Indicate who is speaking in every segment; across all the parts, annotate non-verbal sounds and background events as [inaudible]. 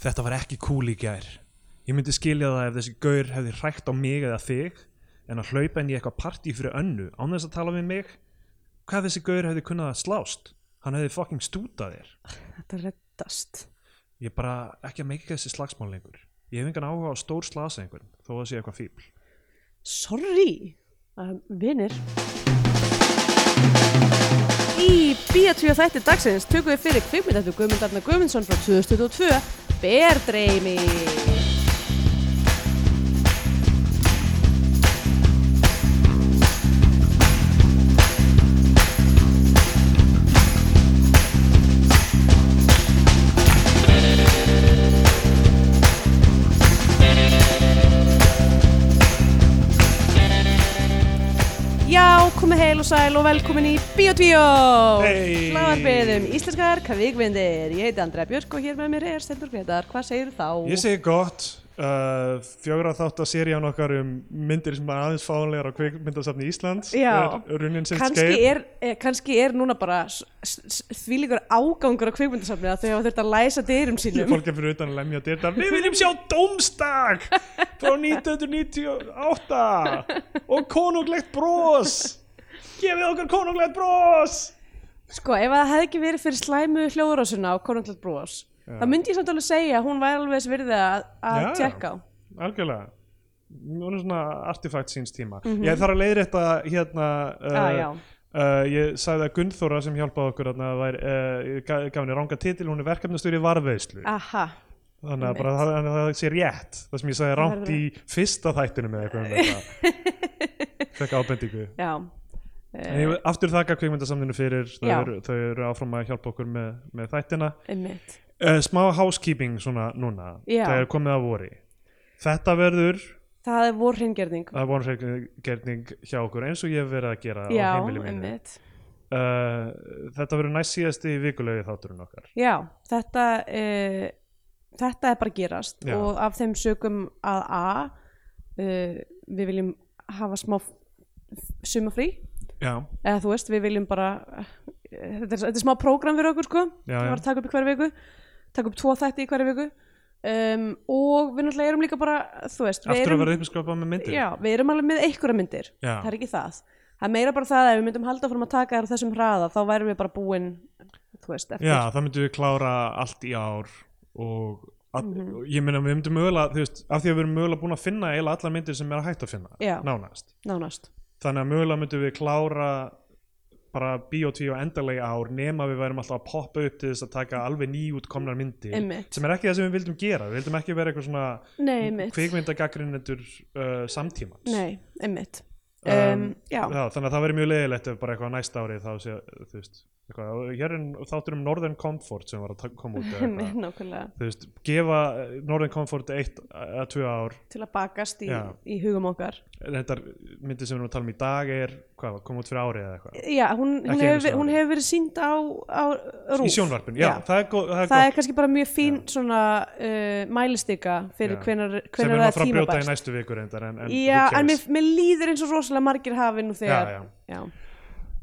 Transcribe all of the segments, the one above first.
Speaker 1: þetta var ekki cool í gær ég myndi skilja það ef þessi gaur hefði hrækt á mig eða þig en að hlaupa inn í eitthvað partí fyrir önnu án þess að tala við mig hvað ef þessi gaur hefði kunnað að slást hann hefði fucking stútað þér
Speaker 2: Þetta reddast.
Speaker 1: ég er bara ekki að meika þessi slagsmál lengur ég hef engan áhuga á stór slasa einhvern þó að það sé eitthvað fíbl
Speaker 2: Sorry, um, vinir. Í Bíatvíu þætti dagsins tökum við fyrir kvikmyndættu Guðmund Arna Guðmundsson frá 2022, Berdreimi. Já, komið heil og sæl og velkomin í Bíatvíu.
Speaker 1: Hey!
Speaker 2: Hlaðarbeðum íslenskar kvikmyndir. Ég heiti Andrea Björk og hér með mér er Stendur Gretar. Hvað segir þá?
Speaker 1: Ég segi gott uh, fjögra þátt að serían okkar um myndir sem er aðeins fáanlegar á kvikmyndasafni Íslands
Speaker 2: Já.
Speaker 1: er runnin sem
Speaker 2: kannski er, eh, kannski er núna bara s- s- s- þvílíkur ágangur á kvikmyndasafnið að þau hafa þurft að læsa dyrum sínum
Speaker 1: fólk er fyrir utan að lemja dyrta við viljum sjá Dómstak frá 1998 og konunglegt brós gefið okkur konunglegt brós
Speaker 2: sko ef það hefði ekki verið fyrir slæmu hljóðurásuna á Konunglætt Brós þá myndi ég samt alveg segja að hún væri alveg þess virði að, að
Speaker 1: Já, já.
Speaker 2: tjekka á
Speaker 1: algjörlega hún er svona artifact síns tíma ég þarf að leiðrétta hérna uh,
Speaker 2: Mhm. Ah, já.
Speaker 1: uh, ég sagði að Gunnþóra sem hjálpaði okkur hérna, var, uh, gaf gaf henni ranga titil hún er verkefnastjóri varveislu
Speaker 2: aha,
Speaker 1: þannig að bara, það, þannig að það sé rétt það sem ég sagði rangt
Speaker 2: verður
Speaker 1: í fyrsta þættinum eða eitthvað um þetta
Speaker 2: [laughs]
Speaker 1: fekk ábendingu
Speaker 2: já Eh,
Speaker 1: en ég vil aftur þakka kvikmyndasamninu fyrir þau
Speaker 2: Já.
Speaker 1: eru, þau eru áfram að hjálpa okkur með, með þættina
Speaker 2: einmitt
Speaker 1: uh, smá housekeeping svona núna
Speaker 2: Já.
Speaker 1: það er komið að vori þetta verður
Speaker 2: það er vor hringjörning
Speaker 1: að vonargerning hjá okkur eins og ég hef verið að gera
Speaker 2: já,
Speaker 1: á heimili mínu
Speaker 2: einmitt
Speaker 1: uh, þetta verður næst síðasti vikulegi þátturinn okkar
Speaker 2: já, þetta uh, þetta er bara að gerast
Speaker 1: Já.
Speaker 2: og af þeim sögum að A uh, við viljum hafa smá f- f- sumafrí
Speaker 1: já,
Speaker 2: eða þú veist, við viljum bara eh, þetta er, þetta er smá prógram fyrir okkur sko
Speaker 1: Já,
Speaker 2: við
Speaker 1: já.
Speaker 2: varum að taka upp í hverju viku taka upp tvo þætti í hverju viku um, og við náttúrulega erum líka bara þú veist, við
Speaker 1: aftur að
Speaker 2: erum,
Speaker 1: verða uppskapa með myndir
Speaker 2: já, við erum alveg með einhverja myndir
Speaker 1: Já.
Speaker 2: það er ekki það það er meira bara það að ef við myndum halda fórum að taka þær á þessum hraða þá værum við bara búin þú veist, eftir
Speaker 1: Já, það myndum við klára allt í ár og að,
Speaker 2: Mhm.
Speaker 1: ég meina við myndum mögulega, þú veist, af því að við erum mögulega búin að finna eiginlega allar myndir sem er að hægt að finna
Speaker 2: Já.
Speaker 1: nánast.
Speaker 2: nánast
Speaker 1: Þannig að mögulega myndum við klára bara B.O.T. og endalega ár nema við værum alltaf að poppa upp til þess að taka alveg nýjútkomnar myndir
Speaker 2: Einmitt.
Speaker 1: sem er ekki það sem við vildum gera, við vildum ekki vera eitthvað svona
Speaker 2: Nei, einmitt.
Speaker 1: kvikmyndagaggrinendur uh, samtímans
Speaker 2: Nei, einmitt um,
Speaker 1: Um,
Speaker 2: Já,
Speaker 1: Já, þannig að það verður mjög leiðilegt ef bara eitthvað næsta árið þá sé, þú veist, eitthvað, og hér er þáttur um Northern Comfort sem var að ta- koma út eða eitthvað.
Speaker 2: einmitt nákvæmlega
Speaker 1: þú veist, gefa eh, Northern Comfort eitt að tvö ár
Speaker 2: til að bakast í,
Speaker 1: Já.
Speaker 2: í hugum okkar
Speaker 1: þetta myndi sem við erum að tala um í dag er hvað, kom út fyrir árið eða eitthvað
Speaker 2: Já, hún, hún
Speaker 1: Ekki einu
Speaker 2: hefur
Speaker 1: sinni
Speaker 2: hef, hef verið sínd á, á rúf
Speaker 1: í sjónvarpinu, já, það er, go það er
Speaker 2: það er
Speaker 1: gott
Speaker 2: kannski bara mjög fín svona uh, mælistika fyrir
Speaker 1: Já.
Speaker 2: hvenar,
Speaker 1: sem við
Speaker 2: hvenar
Speaker 1: erum
Speaker 2: það
Speaker 1: að
Speaker 2: er
Speaker 1: fara að brjóta í
Speaker 2: tímabært
Speaker 1: næstu vikur reyndar, en, en
Speaker 2: Já,
Speaker 1: who
Speaker 2: en
Speaker 1: cares?
Speaker 2: mér, mér líður eins og rosalega margir hafi nú þegar
Speaker 1: Já,
Speaker 2: já.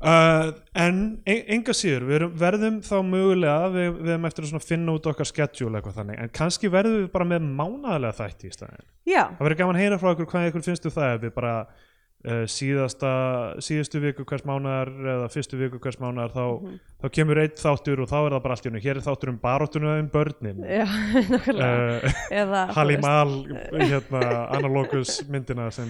Speaker 1: Uh, en en- enga síður, við erum, verðum þá mögulega, við, við erum eftir að svona finna út okkar schedule eitthvað þannig, en kannski verðum við bara með mánaðlega þætti í staðin
Speaker 2: Já,
Speaker 1: það verður gaman að heyra frá ykkur hvað ykkur finnstu það ef við bara uh, síðasta síðustu viku hvers mánar eða fyrstu viku hvers mánar þá,
Speaker 2: Mhm.
Speaker 1: þá kemur einn þáttur og þá er það bara allt í hennu hér er þáttur um baróttuna um börnin
Speaker 2: já, [laughs] nákvæmlega [laughs]
Speaker 1: uh,
Speaker 2: Eða, þú veist,
Speaker 1: Halimal hérna, analogus myndina sem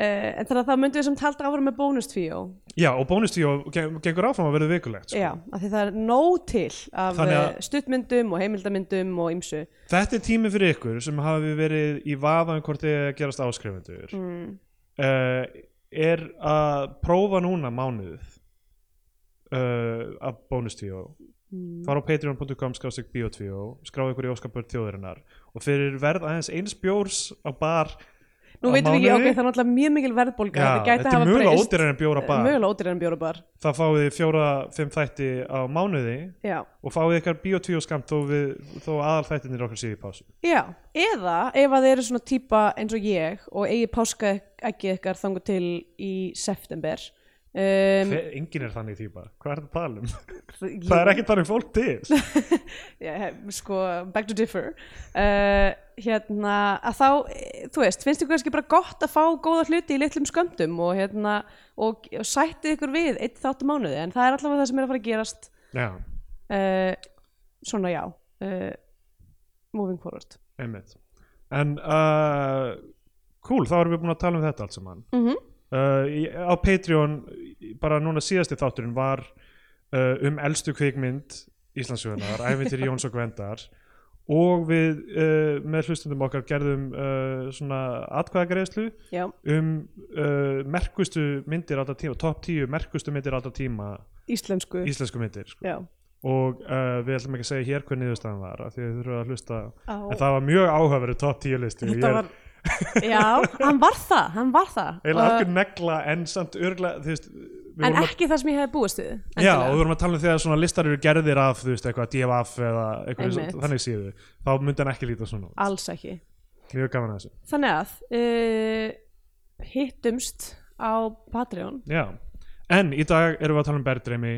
Speaker 2: eh, en þannig að það myndum við samt halda áfram með bónustvíó
Speaker 1: já og bónustíó gen- gengur áfram að verða vikulegt sko.
Speaker 2: Já, af því það er nóg til af
Speaker 1: Þannig
Speaker 2: að...
Speaker 1: að-
Speaker 2: stuttmyndum og heimildamyndum og ymsu
Speaker 1: Þetta er tími fyrir ykkur sem hafi verið í vafa um hvort þið gerast áskrifendur mm. er að prófa núna mánuð uh, af bónustvíó mm. fara á patreon.com skrástík biotvíó skráðu ykkur í óskapur þjóðurinnar og fyrir verð aðeins eins bjórs á bar
Speaker 2: Nú
Speaker 1: á
Speaker 2: veitum við ekki, ok,
Speaker 1: mánuði.
Speaker 2: það er náttúrulega mjög mikil verðbólga
Speaker 1: Já,
Speaker 2: þetta
Speaker 1: þetta
Speaker 2: gæti
Speaker 1: er
Speaker 2: hafa
Speaker 1: mjögulega
Speaker 2: breyst. Eh,
Speaker 1: ódýrar en bjór á bar
Speaker 2: Mögulega ódýrar en bjórabar
Speaker 1: það fáið þið fjóra, fimm þætti á mánuði
Speaker 2: Já
Speaker 1: og fáið ykkar biotvíó skamt þó, við- þó aðal þættinir okkar séu í pásu
Speaker 2: Já, eða ef að þið eru svona típa eins og ég og eigi páska ekki ykkar þangu til í september um,
Speaker 1: Hver, engin er þannig típa, hvað er það að tala um
Speaker 2: ég-
Speaker 1: það er ekki þannig fólk til
Speaker 2: Já, he- sko, back to differ uh, hérna, að þá eh, þú veist, finnst ykkur kannski bara gott að fá góða hluti í litlum sköndum og hérna, og, og sættið ykkur við eitt þáttum mánuði, en það er allavega það sem er að fara að gerast
Speaker 1: já,
Speaker 2: uh, svona já uh, moving forward
Speaker 1: einmitt en uh, cool, þá erum við búin að tala um þetta allt saman
Speaker 2: mm
Speaker 1: uh, í- á Patreon í- bara núna síðasti þátturinn var uh, um elstu kvikmynd Íslandsögunar, æfintir Jóns og Gvendar og við uh, með hlustundum okkar gerðum uh, svona atkvæðagreðslu
Speaker 2: já,
Speaker 1: um uh, merkustu myndir alltaf tíma, top 10 merkustu myndir alltaf tíma
Speaker 2: íslensku
Speaker 1: íslensku myndir sko.
Speaker 2: já,
Speaker 1: og uh, við ætlum ekki að segja hér hvernig niðurstaðan var af því að þið þurfum að hlusta
Speaker 2: á,
Speaker 1: en það var mjög áhugaverið top 10 listi
Speaker 2: þetta var já, hann var það, hann var það
Speaker 1: eiginlega
Speaker 2: Og-
Speaker 1: algjör negla en samt örgla þú veist, við
Speaker 2: en
Speaker 1: vorum að
Speaker 2: ekki það sem ég hefði búist við
Speaker 1: Já,
Speaker 2: endilega.
Speaker 1: og við vorum að tala um þegar svona listar eru gerðir af, þú veist, eitthvað DFF eða eitthvað
Speaker 2: Einmitt.
Speaker 1: þannig síðu, þá myndi hann ekki líta svona út.
Speaker 2: alls ekki
Speaker 1: Mjög gaman að þessu.
Speaker 2: þannig að uh, hittumst á Patreon
Speaker 1: Já, en í dag erum við að tala um berðdreimi,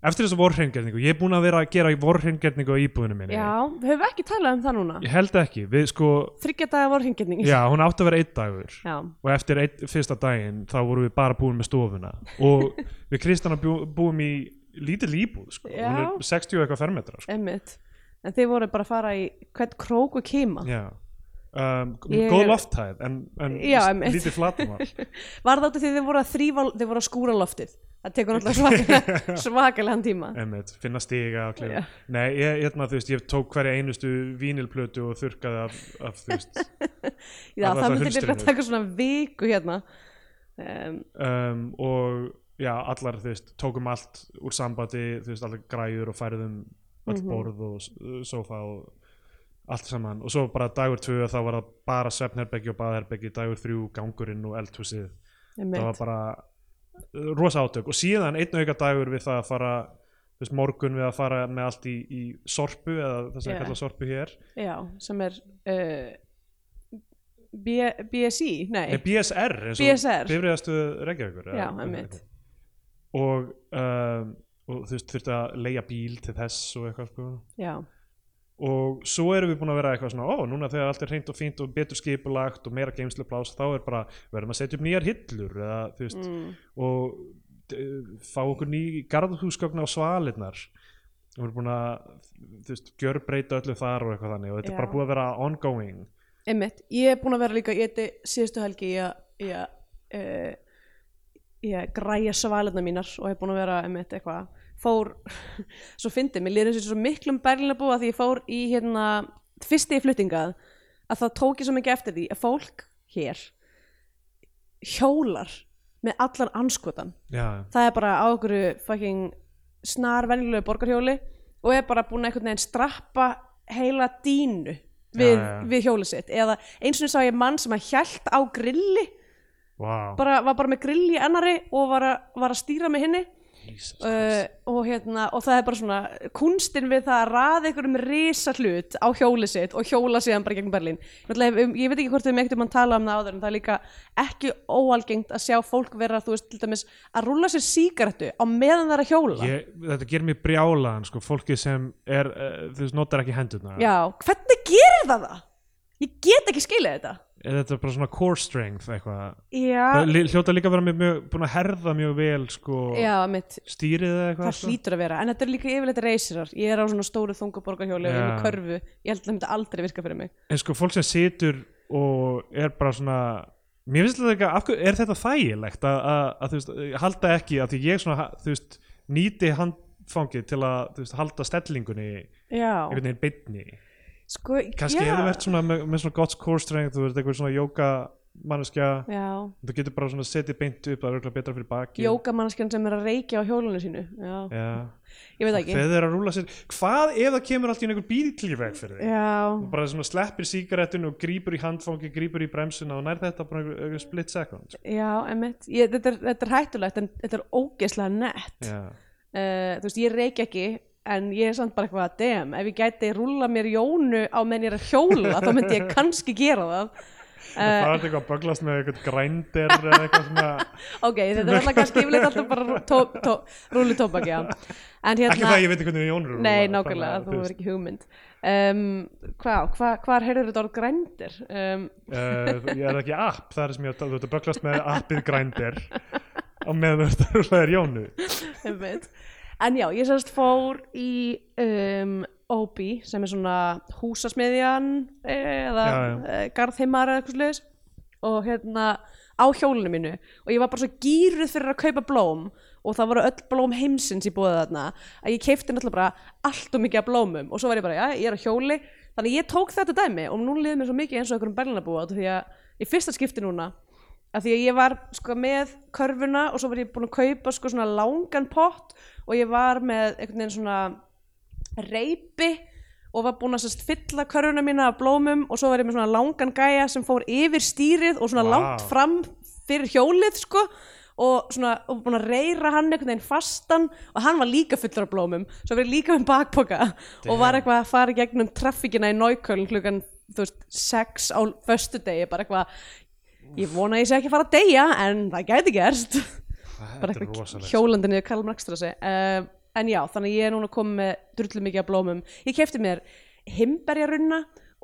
Speaker 1: eftir þessu vorhreingerningu, ég er búinn að vera að gera vorhreingerningu á íbúðinu minni.
Speaker 2: já, við höfum ekki talað um það núna
Speaker 1: Ég held ekki, við sko,
Speaker 2: þryggja dagar voru hringinning
Speaker 1: já, hún átti að vera einn dagur
Speaker 2: já,
Speaker 1: og eftir einn, fyrsta daginn þá vorum við bara búin með stofuna og við Kristjana bjú, búum í lítill íbúð, sko, hún
Speaker 2: Já.
Speaker 1: er 60 og eitthvað fermetra, sko.
Speaker 2: emmitt en þið voru bara að fara í hvern krók og kima
Speaker 1: Já. Um,
Speaker 2: Ég
Speaker 1: góð
Speaker 2: er-
Speaker 1: lofthæð en, en
Speaker 2: Já, einmitt.
Speaker 1: lítið flatumál
Speaker 2: [laughs] Var það út af því þið voru að þrýfa, þið voru að skúra loftið? Það tekur alltaf
Speaker 1: [laughs]
Speaker 2: svakalega, svakalega tíma.
Speaker 1: Einmitt, finna stiga og klefa
Speaker 2: Já.
Speaker 1: Nei, ég, hérna, þú veist, ég tók hverja einustu vínilplötu og þurrkaði af, af þú veist Allar
Speaker 2: Já, það
Speaker 1: þessar
Speaker 2: myndi líka
Speaker 1: hulstrur.
Speaker 2: taka svona viku hérna. Um,
Speaker 1: um, og já, allar, þú veist, tókum allt úr sambandi, þú veist, allar græjur og færðum all
Speaker 2: Mhm.
Speaker 1: borð og s- uh, sófa og allt saman og svo bara dagur tvö þá var það bara svefnherbeggi og baðherbeggi, dagur þrjú gangurinn og eldhúsið það var
Speaker 2: einmitt.
Speaker 1: bara uh, rosa átök og síðan einn auka dagur við það að fara þú veist, morgun við að fara með allt í, í sorpu eða það sem
Speaker 2: Já.
Speaker 1: yeah. kalla sorpu hér
Speaker 2: Já, sem er uh, B, BSI, nei,
Speaker 1: Nei, BSR, eins
Speaker 2: BSR.
Speaker 1: og bifriðastu Reykjavíkur eða-
Speaker 2: Já, einmitt.
Speaker 1: og, um, og þú veist þurfti að leigja bíl til þess og eitthvað sko
Speaker 2: já,
Speaker 1: og svo erum við búin að vera eitthvað svona ó, núna þegar allt er hreint og fínt og betur skipulagt og meira geimsluplás, þá er bara við verðum að setja upp nýjar hillur eða, þú veist,
Speaker 2: mm,
Speaker 1: og eh, fá okkur ný garðhúsgögn á svalirnar og við erum búin að þú veist, gjörbreyta öllu þar og eitthvað þannig og þetta
Speaker 2: Já.
Speaker 1: er bara búið að vera ongoing
Speaker 2: einmitt. Ég er búin að vera líka, ég heiti síðustu helgi í að, í að, uh, í að græja svalirna mínar og hef búin að vera, einmitt, eitthvað, fór, [laughs] svo fyndið, mér lýður eins og svo miklum berlinabúa því ég fór í hérna, fyrst í fluttingað að það tók ég svo mikið eftir því að fólk hér hjólar með allan anskotan
Speaker 1: já,
Speaker 2: það er bara á okkur fucking snar venjulegu borgarhjóli og er bara búin að einhvern veginn strappa heila dínu við,
Speaker 1: Já, já, já.
Speaker 2: við hjóli sitt eða eins og sá ég mann sem að hjælt á grilli
Speaker 1: wow
Speaker 2: bara, var bara með grill í annari og var að, var að stýra með henni
Speaker 1: Jesus
Speaker 2: uh,
Speaker 1: Christ.
Speaker 2: og, hérna, og það er bara svona kunstin við það að raða ykkur um risa hlut á hjóli sitt og hjóla síðan bara gegn Berlín Náttúrulega, um, ég veit ekki hvort við megtum mann tala um það áður en það er líka ekki óalgengt að sjá fólk vera þú veist til dæmis að rúlla sér sígarettu á meðan það er að hjóla
Speaker 1: ég, þetta ger mér brjálaðan sko, fólki sem er, uh, þú veist, notar ekki hendurna
Speaker 2: já, hvernig gerir það það? ég get ekki skilja þetta
Speaker 1: er þetta bara svona core strength eitthvað
Speaker 2: já,
Speaker 1: Það li- hljóta líka að vera mjög, mjög, búin að herða mjög vel sko,
Speaker 2: já mitt
Speaker 1: stýrið eða eitthvað
Speaker 2: það hlýtur að vera, en þetta er líka yfirleitt reysirar ég er á svona stóru þunguborgarhjóli og ég er með
Speaker 1: Já.
Speaker 2: körfu, ég held að það myndi aldrei virka fyrir mig
Speaker 1: en sko fólk sem situr og er bara svona mér finnst þetta ekki, af hverju, er þetta þægilegt að, að, að þú veist, halda ekki að því ég svona, ha- þú veist, nýti handfangið til að, þú veist, halda stellingunni einhvern
Speaker 2: já,
Speaker 1: veginn beinni
Speaker 2: sko,
Speaker 1: kannski
Speaker 2: já.
Speaker 1: hefur verið svona með, með svona gott core strength, þú veist, eitthvað svona jóka manneskja,
Speaker 2: já,
Speaker 1: þú getur bara svona setið beint upp, það er auðvitað betra fyrir baki
Speaker 2: Jókamannskjan sem er að reykja á hjólunum sínu Já,
Speaker 1: Já,
Speaker 2: ég veit það ekki
Speaker 1: þegar þeir eru að rúla sér hvað ef það kemur allt í einu einhver bíl í veg fyrir þig
Speaker 2: Já,
Speaker 1: bara svona sleppir sígarettun og grípur í handfangi, grípur í bremsuna og nær þetta bara einhver, einhver split second sko.
Speaker 2: já, emmitt ég, þetta, er, þetta er hættulegt en þetta er ógeðslega nett uh,
Speaker 1: Já.
Speaker 2: Þú veist, ég reykja ekki en ég er samt bara eitthvað damn, ef ég gæti rúla mér jónu á meðan ég er að hjóla þá myndi ég kannski gera það Eh,
Speaker 1: það er eitthvað að böglast með eitthvað grændir eða eitthvað svona
Speaker 2: ok, þetta er alltaf kannski yfirleitt alltaf bara tó, tó, rúli tóbak, já en hérna,
Speaker 1: ekki það ég veit hvernig Jón rúlar
Speaker 2: nei,
Speaker 1: þannig að,
Speaker 2: nákvæmlega, þú
Speaker 1: veist,
Speaker 2: verður ekki hugmynd um, hvað, hvað, hvað heyrður þetta orð grændir um,
Speaker 1: Uh, ég er ekki app, það er sem ég þú ert að böglast með appið grændir á meðan þú ert að rúla þér Jónu
Speaker 2: einmitt. en já, ég semst fór í um, OB sem er svona húsasmiðjan eða
Speaker 1: Já, já.
Speaker 2: eh, garðheimar eða eitthvað sliðis og hérna á hjólinu mínu og ég var bara svo gýruð fyrir að kaupa blóm og það voru öll blóm heimsins í búið þarna að ég keipti náttúrulega bara allt og mikið af blómum og svo var ég bara, já, ég er á hjóli þannig að ég tók þetta dæmi og nú liðið mér svo mikið eins og einhverjum berlinabúa því að í fyrsta skipti núna að því að ég var sko með körfuna og svo var ég búin að kaupa sko svona langan pott og ég var með einhvern veginn svona reypi og var búin að sest, fylla körfuna mína af blómum og svo var ég með svona langan gæja sem fór yfir stýrið og svona
Speaker 1: Vá.
Speaker 2: langt fram fyrir hjólið sko og svona og búin að reyra hann einhvern veginn fastan og hann var líka fullur af blómum svo var ég líka með bakpoka og var eitthvað að fara í gegnum traffíkina í Náuköln klukkan þú veist 6 á föstudegi bara eitthvað ég vona að ég sé ekki að fara að deyja en það gæti gerst
Speaker 1: þetta
Speaker 2: bara
Speaker 1: er
Speaker 2: eitthvað
Speaker 1: rosalegt
Speaker 2: hjólandi niður kallum rakstrasi uh, en já, þannig að ég er núna komið með drullu mikið af blómum ég kefti mér himberjarunna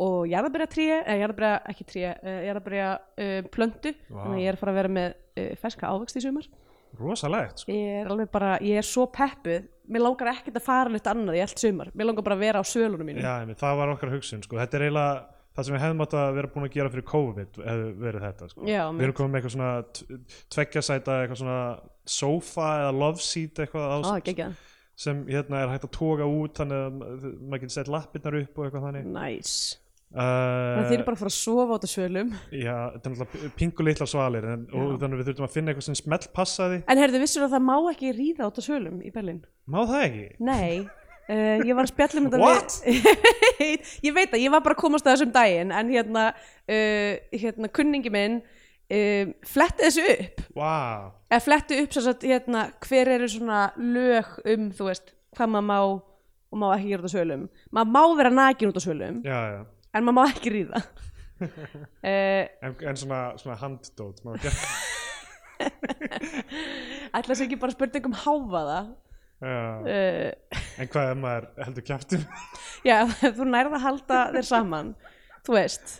Speaker 2: og jarðabyrja trí eða jarðabyrja, ekki trí, uh, jarðabyrja uh, plöntu,
Speaker 1: Vá.
Speaker 2: þannig að ég er að fara að vera með uh, ferska ávext í sumar
Speaker 1: rosalegt sko.
Speaker 2: ég er alveg bara, ég er svo peppuð mér langar ekkert að fara nýtt annað í allt sumar mér langar bara að vera á sölunum mínu
Speaker 1: Já, einmitt, það var okkar hugsun sko. þetta er eiginlega það sem við hefðum átt að vera búin að gera fyrir COVID hefði verið þetta sko.
Speaker 2: Já,
Speaker 1: við erum komið með eitthvað svona t- tveggja sæta eitthvað svona sofa eða love seat eitthvað á,
Speaker 2: á, geggjað,
Speaker 1: sem hérna er hægt að toga út þannig að ma- maður getur sett lappirnar upp og eitthvað þannig
Speaker 2: næs
Speaker 1: uh,
Speaker 2: þannig að þið eru bara að fara að sofa á þetta sölum
Speaker 1: já, þetta er náttúrulega pingu litla svalir en, og þannig að við þurfum að finna eitthvað sem smelt passaði
Speaker 2: En heyrðu, vissur að það má ekki ríða át á sölum í Berlín?
Speaker 1: má það ekki?
Speaker 2: Nei, uh, ég var að spjalla um þetta
Speaker 1: What?
Speaker 2: við... [laughs] ég veit það, ég var bara að komast að þessum daginn, en hérna, uh, hérna kunningi minn uh, fletti þessu upp.
Speaker 1: Vá,
Speaker 2: Eða fletti upp svo að hérna, hver eru svona lög um, þú veist, hvað maður má og má ekki gera út á sölum. Maður má vera nakin út á sölum,
Speaker 1: já, já
Speaker 2: en maður má ekki ríða. Uh,
Speaker 1: En, en svona, svona handdót maður
Speaker 2: [laughs]
Speaker 1: gerði
Speaker 2: ætla þess ekki bara að spurning um háfaða.
Speaker 1: Já,
Speaker 2: Uh,
Speaker 1: en hvað ef maður heldur kjaftum
Speaker 2: Já, [laughs] ef ef þú nærð að halda þér saman þú veist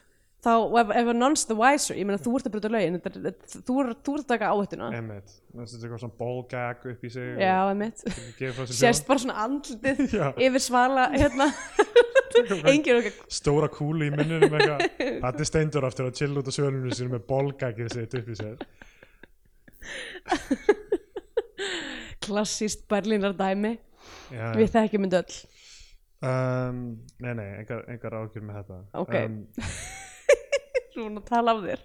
Speaker 2: þá, og ef, ef none's the wiser, ég meina þú ert að breyta lögin þetta er- þetta- þú ert þú ert að taka áhættuna
Speaker 1: einmitt, það er eitthvað svona bólgag upp í sig
Speaker 2: Já, emitt
Speaker 1: og
Speaker 2: Sérst bara svona andlitið
Speaker 1: Já.
Speaker 2: yfir svala
Speaker 1: [laughs]
Speaker 2: hérna, engin okkar
Speaker 1: stóra kúlu í minnunum eitthvað
Speaker 2: [laughs]
Speaker 1: þetta er steindur aftur að chilla út á svölunum sínum með bólgagið sitt upp í sér
Speaker 2: klassíst berlínar dæmi
Speaker 1: Já,
Speaker 2: við þekkjum þetta öll
Speaker 1: um, nei, nei, engar, engar ágjur með þetta
Speaker 2: Ok.
Speaker 1: um,
Speaker 2: svona að tala af þér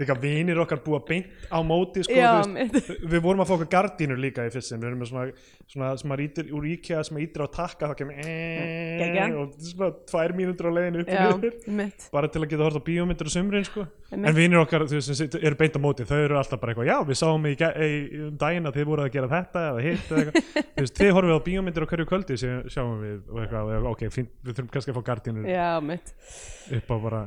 Speaker 1: líka vinir okkar búa beint á móti sko,
Speaker 2: Já,
Speaker 1: þú veist,
Speaker 2: einmitt.
Speaker 1: við vorum að fá okkur gardínur líka í fyrst sinn, við erum með svona, svona sem maður ítir úr IKEA sem maður ítir á takka þá kemur
Speaker 2: Geggjað.
Speaker 1: og svona tvær mínútur á leiðinu upp
Speaker 2: Já,
Speaker 1: og niður
Speaker 2: emitt
Speaker 1: bara til að geta horta bíómyndir á sumrin sko.
Speaker 2: Einmitt.
Speaker 1: en vinir okkar þú veist, sem sit- eru beint á móti þau eru alltaf bara eitthvað, já við sáum í, gæ- í um daginn að þið voru að gera þetta eða hitt eða
Speaker 2: [laughs]
Speaker 1: eitthvað, þú veist, þið horfum við á bíómyndir á hverju kvöldi sem sjáum við, og eitthvað, og ok, fín, við þurfum kannski að fá gardínur
Speaker 2: Já, emitt
Speaker 1: upp á bara,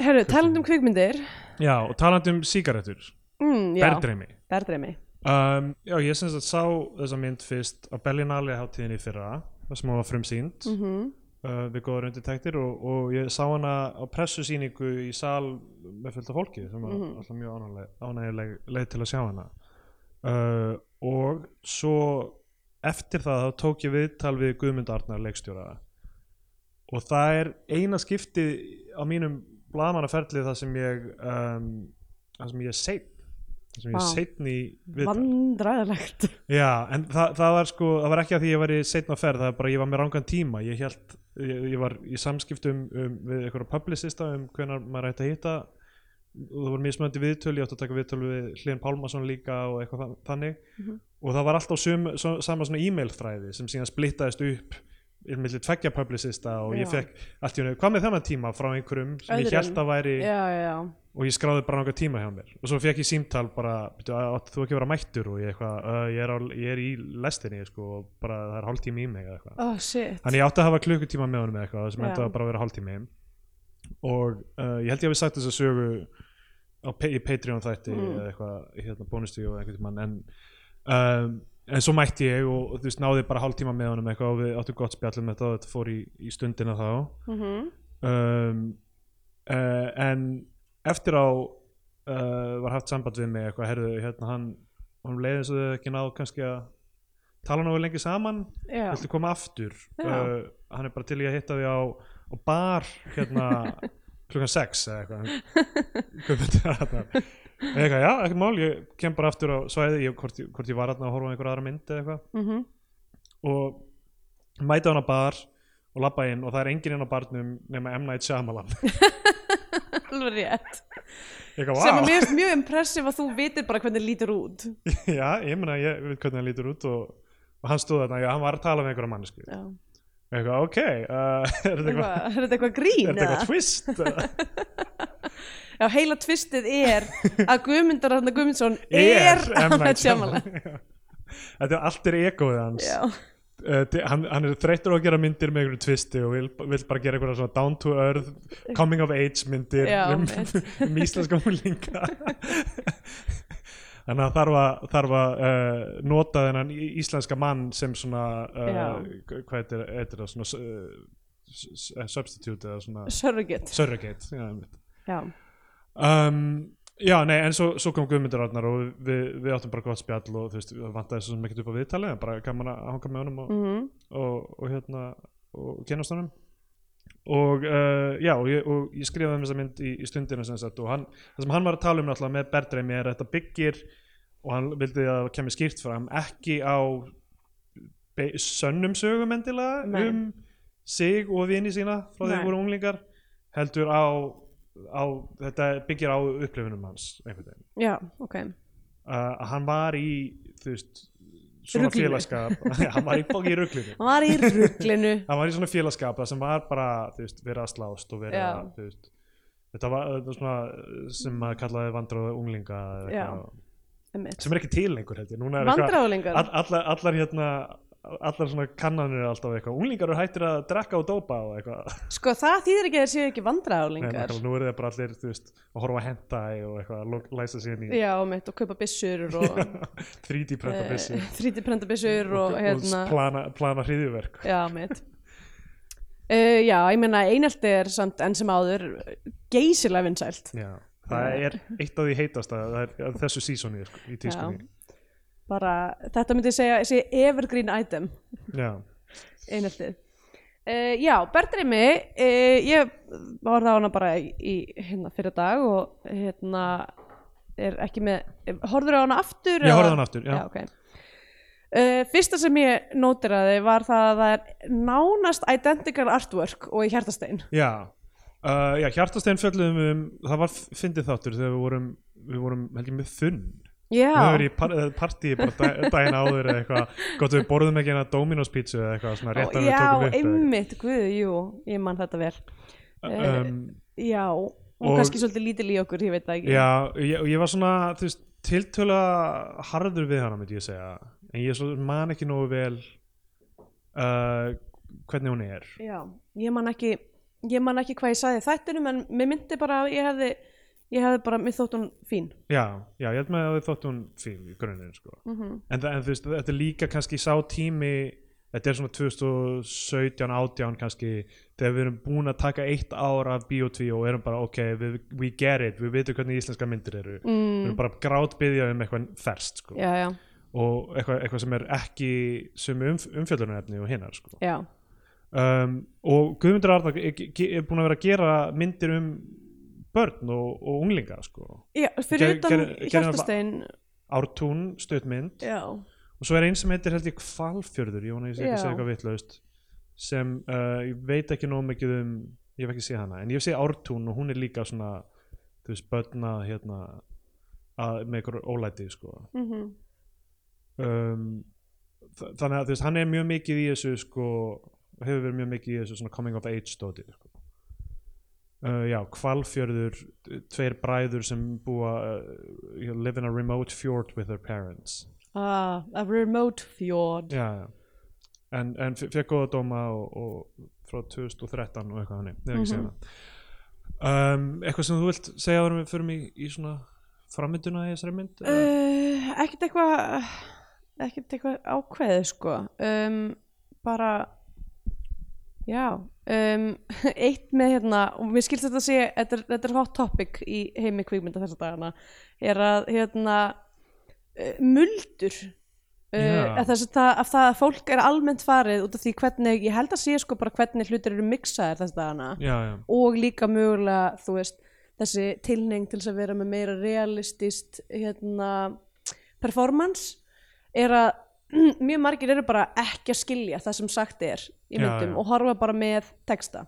Speaker 2: Herru, talandi um kvikmyndir
Speaker 1: já og talandi um sígarettur,
Speaker 2: mm, já,
Speaker 1: berðreimi
Speaker 2: Berðreimi
Speaker 1: Um, já, ég syns að sá þessa mynd fyrst á Berlinale hátíðin í fyrra þar sem hún var frumsýnd
Speaker 2: Mhm.
Speaker 1: uh, við góðar undirtektir og, og ég sá hana á pressusýningu í sal með fullt af fólki sem var alltaf mjög ánægileg, ánægileg leið til að sjá hana uh, og svo eftir það þá tók ég viðtal við Guðmund Arnar leikstjóra og það er eina skiptið á mínum blaðmannaferli þar sem ég um, þar sem ég er seinn þar sem ég er
Speaker 2: Vá.
Speaker 1: seinn í viðtal
Speaker 2: Vandræðilegt
Speaker 1: Já, en það, það var sko, það var ekki að því ég var í seinna ferð, það var bara ég var með rangan tíma ég held, ég, ég var í samskiptum um, við einhverja publicista um hvenær maður ætti að hitta og það voru mismöndi viðtöl, ég átti að taka viðtöl við Hlyn Pálmason líka og eitthvað þa- þannig
Speaker 2: Mhm.
Speaker 1: og það var alltaf sum, svo, sama svona e-mail þræði sem síðan splittaðist upp millir tveggja publicista og ég
Speaker 2: Já.
Speaker 1: fekk allt í hennu, hvað með þennan tíma frá einhverjum sem ég
Speaker 2: Öðrum.
Speaker 1: held að væri
Speaker 2: Já, já, já
Speaker 1: og ég skráði bara nokkað tíma hjá mér og svo fekk ég símtal bara "Bíddu, á- átt þú ekki að vera mættur og ég, eitthvað, uh, ég, er, á, ég er í lestinni sko, og bara það er hálftími í mig eða eitthvað
Speaker 2: Oh, shit
Speaker 1: þannig ég átti að hafa klukkutíma með honum eða eitthvað sem
Speaker 2: Já.
Speaker 1: endaði bara að vera hálftími og uh, ég held ég hafi sagt þess að sögu á, Pa- í Patreon þætti
Speaker 2: Mm.
Speaker 1: eða eitthvað hérna, bónusti og einhvern tímann en, um, en svo mætti ég og þú veist náði bara hálftíma með honum eitthvað og við áttum gott spjallum þetta og þetta fór í, í stundina þá
Speaker 2: Mhm.
Speaker 1: um, uh, en eftir á uh, var haft samband við mig eitthvað herðu hérna hann hann leiði eins og þau ekki náð kannski að tala nú lengi saman
Speaker 2: Já,
Speaker 1: viltu koma aftur
Speaker 2: Já.
Speaker 1: uh, hann er bara til í að hitta því á, á bar
Speaker 2: [laughs]
Speaker 1: hérna klukkan 6 eða eitthvað Hvað þetta er þarna? Ég eitthvað, já, ekkert mál, ég kem bara aftur á svæði ég, hvort, ég- hvort ég var þarna að horfa á einhver aðra mynd eða eitthvað
Speaker 2: mhm. [laughs]
Speaker 1: og mæta hann á bar og labba inn og það er enginn inn á barnum nema M. Night Shyamalan ég
Speaker 2: alveg rétt
Speaker 1: eitthvað,
Speaker 2: sem að
Speaker 1: wow,
Speaker 2: mér finnst mjög impressiv að þú vitir bara hvernig lítur út
Speaker 1: [laughs] já, ég meina ég veit hvernig hann lítur út og, og hann stóð þarna, já, hann var að tala með einhverja mannesku
Speaker 2: Já.
Speaker 1: eitthvað, ok, uh, [laughs] er þetta eitthvað
Speaker 2: Eitthvað- er þetta eitthvað
Speaker 1: [laughs]
Speaker 2: grín
Speaker 1: er þetta
Speaker 2: eða?
Speaker 1: eitthvað twist eða?
Speaker 2: Já, heila tvistið er að Guðmundur Arnar Guðmundsson er
Speaker 1: [laughs] er M.
Speaker 2: að
Speaker 1: Night
Speaker 2: tjámala
Speaker 1: Shyamalan. [laughs] Þetta er allt er egoið hans
Speaker 2: Já,
Speaker 1: uh, di- hann, hann er þreyttur á að gera myndir með einhverju tvisti og vil, vil bara gera einhverja svona down to earth coming of age myndir
Speaker 2: Já,
Speaker 1: um,
Speaker 2: einmitt.
Speaker 1: [laughs] um íslenska múlinga [laughs] þannig að þarf að, þarf að uh, nota þennan í- íslenska mann sem svona uh,
Speaker 2: Já.
Speaker 1: hva- hvað heitir, heitir það svona uh, s- s- eh, substitute eða svona
Speaker 2: surrogate
Speaker 1: surrogate já, einmitt.
Speaker 2: Já,
Speaker 1: um, Já, nei, en svo, svo kom Guðmundur Arnar og við, við áttum bara gott spjall og þú veist, við vantaði svo sem ekkert upp á viðtalið en bara gaman að hanga með honum og,
Speaker 2: mhm,
Speaker 1: og, og hérna, og kynast honum og uh, já, og ég, og ég skrifaði um þessa mynd í, í stundina sem sagt og hann, það sem hann var að tala um náttúrulega með Berdreimi er að þetta byggir og hann vildi að það kemur skýrt fram ekki á be- sönnum sögum endilega
Speaker 2: Nei.
Speaker 1: um sig og vini sína frá því
Speaker 2: Nei.
Speaker 1: að voru unglingar heldur á, á þetta byggir á upplifunum hans einhvern veginn
Speaker 2: já, ok
Speaker 1: uh, að hann var í þú veist svona
Speaker 2: Ruglinu.
Speaker 1: félagskap Já, [laughs] hann var í bóki í ruglinu
Speaker 2: Hann var í rugglinu
Speaker 1: hann var í svona félagskap það sem var bara þú veist, verið að slást og verið að
Speaker 2: Já.
Speaker 1: þú veist, þetta var þetta var svona sem maður kallaði vandráða unglinga eða
Speaker 2: Já.
Speaker 1: eitthvað.
Speaker 2: [laughs] einmitt.
Speaker 1: sem er ekki til lengur held ég Núna er eitthvað-
Speaker 2: Vandráðlingar
Speaker 1: all, allar, allar hérna allar svona kannanir er alltaf eitthvað unglingar eru hættir að drekka og dópa og eitthvað [laughs]
Speaker 2: Sko það þýðir ekki að þeir séu ekki
Speaker 1: Nei,
Speaker 2: vandráðlingar
Speaker 1: nákvæmlega, nú eru þeir bara allir þú veist, að horfa að henta og eitthvað að lok- læsa sér í
Speaker 2: Já, mitt, og kaupa byssur og
Speaker 1: [laughs] 3D prenta bissi
Speaker 2: þrítiprenda byssur Eh, og hérna
Speaker 1: plana, plana hriðjuverk
Speaker 2: Já, mitt Uh, já, ég meina einelti er samt enn sem áður geysilega vinsælt
Speaker 1: Já, það er eitt af því heitast að, það er þessu sísoni sko, í tískunni
Speaker 2: bara, þetta myndi ég segja, ég segja evergreen item
Speaker 1: Já,
Speaker 2: eineltið uh, já, Bertrimi uh, ég var það hana bara í, í hérna fyrir dag og hérna er ekki með, horfður á hana aftur?
Speaker 1: ég
Speaker 2: eða?
Speaker 1: horfði á hann aftur já.
Speaker 2: já, ok Uh, fyrsta sem ég nótiraði var það að það er nánast identical artwork og í hjartastein
Speaker 1: Já, uh, já hjartastein fjöllum um, það var fyndið þáttur þegar við vorum við vorum held ég með þunn
Speaker 2: já,
Speaker 1: við höfum verið í par partíi bara
Speaker 2: [laughs]
Speaker 1: dæ- daginn áður eða eitthvað, gott við borðum ekki hérna Dominos pizza eða eitthvað svona rétt að við
Speaker 2: já
Speaker 1: tókum upp eða eitthvað.
Speaker 2: einmitt, guð, jú, ég man þetta vel
Speaker 1: um,
Speaker 2: já, og,
Speaker 1: Og-
Speaker 2: kannski svolítið lítil í okkur, ég veit það ekki
Speaker 1: Já, ég, og ég var svona þú veist, tiltöla harður við hana myndi ég segja, en ég svo man ekki nógu vel uh, hvernig hún er
Speaker 2: Já, ég man ekki ég man ekki hvað ég sagði í þættinum en mér myndi bara að ég hefði ég hefði bara, mér þótt hún fín
Speaker 1: Já, já, ég held með að þið þótt hún fín í grunin, sko.
Speaker 2: mm -hmm.
Speaker 1: En, það- en þú veist, þetta er líka kannski sá tími, þetta er svona 2017, 18 kannski, þegar við erum búin að taka eitt ár af Biotví og erum bara, ok, við, we get it, við veitum hvernig íslenska myndir eru. Við
Speaker 2: Mm,
Speaker 1: erum bara grátbyðjað um eitthvað ferskt, sko.
Speaker 2: Já, já,
Speaker 1: Og eitthvað, eitthvað sem er ekki sem umf umfjöldunarefni og hinnar, sko.
Speaker 2: já,
Speaker 1: Um, og Guðmundur Arnar er, er búin að vera að gera myndir um börn og, og unglinga, sko.
Speaker 2: já fyrir
Speaker 1: Gerðu-
Speaker 2: utan
Speaker 1: gerðu- gerðu það
Speaker 2: hjartastein
Speaker 1: Ártún, stöðmynd.
Speaker 2: Já,
Speaker 1: og svo er einn sem heitir held ég Hvalfjörður ég vona ég sé ekki að
Speaker 2: Já.
Speaker 1: segja eitthvað vitlaust sem uh, ég veit ekki nóg mikið um ég hef ekki séð hana, en ég hef séð Ártún og hún er líka svona þú veist, börna hérna að, með einhver ólæti sko
Speaker 2: mm
Speaker 1: um, þa- þannig að þú veist, hann er mjög mikið í þessu sko og hefur verið mjög mikið í þessu svona coming of age stóti sko. uh, já, Hvalfjörður tveir bræður sem búa uh, you know, live in a remote fjord with their parents
Speaker 2: ah, a remote fjord
Speaker 1: já, já. en, en fe- fekk góða dóma og, og frá 2013 og eitthvað hannig, ég er ekki mm
Speaker 2: Mhm.
Speaker 1: -hmm. um, eitthvað sem þú vilt segja áður en við förum í, í svona framynduna í þessari mynd eða?
Speaker 2: uh, ekkert eitthvað ekkert eitthvað ákveðið sko um, bara já um, [laughs] eitt með hérna og mér skilst þetta að sé, þetta er, þetta er hot topic í heimi kvikmynda þessa dagana er að hérna uh, muldur
Speaker 1: Já.
Speaker 2: uh, að þess að það, að það að fólk er almennt farið út af því hvernig, ég held að sé sko bara hvernig hlutir eru miksaðir þessa dagana
Speaker 1: já, já,
Speaker 2: og líka mögulega þú veist, þessi tilneng til þess að vera með meira realistist hérna, performance er að [clears throat] mjög margir eru bara ekki að skilja það sem sagt er í
Speaker 1: Já,
Speaker 2: myndum
Speaker 1: já.
Speaker 2: og horfa bara með texta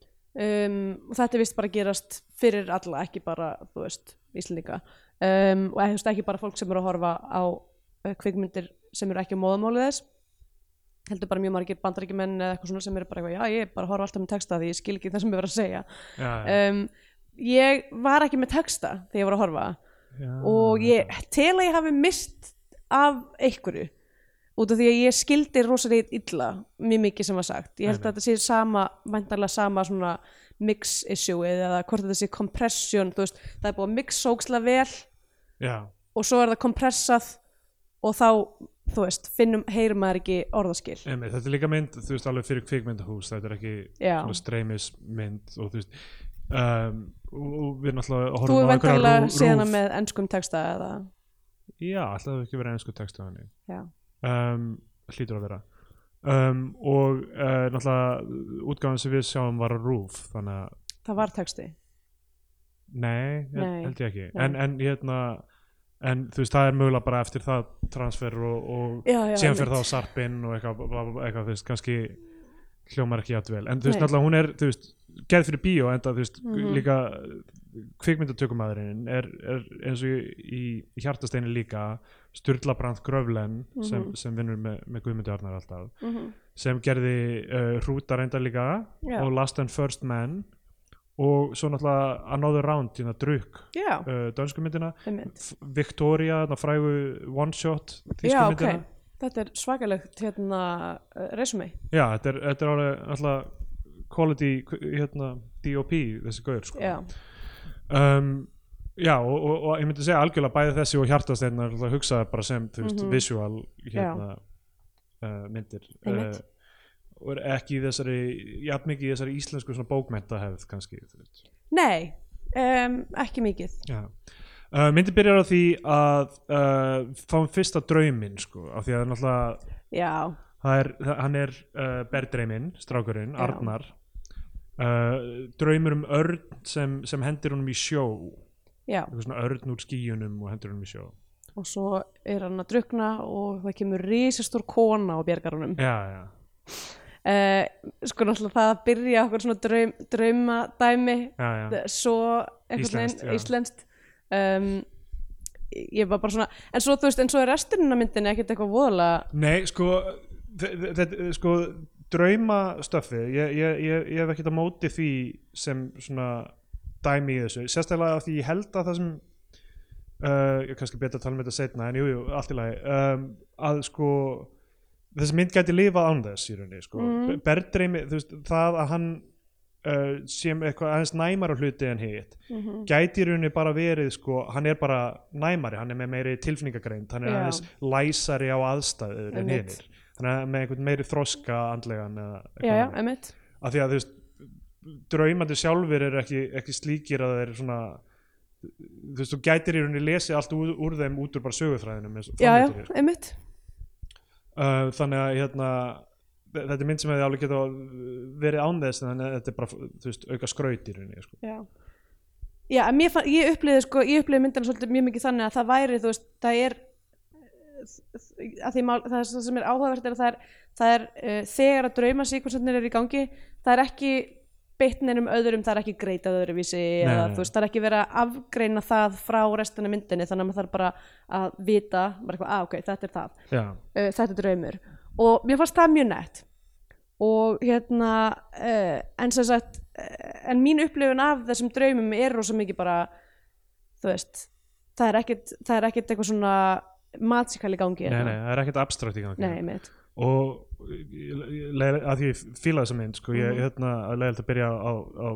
Speaker 2: um, og þetta er vist bara að gerast fyrir alla, ekki bara þú veist, Íslendinga um, og ekki, ekki bara fólk sem eru að horfa á eh, kvikmyndir sem eru ekki á móðamálið þess heldur bara mjög margir bandaríkjumenn eða eitthvað svona sem eru bara eitthvað, já ég bara horfa alltaf með texta því ég skil ekki það sem ég var að segja
Speaker 1: já, já,
Speaker 2: um, ég var ekki með texta þegar ég var að horfa
Speaker 1: já.
Speaker 2: og ég tel að ég hafi mist af einhverju út af því að ég skildi rosalega illa mjög mikið sem var sagt ég held að þetta sé sama, væntanlega sama svona mix issue eða hvort þetta sé compression, þú veist, það er búið að mix sóksla vel
Speaker 1: já,
Speaker 2: og svo er það kompressað og þá, þú veist, finnum heyrum maður ekki orðaskil
Speaker 1: Emi, þetta er líka mynd, þú veist, alveg fyrir kvikmyndahús þetta er ekki
Speaker 2: Já.
Speaker 1: svona streymismynd og þú veist um, og, og við náttúrulega
Speaker 2: Þú
Speaker 1: horfum
Speaker 2: er
Speaker 1: á einhverja
Speaker 2: vantanlega
Speaker 1: rú-
Speaker 2: síðan
Speaker 1: rúf-
Speaker 2: með ennskum texta eða
Speaker 1: já, alltaf hefur ekki verið ennsku textu þannig
Speaker 2: já,
Speaker 1: um, hlýtur að vera um, og uh, náttúrulega útgáðan sem við sjáum var á rúf þannig að
Speaker 2: það var texti
Speaker 1: nei, hel-
Speaker 2: Nei,
Speaker 1: held ég ekki
Speaker 2: nei.
Speaker 1: en, en hérna en þú veist það er mögulega bara eftir það transfer og, og
Speaker 2: Já, já,
Speaker 1: síðan fyrir
Speaker 2: einmitt.
Speaker 1: þá sarpinn og eitthvað, bla, bla, bla, eitthvað þú veist kannski hljómar ekki játvel en þú veist
Speaker 2: Nei. Mhm.
Speaker 1: náttúrulega hún er þú veist gerð fyrir bíó enda þú veist líka kvikmyndatökumæðurinn er, er eins og í, í hjartasteinu líka Sturla Brandt Gröflen
Speaker 2: Mhm.
Speaker 1: sem, sem vinnur með, með Guðmundi Arnar alltaf
Speaker 2: mm
Speaker 1: sem gerði uh, Hrúta reyndar líka
Speaker 2: Já.
Speaker 1: og Last and First Man og svo náttúrulega Another Round hérna drukk
Speaker 2: já,
Speaker 1: uh, dönsku myndina
Speaker 2: einmitt
Speaker 1: F- Victoria, þarna frægu One Shot þýsku
Speaker 2: já, ok,
Speaker 1: myndina
Speaker 2: þetta er svakalegt hérna, uh, resume
Speaker 1: Já, þetta er, þetta er alveg alltaf quality hérna, DOP þessi gaur sko.
Speaker 2: já,
Speaker 1: um, já og, og, og ég myndi segja algjörlega bæði þessi og hjartasteinn er alltaf hugsaði bara sem þú veist,
Speaker 2: Mhm.
Speaker 1: visual hérna, uh, myndir
Speaker 2: Einmitt.
Speaker 1: uh, og er ekki í þessari jafn mikið í þessari íslensku svona bókmentahefð kannski þú veist.
Speaker 2: nei um, ekki mikið
Speaker 1: Já. Uh, myndi byrjar á því að uh, fáum fyrsta drauminn sko, af því að náttúrulega
Speaker 2: já,
Speaker 1: það er, það- hann er uh, berdreiminn, strákurinn,
Speaker 2: Já.
Speaker 1: Arnar uh, draumur um örn sem, sem hendir honum í sjó
Speaker 2: já,
Speaker 1: eitthvað svona örn úr skíunum og hendir honum í sjó
Speaker 2: og svo er hann að drukna og það kemur risastór kona á bjargarunum
Speaker 1: já, já,
Speaker 2: uh, sko náttúrulega það að byrja okkur svona draum, draumadæmi
Speaker 1: já, já.
Speaker 2: d- svo
Speaker 1: Íslenskt,
Speaker 2: íslenskt,
Speaker 1: já.
Speaker 2: íslenskt. Um, ég var bara svona en svo þú veist, en svo er resturinn af myndinni ekkert eitthvað voðalega
Speaker 1: nei, sko þe- þe- þetta, sko draumastöfið ég, ég, ég, ég hef ekkert á móti því sem svona dæmi í þessu sérstaklega af því ég held að það sem uh, ég er kannski betur að tala um þetta setna en jújú, jú, allt í lagi um, að sko þessi mynd gæti lifað án þess í rauninni sko. mm.
Speaker 2: Mm.
Speaker 1: Berdreimi, þú veist, það að hann uh, sé með eitthvað aðeins næmar á hluti en hitt,
Speaker 2: mm
Speaker 1: gæti í rauninni bara verið sko, hann er bara næmari hann er með meiri tilfinningagreind, hann er
Speaker 2: Já.
Speaker 1: aðeins læsari á aðstæður en
Speaker 2: Einmitt.
Speaker 1: hinnir þannig að með einhvern meiri þroska andlegan eða eitthvað
Speaker 2: já, já,
Speaker 1: þannig.
Speaker 2: einmitt
Speaker 1: af því að þú veist draumandi sjálfur er ekki, ekki slíkir að það er svona þú veist, þú gætir í rauninni lesið allt úr, úr þeim út úr bara sögufræðinum eins og
Speaker 2: já, já,
Speaker 1: framvindur er.
Speaker 2: einmitt
Speaker 1: Uh, þannig að hérna þe- þetta er mynd sem hefði alveg geta verið án þess en þannig að þetta er bara þú veist, auka skraut í rauninni sko.
Speaker 2: já, já en mér fann, ég upplýði sko, ég upplýði myndina svolítið mjög mikið þannig að það væri, þú veist, það er að því mál, það, er það sem er áhugavert er að það er, það er uh, þegar að drauma síkvensarnir eru í gangi það er ekki beitt neinum öðrum það er ekki greitað öðruvísi
Speaker 1: Nei,
Speaker 2: eða,
Speaker 1: nei.
Speaker 2: þú veist, það er ekki verið að afgreina það frá restina af myndinni þannig að maður þarf bara að vita bara eitthvað, að ok, þetta er það
Speaker 1: já,
Speaker 2: uh, þetta er draumur og mér fannst það mjög nett og hérna uh, en sem sagt uh, en mín upplifun af þessum draumum er rosa mikið bara þú veist, það er ekkert það er ekkert eitthvað svona matsikal í gangi hérna.
Speaker 1: nei, nei, það er ekkert abstrakt í gangi
Speaker 2: nei mitt
Speaker 1: og
Speaker 2: Mhm.
Speaker 1: ég- ég- leiðilegt- að því ég fíla þessa mynd sko, ég, hérna, að leiðilegt að byrja á, á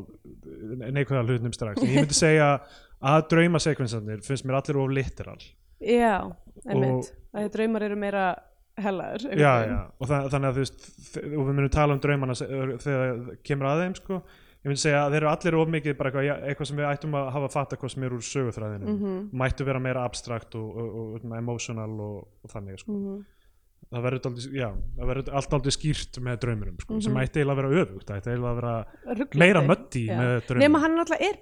Speaker 1: neikvæða hlutnum strax en ég myndi segja að draumasekvensanir finnst mér allir of literal
Speaker 2: já, einmitt og... að draumar eru meira hellaður
Speaker 1: já, já. og þa þannig að þú veist þ- og við munum tala um draumana se- þegar það kemur að þeim sko ég myndi segja að þeir eru allir of mikið bara eitthvað, já, eitthvað sem við ættum að hafa fatta hvað sem er úr söguþræðinu
Speaker 2: Mhm.
Speaker 1: mættu vera meira abstrakt og, og, og, og emotional og, og þannig sko.
Speaker 2: Mhm.
Speaker 1: það verður dálítið- já, það verður allt aldrei skýrt með drauminum sko, sem
Speaker 2: Mhm.
Speaker 1: ætti eiginlega að vera öfugt það ætti eiginlega að vera
Speaker 2: Ruglandi.
Speaker 1: meira mötti
Speaker 2: Já.
Speaker 1: með
Speaker 2: nema
Speaker 1: drauminum
Speaker 2: hann náttúrulega er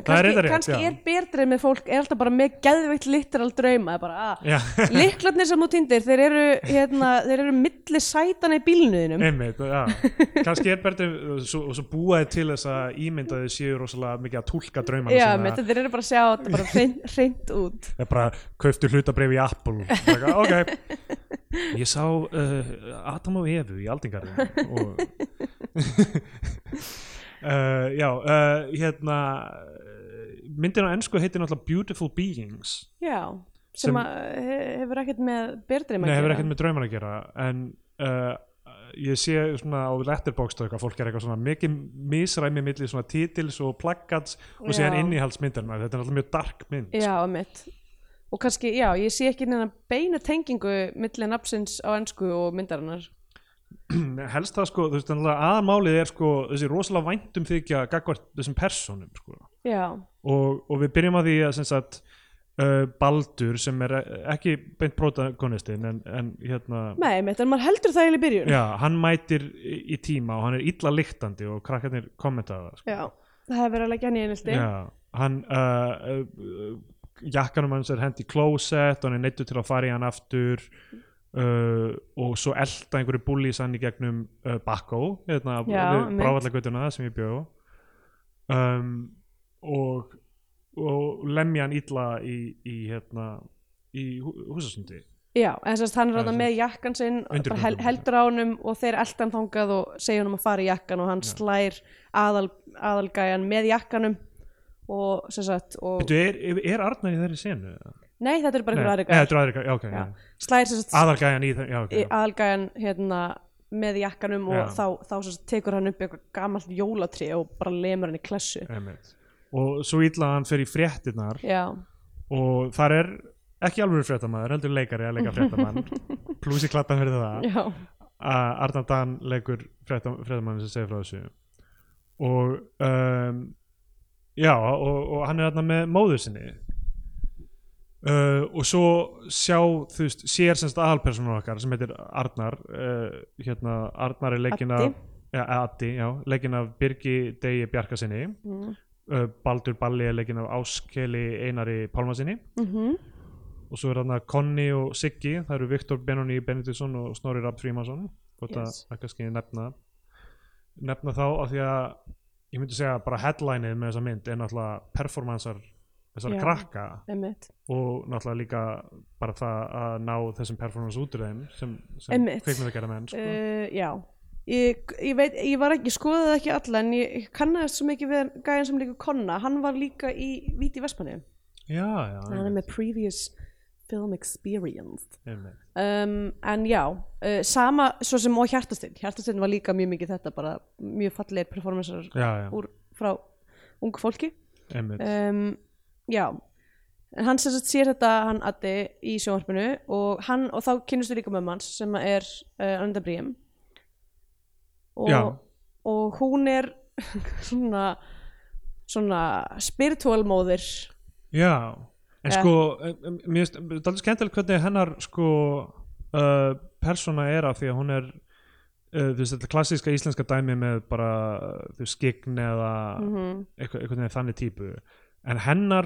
Speaker 1: Það er
Speaker 2: kannski,
Speaker 1: reyndar rétt,
Speaker 2: kannski
Speaker 1: já.
Speaker 2: er berdreimi fólk er alltaf bara með geðveitt literal drauma það er bara ah, að
Speaker 1: Já, [laughs]
Speaker 2: Liklarnir sem þú týndir, þeir eru, hérna, þeir eru milli sætana í bílnuðinum.
Speaker 1: einmitt, já kannski er berðin, og svo, og svo búaði til þess að ímyndaði séu rosalega mikið að tólka draumana
Speaker 2: Já,
Speaker 1: sína,
Speaker 2: mitt, þeir eru bara að sjá þetta bara hrein- hreint út.
Speaker 1: það er bara kauftu hlutabrif í Apple Bara, ok, ég sá uh, Adam og Evu í Aldingarðin og [laughs] uh, já, uh, hérna uh, myndin á ennsku heitir náttúrulega Beautiful Beings
Speaker 2: Já, sem,
Speaker 1: Sem-
Speaker 2: sem he, hefur ekkert með berðreima
Speaker 1: Nei, hefur ekkert með drauman að gera en uh, ég sé svona á letterboxd og eitthvað, fólk er eitthvað svona mikið misræmi milli svona titils og plakkats og
Speaker 2: Já.
Speaker 1: síðan innihaldsmyndar maður, þetta er alltaf mjög dark mynd
Speaker 2: Já, mitt. Og kannski, já, ég sé ekki neina beina tengingu milli nafnsins á ensku og myndarinnar.
Speaker 1: [clears throat] helst það sko, þú veist, þannig að aðmálið er sko þessi rosalega væntum þykja gagvart þessum personum sko
Speaker 2: Já,
Speaker 1: og, og við byrjum að því að sem sagt uh, Baldur sem er ekki beint protagonistinn en, en hérna
Speaker 2: nei, mitt, en maður heldur það eiginlega í byrjun.
Speaker 1: Já, hann mætir í í tíma og hann er illa lyktandi og krakkarnir kommentaða sko.
Speaker 2: Já, það hefur verið að leggja hann í einhelti.
Speaker 1: Já, hann uh, uh, jakkanum hans er hent í klósett og hann er neittur til að fara í hann aftur uh, og svo elda einhverju búlís hann í gegnum uh, Bakko, hérna,
Speaker 2: Já, einmitt.
Speaker 1: bráfallagötuna sem ég bjó um, og, og lemja hann illa í, í, hérna, í hú, húsasundi
Speaker 2: Já, en þess að hann
Speaker 1: Já,
Speaker 2: er þarna
Speaker 1: sem-
Speaker 2: með jakkan sinn og bara hel,
Speaker 1: Undirgöngum.
Speaker 2: heldur á honum og þeir eldan þangað og segja honum að fara í jakkan og hann
Speaker 1: Já.
Speaker 2: slær aðal, aðalgæjan með jakkanum og sem sagt og,
Speaker 1: Veitu, er, er Arnar í þeirri senu?
Speaker 2: nei þetta er bara
Speaker 1: Nei,
Speaker 2: einhver
Speaker 1: nei,
Speaker 2: aðri gæjan
Speaker 1: þetta er aðri gæja, já, ok,
Speaker 2: Já.
Speaker 1: já.
Speaker 2: slær sem sagt
Speaker 1: Aðalgæjan í þeirri, já, ok
Speaker 2: í- aðalgæjan hérna með jakkanum
Speaker 1: Já.
Speaker 2: og þá, þá sem sagt tekur hann upp eitthvað gamalt jólatrí og bara lemur hann í klessu
Speaker 1: Einmitt. Og svo illa að hann fer í fréttinnar
Speaker 2: Já,
Speaker 1: og þar er ekki alveg fréttamaður, heldur leikari að leika fréttamann plúsi klappan fyrir það
Speaker 2: já,
Speaker 1: að Arnar Dan leikur frétta- fréttamann sem segir frá þessu og um, já, og, og hann er þarna með móður sinni uh, og svo sjá þú veist, sér semst aðalpersonum okkar sem heitir Arnar uh, hérna, Arnar er leikinn af
Speaker 2: Addi.
Speaker 1: ja, Addi, já, leikinn af Birgi Degi Bjarkasinni
Speaker 2: mm.
Speaker 1: uh, Baldur Balli er leikinn af Áskeli Einari Pálmasinni
Speaker 2: Mm
Speaker 1: og svo er þarna Conny og Siggi það eru Viktor Benoni Benediktsson og Snorri Rapp Frímansson gott að
Speaker 2: Yes.
Speaker 1: yes. kannski nefna nefna þá af því að ég myndi segja bara headlineið með þessa mynd er náttúrulega performansar þessara
Speaker 2: Já.
Speaker 1: krakka
Speaker 2: einmitt
Speaker 1: og náttúrulega líka bara það að ná þessum performance út úr þeim sem, sem
Speaker 2: Einmitt.
Speaker 1: kvikmynd að gera menn sko.
Speaker 2: uh, já ég, ég veit, ég var ekki, ég skoðaði það ekki alla en ég ég kannaðist svo mikið við gæðin sem líka konna, hann var líka í Víti Vestmanni,
Speaker 1: Ah, já, já,
Speaker 2: hann er með previous film experience
Speaker 1: einmitt.
Speaker 2: um, en já, uh, sama svo sem og Hjartastinn, Hjartastinn var líka mjög mikið þetta bara mjög fallegir performancer
Speaker 1: já, já,
Speaker 2: úr, frá ung fólki
Speaker 1: einmitt
Speaker 2: um, já en hann sem sagt sér þetta hann Addi í sjónvarpinu og, hann, og þá kynnustu líka með manns sem að er uh, Ananda Bríum
Speaker 1: Já.
Speaker 2: og, og hún er [laughs] svona svona spiritual móðir
Speaker 1: Já, en
Speaker 2: Eh.
Speaker 1: sko em- em- mér finnst það er skemmtilegt hvernig hennar sko uh, persóna er af því að hún er uh, þú veist þetta klassíska íslenska dæmi með bara uh, þú veist skikn eða
Speaker 2: mm -hmm.
Speaker 1: eitthvað, einhvern veginn þannig típu en hennar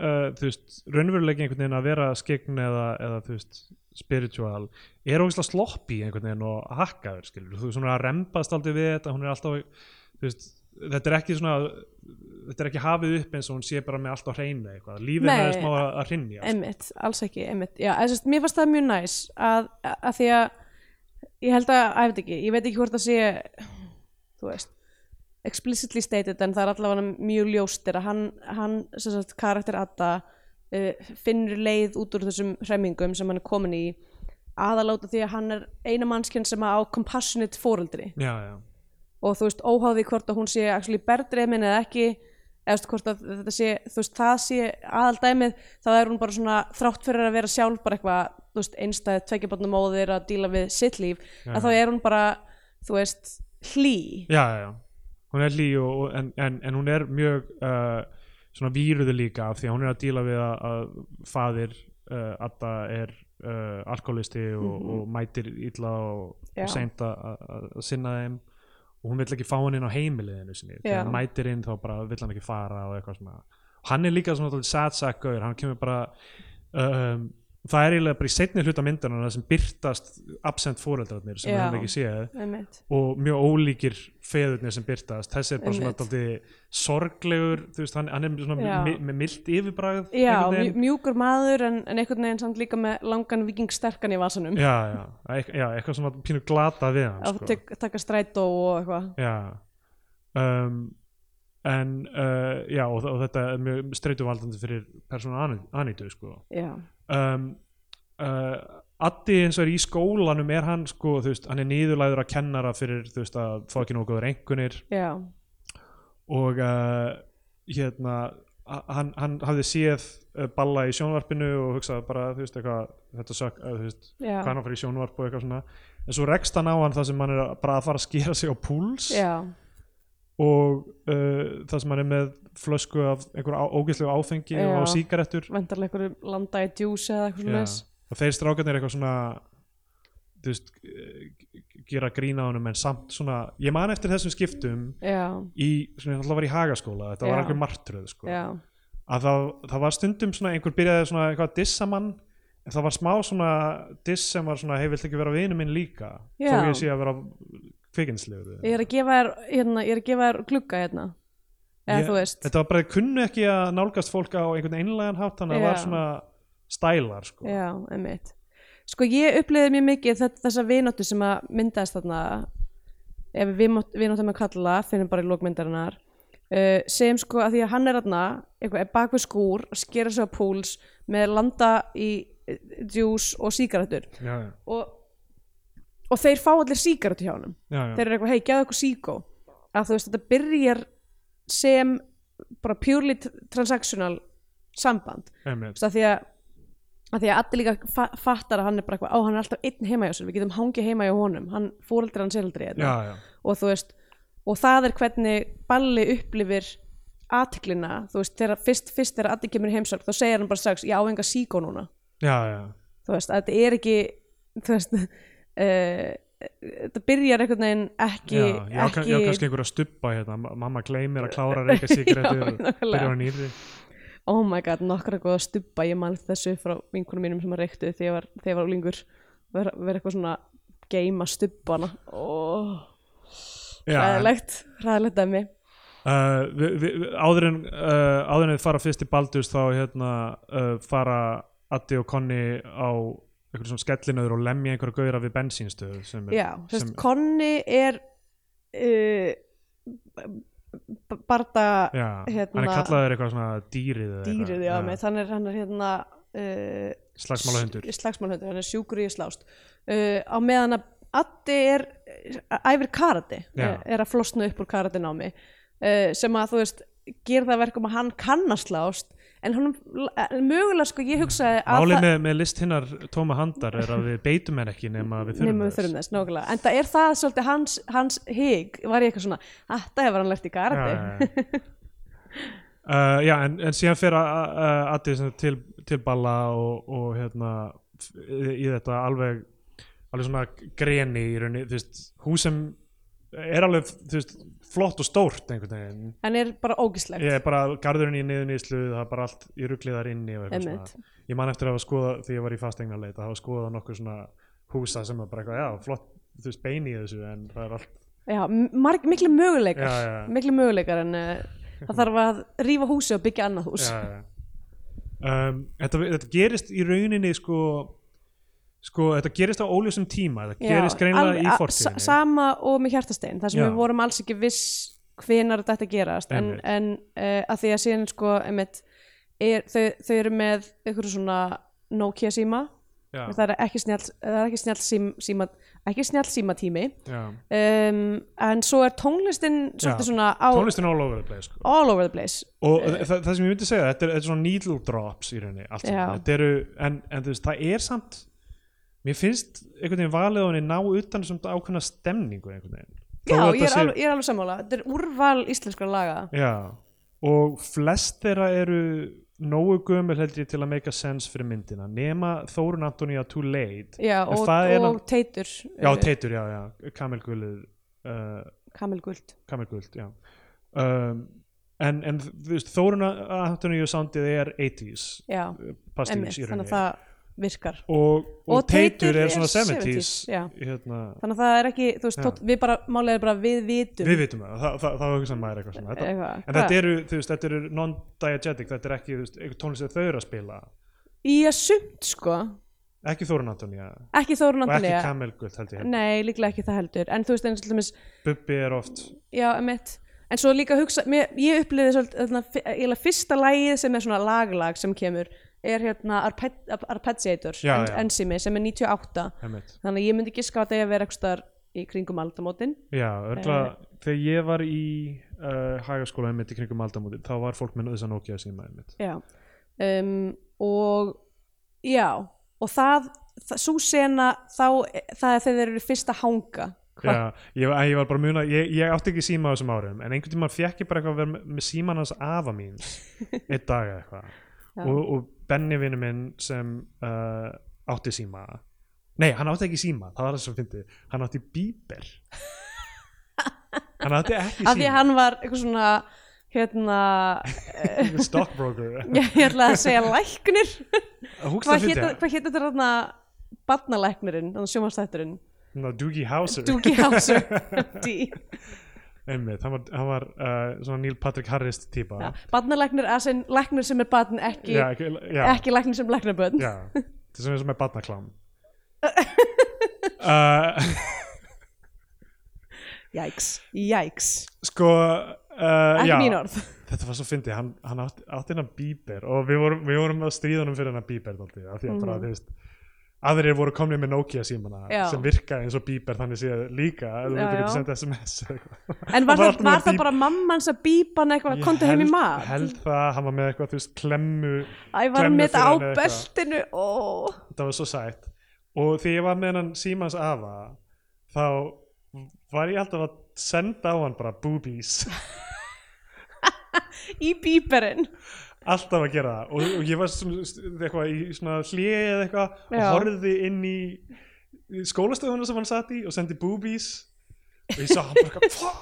Speaker 1: uh, þú veist raunveruleiki einhvern veginn að vera skikn eða, eða þú veist spiritual er ógeðslega sloppy einhvern veginn og hakkaður skilur, þú veist hún er að rembast aldrei við þetta, hún er alltaf þú veist, þetta er ekki svona þetta er ekki hafið upp eins og hún sé bara með allt á hreinu eitthvað, lífið
Speaker 2: Nei.
Speaker 1: er smá að, að hrinja sko.
Speaker 2: einmitt, alls ekki, einmitt já, en sérst, mér fannst það mjög næs að, að því að ég held að, að ég veit ekki, ég veit ekki hvort það sé þú veist explicitly stated en það er allavega mjög ljóstir að hann, hann sem sagt, karakter Adda uh, finnur leið út úr þessum hremmingum sem hann er komin í aðaláta því að hann er eina mannskinn sem á compassionate foreldri
Speaker 1: já, já,
Speaker 2: og þú veist óháði hvort að hún sé actually berdreimin eða ekki eða þú veist hvort að þetta sé þú veist það sé aðaldæmið þá er hún bara svona þrátt fyrir að vera sjálf bara eitthvað þú veist einstæð tveikjabarnu móðir að díla við sitt líf að þá er hún bara þú veist hlý
Speaker 1: já, já, já. hún er hlý og, og, en, en, en hún er mjög uh, svona víruðu líka af því að hún er að díla við að, að faðir uh, Adda er uh, alkoholisti og, og mætir illa og,
Speaker 2: Mhm. Já.
Speaker 1: og seint að- að að sinna þeim og hún vill ekki fá hann inn á heimiliðinu sinni
Speaker 2: Já.
Speaker 1: þegar hann mætir inn þá bara vill hann ekki fara og eitthvað svona hann er líka svona sad sack gaur hann kemur bara um, það er eiginlega bara í seinni hluta myndarna sem byrtast absent fóreldrarnir sem
Speaker 2: Já.
Speaker 1: hann ekki séð
Speaker 2: einmitt
Speaker 1: og mjög ólíkir feðurnir sem byrtast þessi er bara svona
Speaker 2: Einmitt.
Speaker 1: daldið sorglegur þú veist, hann, hann er svona
Speaker 2: Já.
Speaker 1: mi- með mildt yfirbragð
Speaker 2: já,
Speaker 1: einhvern veginn.
Speaker 2: mjú- mjúkur maður en, en einhvern veginn samt líka með langan vikingsterkan í vasanum
Speaker 1: já, já, Eit- já, eitthvað svona pínu glata við hann
Speaker 2: að
Speaker 1: sko.
Speaker 2: tek, taka strætó og eitthvað
Speaker 1: já um, en uh, já, og, og þetta er mjög streituvaldandi fyrir persónu Ani- Anitu sko.
Speaker 2: já,
Speaker 1: um, uh, Addi eins og er í skólanum er hann sko, þú veist, hann er nýðurlæður að kennara fyrir, þú veist, að fá ekki nógu góður einkunir
Speaker 2: já,
Speaker 1: og uh, hérna a- hann, hann hafði séð uh, balla í sjónvarpinu og hugsaði bara þú veist eitthvað þetta sök, uh, þú veist
Speaker 2: já,
Speaker 1: hvað hann fyrir í sjónvarp og eitthvað svona en svo rekst hann á hann þar sem hann er að- bara að fara að skera sig á púls
Speaker 2: já,
Speaker 1: og uh, þar sem hann er með flösku af einhver ógæslegu áfengi
Speaker 2: Já.
Speaker 1: og sígarettur
Speaker 2: vendarlega einhverju landa í djús eða eitthvað svona
Speaker 1: og þeir strákarnir eitthvað svona þú veist eh, gera grína honum en samt svona ég man eftir þessum skiptum
Speaker 2: já,
Speaker 1: í, svona alltaf var í hagaskóla þetta
Speaker 2: Já.
Speaker 1: var einhver martröð sko
Speaker 2: já,
Speaker 1: að það, það var stundum svona einhver byrjaði svona eitthvað að dissa mann en það var smá svona diss sem var svona hei, vilt ekki vera vinu minn líka
Speaker 2: Já.
Speaker 1: þó ég sé að vera kvikinslegur
Speaker 2: ég er að gefa þér hérna, ég er að gefa þér glugga hérna eða þú veist,
Speaker 1: þetta var bara, þeir kunnu ekki að nálgast fólk á einhvern einlegan hátt þannig að það var
Speaker 2: Já.
Speaker 1: svona stælar sko.
Speaker 2: já, einmitt sko ég upplifði mjög mikið þetta, þessa vináttu sem að myndaðist þarna ef við vináttum að kalla finnum bara í lókmyndarinnar uh, sem sko að því að hann er þarna eitthvað, er bak við skúr, skera sig á púls með landa í eh, djús og sígarettur
Speaker 1: já, já,
Speaker 2: og, og þeir fá allir sígarettu hjá hann
Speaker 1: já, já.
Speaker 2: þeir eru eitthvað, hei, gæðu eitthvað síkó að þú veist, þetta byrjar sem bara purely t- transactional samband Þú
Speaker 1: einmitt
Speaker 2: veist, að því að að því að allir líka fa fattar að hann er bara eitthvað á, hann er alltaf einn heima hjá sér, við getum hangið heima hjá honum hann fóreldri hans er aldrei hérna.
Speaker 1: já, já,
Speaker 2: og þú veist, og það er hvernig balli upplifir aðtiklina, þú veist, þegar fyrst, fyrst þegar allir kemur í heimsókn, þá segir hann bara strax ég á enga síkó núna,
Speaker 1: já, já.
Speaker 2: þú veist, að þetta er ekki þú veist [laughs] uh, þetta byrjar einhvern veginn ekki,
Speaker 1: Já, ég á kann-
Speaker 2: ekki
Speaker 1: ég á kannski einhver að stubba hérna, ma- mamma gleymir að
Speaker 2: [laughs]
Speaker 1: klára reyka
Speaker 2: Já,
Speaker 1: sigrættur og
Speaker 2: nákvæmlega.
Speaker 1: byrja á nýrði
Speaker 2: oh my god, nokkra góða stubba ég man þessu frá vinkunum mínum sem að reyktu þegar ég var, þegar ég var úlingur vera, vera eitthvað svona geima stubbana oh, hræðilegt, hræðilegt dæmi
Speaker 1: Uh, vi, vi, áður en uh, áður en þið fara fyrst í Baldurs þá hérna uh, fara Addi og Conny á einhverjum svona skellinöður og lemja einhverja gauðra við bensínstöðu sem er,
Speaker 2: já, þú veist,
Speaker 1: sem-
Speaker 2: Conny er uh, b- barda
Speaker 1: já,
Speaker 2: hérna-
Speaker 1: hann er kallaður eitthvað svona dýrið eða
Speaker 2: dýrið, já,
Speaker 1: eitthvað,
Speaker 2: með, hann er, hann er hérna uh,
Speaker 1: slagsmálahundur
Speaker 2: S- slagsmálahundur, hann er sjúkur í að slást uh, á meðan að Addi er eh, æfir karate
Speaker 1: Já.
Speaker 2: eh, er að flosna upp úr karate námi uh, sem að þú veist gera það að verkum að hann kann að slást en hann mögulega sko ég hugsaði að
Speaker 1: málið
Speaker 2: það-
Speaker 1: með, með list hinnar tóma handar er að við beitum henn ekki nema við þurfum
Speaker 2: nema við þurfum þess, nákvæmlega en það er það svolítið hans, hans hig var ég eitthvað svona, "Ah, þetta hefur hann lært í
Speaker 1: já,
Speaker 2: karate
Speaker 1: já, já. Uh, já en, en síðan fer að- að- að Addi sem sagt til, til Balla og, og hérna f- í í þetta alveg alveg svona greni í rauninni þú veist, hús sem er alveg þú veist, flott og stórt einhvern veginn
Speaker 2: en er bara ógislegt
Speaker 1: ég er bara garðurinn í niðurinn í sluð það er bara allt í rugliðar inni og eitthvað
Speaker 2: Einmitt.
Speaker 1: svona. ég man eftir að hafa skoðað því ég var í fastegna leita, hafa skoðað nokkuð svona húsa sem er bara eitthvað, já, flott þú veist, bein í þessu en það er allt
Speaker 2: Já, marg, miklu möguleikar
Speaker 1: Já, já, já.
Speaker 2: miklu möguleikar en uh, það þarf að rífa húsi og byggja annað hús
Speaker 1: já, já. Um, þetta, þetta gerist í rauninni sko, sko þetta gerist á óljósum tíma þetta
Speaker 2: Já,
Speaker 1: gerist greinlega
Speaker 2: alveg-
Speaker 1: í
Speaker 2: a-
Speaker 1: fortíðinni
Speaker 2: sa- sama og með hjartastein þar sem
Speaker 1: Já.
Speaker 2: við vorum alls ekki viss hvenar þetta ætti að gerast en,
Speaker 1: Einmitt.
Speaker 2: en uh, að því að síðan sko einmitt, er, þau, þau eru með einhverju svona Nokia síma
Speaker 1: já,
Speaker 2: það er ekki snjall, það er ekki snjall, sím, síma, ekki snjall símatími
Speaker 1: já.
Speaker 2: um, en svo er tónlistin
Speaker 1: Já,
Speaker 2: svolítið svona á, Eh.
Speaker 1: tónlistin er all over the place sko.
Speaker 2: all over the place
Speaker 1: og það, það sem ég myndi segja þetta er, þetta er svona needle drops í rauninni allt
Speaker 2: Já.
Speaker 1: saman. Þetta eru, en, en þú veist, það er samt mér finnst einhvern veginn valið á henni ná utan sem ákveðna stemningu einhvern veginn Þó
Speaker 2: já,
Speaker 1: að
Speaker 2: ég
Speaker 1: þetta
Speaker 2: er, alveg, ég er alveg sammála þetta er úrval íslenskra laga
Speaker 1: já, og flest þeirra eru nógu gömul held ég til að make a sense fyrir myndina nema Þórun Antonía Too Late
Speaker 2: já,
Speaker 1: En
Speaker 2: og,
Speaker 1: það er
Speaker 2: og
Speaker 1: nátt-
Speaker 2: teitur eh,
Speaker 1: já, Teitur, já, já, Kamilgulur uh,
Speaker 2: kamelguld
Speaker 1: Kamilguld, já um, en, en þú veist, Þórun Antonía soundið er 80s
Speaker 2: já,
Speaker 1: pastís
Speaker 2: einmitt,
Speaker 1: í rauninni
Speaker 2: þannig að það virkar
Speaker 1: og, og,
Speaker 2: Og
Speaker 1: Teitur
Speaker 2: Teitur
Speaker 1: er
Speaker 2: er
Speaker 1: svona 70s
Speaker 2: 70s, já.
Speaker 1: hérna,
Speaker 2: þannig að það er ekki, þú veist,
Speaker 1: Já.
Speaker 2: tótt, við bara málega er bara við vitum
Speaker 1: við vitum það, það, það, það var eitthvað sem maður eitthvað svona þetta.
Speaker 2: Eitthvað.
Speaker 1: en þetta eru, þú veist, þetta eru non-diegetic þetta er ekki, þú veist, eitthvað tónlist sem þau eru að spila
Speaker 2: í að sumt sko
Speaker 1: ekki Þórun Antonía
Speaker 2: ekki Þórun
Speaker 1: og ekki
Speaker 2: Antonija
Speaker 1: Kamelguld held ég
Speaker 2: nei, líklega ekki það heldur en þú veist eins og til dæmis
Speaker 1: Bubbi er oft
Speaker 2: Já, emitt. En svo líka hugsa, mér, ég upplifði svolítið, þarna, fi- eiginlega fyrsta lagið sem er svona laglag sem kemur er hérna Arpeg- Arpeggiator,
Speaker 1: Já,
Speaker 2: en-
Speaker 1: já.
Speaker 2: ensimi, sem er 98.
Speaker 1: einmitt.
Speaker 2: Þannig að ég myndi giska á að það er að vera eitthvað staðar í kringum aldamótin.
Speaker 1: já, örgla,
Speaker 2: Eh.
Speaker 1: þegar ég var í uh, hagaskóla einmitt í kringum aldamóti þá var fólk með þessa Nokia síma einmitt
Speaker 2: Já. Um, og já, og það, það svo sena þá, það er þegar þeir eru fyrst að hanga. Hva-
Speaker 1: Já, ég, var- ég var bara að muna, ég, ég átti ekki síma á þessum árum en einhvern tímann fekk ég bara eitthvað að vera með- með síman hans afa mín
Speaker 2: [laughs]
Speaker 1: einn dag eða eitthvað
Speaker 2: Já.
Speaker 1: og, og Benni vinnu minn sem uh, átti síma nei, hann átti ekki síma, það var það sem fyndi hann átti
Speaker 2: [laughs]
Speaker 1: bíber hann átti ekki
Speaker 2: Af því að
Speaker 1: síma
Speaker 2: hann var eitthvað svona, hérna,
Speaker 1: hann...
Speaker 2: [laughs]
Speaker 1: stockbroker
Speaker 2: ég, ég ætla að segja læknir.
Speaker 1: húkst
Speaker 2: hvað
Speaker 1: að fyndi,
Speaker 2: hétt þetta þarna barnalæknirinn, þannig sjómanstætturinn
Speaker 1: Doogie Howser
Speaker 2: Doogie Howser
Speaker 1: [laughs]
Speaker 2: D.
Speaker 1: einmitt, hann var, hann var uh, svona Neil Patrick Harris típa
Speaker 2: Ja, barnalæknir, að sem læknir sem er barn ekki,
Speaker 1: já, ekki, já.
Speaker 2: ekki læknir sem læknar börn
Speaker 1: Já, þetta er svona eins og með batnaklám
Speaker 2: [laughs]
Speaker 1: uh,
Speaker 2: jæks, jæks
Speaker 1: Sko uh,
Speaker 2: ekki
Speaker 1: já,
Speaker 2: mín orð
Speaker 1: Þetta var svo fyndið, hann, hann átti, átti hennan bíber og við vorum, við vorum að stríða hann fyrir hennan bíber dálítið, af því að bara, þú veist aðrir voru komnið með Nokia símana
Speaker 2: Mhm. Já.
Speaker 1: sem virkaði eins og bíber þannig séð líka ef þú
Speaker 2: Já,
Speaker 1: getur
Speaker 2: já.
Speaker 1: getið senda sms eða eitthvað.
Speaker 2: en var,
Speaker 1: Hann
Speaker 2: það,
Speaker 1: alltaf með
Speaker 2: var það
Speaker 1: bíb-
Speaker 2: bara mamman sem bíban eitthvað,
Speaker 1: Ég
Speaker 2: komdu heim í
Speaker 1: held-
Speaker 2: mat
Speaker 1: held það, hann var með eitthvað, þú veist, klemmu
Speaker 2: æ, var hann
Speaker 1: klemmu
Speaker 2: með
Speaker 1: fyrir
Speaker 2: þetta á
Speaker 1: hann eða eitthvað.
Speaker 2: beltinu ó,
Speaker 1: það var svo sætt og því ég var með hennan símans afa þá var ég alltaf að senda á hann bara boobies [laughs]
Speaker 2: í bíberinn
Speaker 1: alltaf að gera það og, og ég var svona, eitthvað í svona hléi eða eitthvað og
Speaker 2: Já.
Speaker 1: horfði inn í skólastöðuna sem hann satt í og sendi boobies og ég sá hann bara eitthvað, "Hva?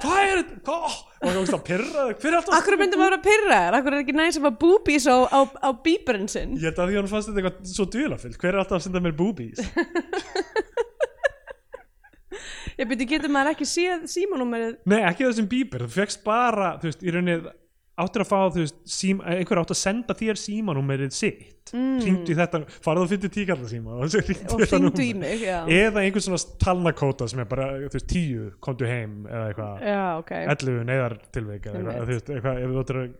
Speaker 1: hvað er þetta Hva?" og hann komst að pyrra hver er alltaf
Speaker 2: akkur myndum að vera pyrraðar, akkur er ekki næs að fá boobies á, á, á bíberinn sinn
Speaker 1: ég held að því hann fannst þetta eitthvað svo dulafyllt hver er alltaf að senda mér boobies
Speaker 2: ég byrju, getur maður ekki séð símanúmerið
Speaker 1: Nei, ekki þessum bíber, þú fegst bara þú veist, í rauninni áttir að fá þú veist, sím, eh, einhver átt að senda þér símanúmerið sitt mm. í þetta, farðu að fyndi tíkalla síma og [laughs]
Speaker 2: og hringdu
Speaker 1: hringdu
Speaker 2: í mig já,
Speaker 1: eða einhvern svona talnakóta sem er bara, þú veist, tíu komdu heim eða eitthvað,
Speaker 2: já ok
Speaker 1: 11 neyðartilvik eða eitthvað, þú
Speaker 2: Eh. Einmitt.
Speaker 1: veist, eitthvað ef þú áttir að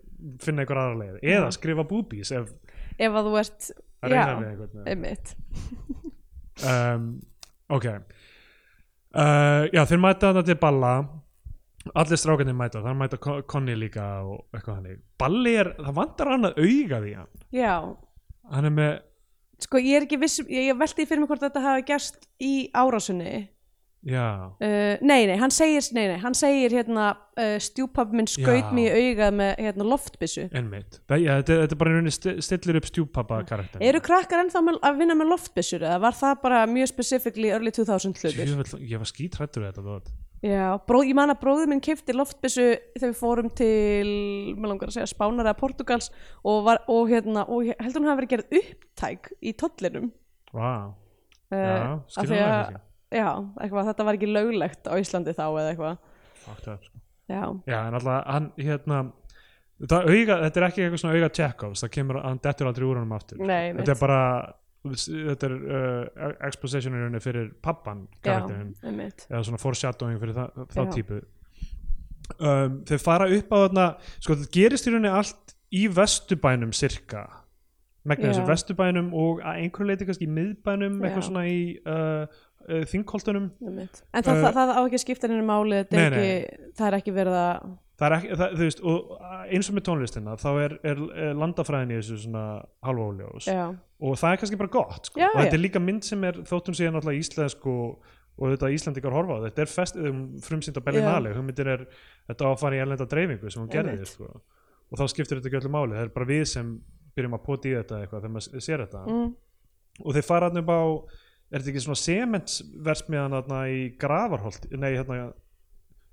Speaker 1: finna einhver aðra leið, eða skrifa búbís ef
Speaker 2: ef að þú ert
Speaker 1: að reyna við einhvern eða-
Speaker 2: einmitt
Speaker 1: um, ok uh, já þeir mæta þarna til balla allir strákarnir mæta, þannig mæta Con- Conny líka og eitthvað hannig balli er, það vantar hann að auga því hann
Speaker 2: já,
Speaker 1: hann er með,
Speaker 2: sko ég er ekki viss ég, ég velti fyrir mig hvort þetta hafi gerst í árásunni
Speaker 1: já
Speaker 2: uh, nei, nei, hann segir nei, nei, hann segir hérna uh, stjúpab minn skaut
Speaker 1: Já.
Speaker 2: mig í augað með hérna loftbissu
Speaker 1: einmitt, það, já, þetta, þetta er bara í rauninni sti- stillir upp stjúpappa karakter
Speaker 2: Mm. eru krakkar ennþá með, að vinna með loftbissur eða var það bara mjög specifically early 2000 hlutur
Speaker 1: Jöfull, ég var skítrættur við þetta dót.
Speaker 2: já, bró, ég man að bróður minn keipti loftbissu þegar við fórum til mér langar að segja Spánar eða Portugals og, var, og hérna, og ég- heldur hún hafi verið gerð upptæk í tollinum
Speaker 1: Vá,
Speaker 2: uh,
Speaker 1: já,
Speaker 2: af
Speaker 1: skilur
Speaker 2: því
Speaker 1: það
Speaker 2: að-
Speaker 1: kannski
Speaker 2: já, eitthvað, þetta var ekki löglegt á Íslandi þá eða eitthvað
Speaker 1: Fucked up, sko.
Speaker 2: já,
Speaker 1: Já, en alltaf hann, hérna það auga, þetta er ekki eitthvað svona auga Chekhovs, það kemur, hann dettur aldrei úr honum aftur
Speaker 2: Nei, einmitt.
Speaker 1: þetta er bara þetta er uh, expositionurinn fyrir pappan
Speaker 2: já,
Speaker 1: karakterinn,
Speaker 2: einmitt
Speaker 1: eða svona foreshadowing fyrir það, þá
Speaker 2: Já.
Speaker 1: típu um, þau fara upp á þarna sko þetta gerist í rauninni allt í vesturbænum sirka megna þessum
Speaker 2: Já.
Speaker 1: vesturbænum og að einhverju leiti kannski í miðbænum eitthvað
Speaker 2: Já.
Speaker 1: svona í uh, uh, þingkoltunum
Speaker 2: einmitt. en það,
Speaker 1: Eh,
Speaker 2: það, það á ekki að skipta henni máli þetta
Speaker 1: nei,
Speaker 2: er ekki, það er ekki verið að
Speaker 1: það er ekki, það, þú veist, og uh, eins og með tónlistina þá er, er, er landafræðin í þessu svona halva óljós
Speaker 2: já,
Speaker 1: og það er kannski bara gott sko.
Speaker 2: Já,
Speaker 1: og þetta
Speaker 2: já.
Speaker 1: er líka mynd sem er þóttum síðan náttúrulega íslensk og, og þetta Íslandingar horfa á þetta er fest, um, frumsýnd á Berlinale hugmyndir er þetta á að fara í erlenda dreifingu sem hún gerði
Speaker 2: Einmitt.
Speaker 1: sko. og þá skiptir þetta ekki öllu máli það er bara við sem byrjum að poti í þetta eitthvað þegar maður s- sér þetta
Speaker 2: mm,
Speaker 1: og þeir fara hann upp á er þetta ekki svona sementsversmiðan þarna í Gravarholt nei hérna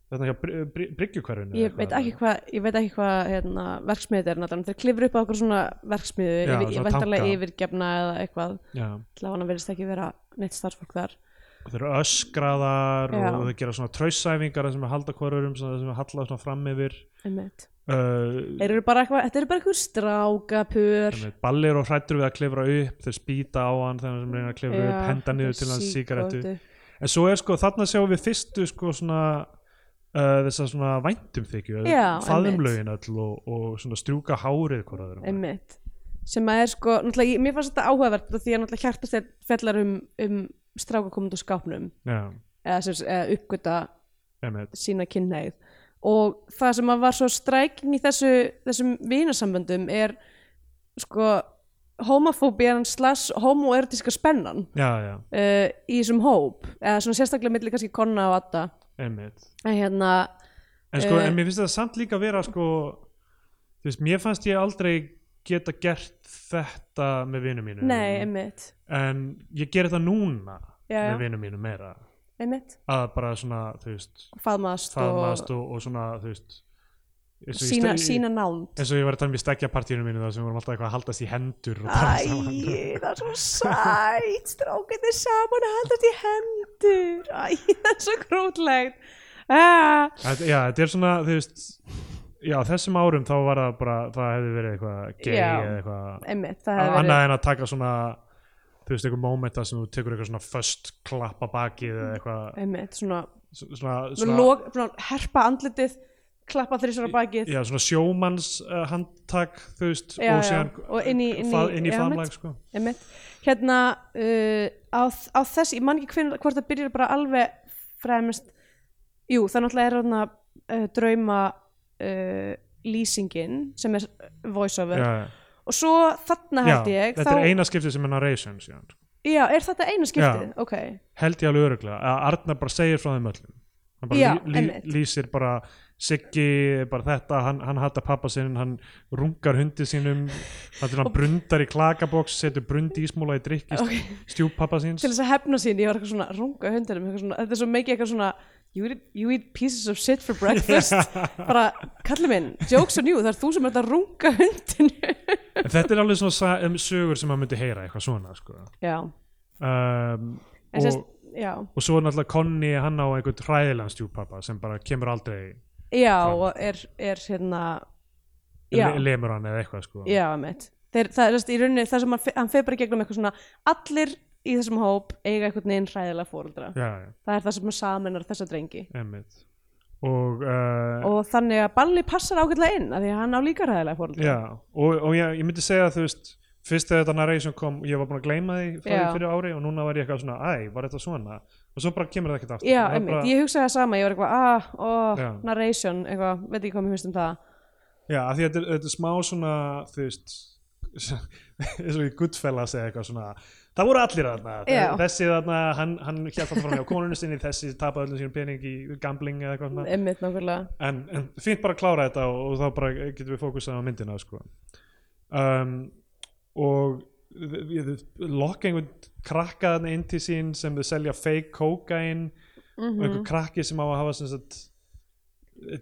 Speaker 1: hérna hjá Bry- Bry- Bryggjukverfinu
Speaker 2: ég veit ekki hvað ég veit ekki hvað hérna, verksmiðið er náttúrulega þeir klifur upp á okkur svona verksmiðu
Speaker 1: Já,
Speaker 2: yfir,
Speaker 1: svona
Speaker 2: ég væntanlega
Speaker 1: tanka.
Speaker 2: yfirgefna eða eitthvað
Speaker 1: já,
Speaker 2: til að hann verðist ekki vera neitt starfsfólk þar
Speaker 1: og þeir eru öskraðar
Speaker 2: Já.
Speaker 1: og þeir gera svona trössæfingar sem er halda hverjurum sem er halla svona fram yfir
Speaker 2: einmitt.
Speaker 1: uh,
Speaker 2: þeir eru bara eitthvað, þetta eru bara eitthvað strákapur
Speaker 1: einmitt, ballir og hrættur við að klifra upp þeir spýta á hann þegar hann reynir að klifra
Speaker 2: Já,
Speaker 1: upp henda niður til hann sígarettu
Speaker 2: sígarettu.
Speaker 1: en svo er sko, þarna sjáum við fyrstu sko svona uh, þess að svona væntum þykju
Speaker 2: Já,
Speaker 1: faðumlaugin öll og, og svona strjúka hárið hvort að þeirra
Speaker 2: einmitt sem að er sko, náttúrulega, ég- mér fannst þetta áhugavert út af því að náttúrulega hjartast fellar um, um strákakomund og skápnum
Speaker 1: já,
Speaker 2: eða, sem, sagt, eða uppgöta
Speaker 1: einmitt
Speaker 2: sína kynneið og það sem að var svo stræking í þessu, þessum vinasamböndum er sko homofóbían slags homoerotíska spennan
Speaker 1: já, já,
Speaker 2: uh, í þessum hóp eða svona sérstaklega milli kannski konna og atta
Speaker 1: einmitt
Speaker 2: en hérna,
Speaker 1: en sko,
Speaker 2: Eh,
Speaker 1: en mér finnst þetta samt líka vera sko, þú veist, mér fannst ég aldrei geta gert þetta með vinum mínum
Speaker 2: nei, einmitt
Speaker 1: en ég ger þetta núna
Speaker 2: Já, já.
Speaker 1: með vinum mínum meira
Speaker 2: einmitt,
Speaker 1: að bara svona, þú veist
Speaker 2: faðmaðast
Speaker 1: faðmast og, og svona, þú veist eins og
Speaker 2: og
Speaker 1: ég
Speaker 2: sína,
Speaker 1: stend-
Speaker 2: sína nánd
Speaker 1: eins og ég var að tala um í stekjapartíunum mínu þar sem við vorum alltaf eitthvað að haldast í hendur og tala saman
Speaker 2: Æ, það er svo sætt strákinni saman að haldast í hendur Æ, [laughs] það er svo grótlegt ah,
Speaker 1: Þetta- Já, þetta er svona, þú veist Já, á þessum árum þá var það bara það hefði verið eitthvað gay
Speaker 2: Já.
Speaker 1: eða eitthvað
Speaker 2: einmitt, það hefur verið
Speaker 1: annað en að taka svona þú veist, eitthvað momenta sem þú tekur eitthvað svona föst klappa bakið eða eitthvað
Speaker 2: einmitt, svona,
Speaker 1: svona,
Speaker 2: svona,
Speaker 1: svona,
Speaker 2: log, svona herpa andlitið klappa þrísar á bakið
Speaker 1: já, svona sjómanns uh, handtak, þú veist
Speaker 2: Já,
Speaker 1: og
Speaker 2: já,
Speaker 1: síðan
Speaker 2: og inn í- inn í-
Speaker 1: fað- inn í
Speaker 2: já,
Speaker 1: faðmlag,
Speaker 2: mitt.
Speaker 1: sko
Speaker 2: einmitt. hérna uh, á, á þess, ég man ekki hvernig hvort það byrjar bara alveg fremst jú, það náttúrulega er hérna uh, drauma uh, lýsingin sem er voiceover
Speaker 1: Já,
Speaker 2: og svo þarna
Speaker 1: já,
Speaker 2: held ég
Speaker 1: þetta er eina skiptið sem er narration síðan, sko.
Speaker 2: já, er þetta eina skiptið?
Speaker 1: Já.
Speaker 2: ok,
Speaker 1: held ég alveg öruglega að Arnar bara segir frá þeim öllum hann bara
Speaker 2: Já,
Speaker 1: lí, lí,
Speaker 2: einmitt.
Speaker 1: lýsir bara Siggi, bara þetta, hann, hann hata pappa sinn hann rungar hundi sínum
Speaker 2: [laughs]
Speaker 1: hann, hann brundar í klakaboks setur brund ísmúla í drikki
Speaker 2: Ok.
Speaker 1: okay. stjúp pappa síns
Speaker 2: til þess að hefna sín ég var eitthvað svona að runga hundinum eitthvað svona, þetta er svo mikið eitthvað svona you eat, you eat pieces of shit for breakfast bara, kalli minn, jokes on you það er þú sem ert að runga hundinu
Speaker 1: en þetta er alveg svona sa- um sögur sem hann myndi heyra eitthvað svona sko.
Speaker 2: já,
Speaker 1: um,
Speaker 2: en
Speaker 1: og,
Speaker 2: sérst, já
Speaker 1: og svo er náttúrulega Conny hann á einhvern hræðilegan stjúppappa sem bara kemur aldrei
Speaker 2: já, og er, er hérna já,
Speaker 1: le lemur hann eða eitthvað sko.
Speaker 2: já, mitt Þeir, það er sérst, í rauninni það sem hann, fe- hann feir bara í gegnum eitthvað svona allir í þessum hóp eiga einhvern veginn hræðilega fóruldra
Speaker 1: já, já,
Speaker 2: það er það sem samennar þessa drengi
Speaker 1: einmitt og, uh,
Speaker 2: og þannig að Balli passar ágætlega inn af því að hann á líka hræðilega fóruldra
Speaker 1: Já, og, og ég, ég myndi segja þú veist, fyrst þegar þetta narration kom ég var búin að gleyma því frá því
Speaker 2: Já.
Speaker 1: fyrir ári og núna var ég eitthvað svona, æ, var þetta svona og svo bara kemur það ekkert aftur
Speaker 2: Já,
Speaker 1: Það er
Speaker 2: einmitt,
Speaker 1: bara,
Speaker 2: ég hugsaði það sama, ég var eitthvað, ah, oh,
Speaker 1: Já.
Speaker 2: narration, eitthvað, veit ekki hvað mér finnst um það.
Speaker 1: já af því að þetta, er- þetta er smá svona, þú veist [laughs] eins og í Goodfellas eða eitthvað svona það voru allir þarna
Speaker 2: Já.
Speaker 1: þessi þarna, hann, hann hjælt alltaf fram hjá konunni sinni þessi tapaði öllum sínum pening í gambling eða eitthvað svona
Speaker 2: Einmitt, nákvæmlega.
Speaker 1: en, en fínt bara að klára þetta og, og þá bara getum við fókusað á myndina sko. um, og þ- ég- þ- lokka einhvern krakka þarna inn til sín sem þau selja fake kókain
Speaker 2: Mm.
Speaker 1: og
Speaker 2: Mhm.
Speaker 1: einhver krakki sem á að hafa sem sagt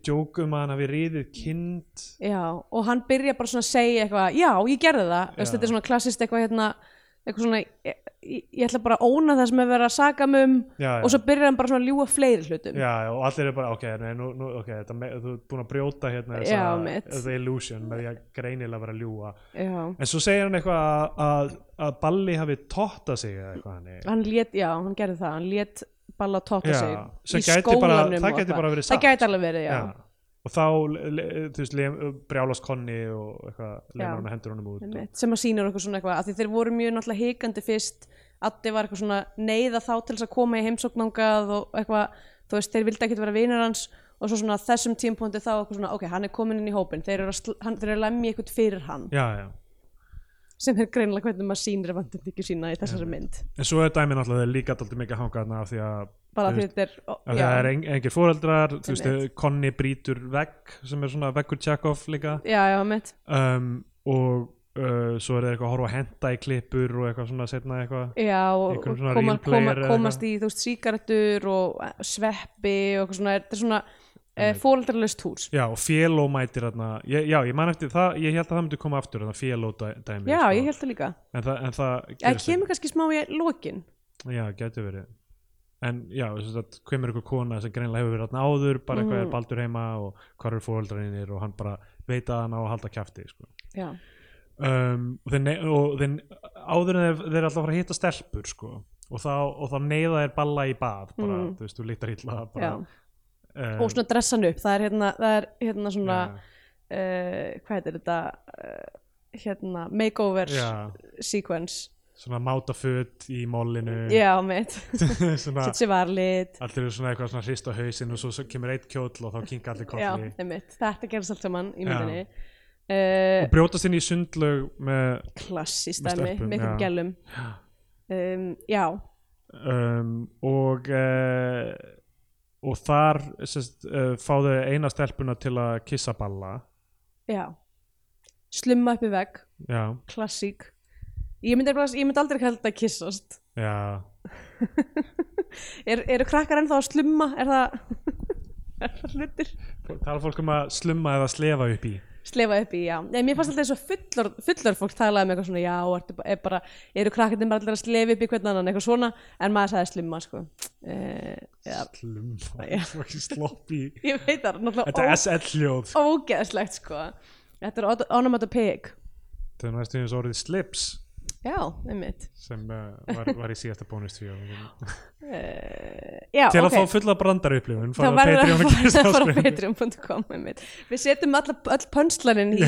Speaker 1: djók um að hann hafi riðið kind
Speaker 2: Já, og hann byrja bara svona að segja eitthvað, já, ég gerði það,
Speaker 1: Já.
Speaker 2: Veist, þetta er svona klassist eitthvað hérna, eitthvað svona, ég, ég- ég ætla bara að óna það sem er verið að saka mig um
Speaker 1: já, já.
Speaker 2: og svo byrjar hann bara svona að ljúga fleiri hlutum.
Speaker 1: Já, já, og allir eru bara, ok, nei, nú, nú, ok þetta, me- þú ert búin að brjóta hérna þessa,
Speaker 2: Já, mitt.
Speaker 1: þessa illusion með því að greinilega vera að ljúga
Speaker 2: Já.
Speaker 1: en svo segir hann eitthvað að, að, að Balli hafi totta sig eða eitthvað hannig
Speaker 2: Hann lét, já, hann gerði það, hann lét Balla tóta
Speaker 1: Já,
Speaker 2: sig
Speaker 1: sem
Speaker 2: í
Speaker 1: gæti bara-
Speaker 2: skólanum
Speaker 1: það
Speaker 2: og
Speaker 1: gæti
Speaker 2: eitthvað.
Speaker 1: bara verið satt.
Speaker 2: Það gæti alveg verið, já.
Speaker 1: já. og þá le- le- þú veist, lem- brjálast konni og eitthvað, lemur hann að hendur honum út og,
Speaker 2: Einmitt, sem að sýnir okkur svona eitthvað af því þeir voru mjög náttúrulega hikandi fyrst Addi var eitthvað svona neyða þá til þess að koma í heimsóknangað og eitthvað þú veist, þeir vildi ekkert vera vinur hans og svo svona á þessum tímpóndi þá eitthvað svona ok, hann er komin inn í hópin, þeir eru að, sl- hann, þeir eru að lemja eitthvað fyrir hann,
Speaker 1: já, já.
Speaker 2: sem er greinilega hvernig maður sýnir vandandi ekki sína í þessari mynd
Speaker 1: en svo er dæmi náttúrulega líka dálítið mikið að hanga þarna af því að
Speaker 2: bara
Speaker 1: Þú
Speaker 2: því þetta er, ó,
Speaker 1: Af því að það er
Speaker 2: já,
Speaker 1: en, engir foreldrar, þú veist,
Speaker 2: Einmitt.
Speaker 1: Conny brýtur vegg sem er svona veggur Tjekov líka
Speaker 2: já, já, mitt
Speaker 1: um, og uh, svo er það eitthvað að horfa að henda í klippur og eitthvað svona setna eitthvað
Speaker 2: já, og
Speaker 1: Einhverjum svona
Speaker 2: og koma,
Speaker 1: real player
Speaker 2: koma,
Speaker 1: eða
Speaker 2: komast í þú veist, sígarettur og eh, sveppi og eitthvað svona, þetta er svona e, fóreldralust hús
Speaker 1: Já, og Fjelo mætir þarna ég, Já, ég man eftir það, ég held að það myndi koma aftur þarna Fjelo dæ, dæmi
Speaker 2: já,
Speaker 1: sko.
Speaker 2: ég held það líka
Speaker 1: en, það, en það
Speaker 2: Það
Speaker 1: gerist
Speaker 2: kemur kannski smá í lokin
Speaker 1: ekki. Já, getur verið En já, þess að kemur eitthvað kona sem greinlega hefur verið þarna áður bara eitthvað
Speaker 2: Mhm.
Speaker 1: er baldur heima og hvað eru foreldrarinir og hann bara veit að hann á að halda kjafti sko.
Speaker 2: Já,
Speaker 1: um, og, þeir nei- og þeir áður en þeir, þeir eru alltaf að fara að hitta stelpur sko. og, þá, og þá neyða þeir balla í bað bara,
Speaker 2: Mm.
Speaker 1: þú veist, þú lítar illa bara,
Speaker 2: já.
Speaker 1: um,
Speaker 2: og svona dressan upp það er hérna, það er, hérna svona
Speaker 1: já,
Speaker 2: uh, hvað heitir þetta uh, hérna makeover
Speaker 1: já,
Speaker 2: sequence
Speaker 1: svona mátaföt í mólinu
Speaker 2: já, mitt,
Speaker 1: [laughs] svona,
Speaker 2: sitt sér varlit
Speaker 1: allir eru svona eitthvað svona hrist á hausinn og svo, svo kemur eitt kjóll og þá kinka allir
Speaker 2: já,
Speaker 1: kolli
Speaker 2: mitt, þetta gerist allt saman í
Speaker 1: Já.
Speaker 2: myndinni uh,
Speaker 1: og brjótast inn í sundlög með
Speaker 2: klassist
Speaker 1: Með
Speaker 2: dæmi,
Speaker 1: stelpum,
Speaker 2: með einhverjum
Speaker 1: já.
Speaker 2: gælum um, já,
Speaker 1: um, og uh, og þar sest, uh, fáðu eina stelpuna til að kissa balla
Speaker 2: já slumma upp í vegg,
Speaker 1: já,
Speaker 2: klassík ég myndi, nefnilega- ég myndi aldrei kalla þetta kissast
Speaker 1: já
Speaker 2: er, eru krakkar ennþá að slumma er það, er það [laughs] hlutir
Speaker 1: tala fólk um að slumma eða slefa upp í
Speaker 2: slefa upp í, já. Nei, mér fannst alltaf eins og fullor, fullor fólk talaði um eitthvað svona, já, ertu, ba- er bara, eru krakkandi bara allir að slefa upp í hvern annan, eitthvað svona, en maður sagði slimma, sko. Uh, já, [laughs]
Speaker 1: slumma, [laughs]
Speaker 2: Já.
Speaker 1: fucking sloppy
Speaker 2: ég veit
Speaker 1: þetta
Speaker 2: það,
Speaker 1: er
Speaker 2: náttúrulega
Speaker 1: SL hljóð
Speaker 2: ó- ógeðslegt, sko. Þetta er on- onomatopoeic.
Speaker 1: þetta er næstu eins og orðið slips
Speaker 2: Já, einmitt.
Speaker 1: sem uh,
Speaker 2: [laughs]
Speaker 1: var, var í síðasta bónust til
Speaker 2: Uh, já,
Speaker 1: að
Speaker 2: Ah, ok.
Speaker 1: fá fulla brandar upplifun
Speaker 2: Þá
Speaker 1: fara á
Speaker 2: verður að
Speaker 1: Patreon og
Speaker 2: fara-
Speaker 1: kynast
Speaker 2: að fara
Speaker 1: [laughs]
Speaker 2: á
Speaker 1: áskrifin
Speaker 2: patreon.com einmitt. Við setjum alla, öll pönslanin
Speaker 1: [laughs]
Speaker 2: í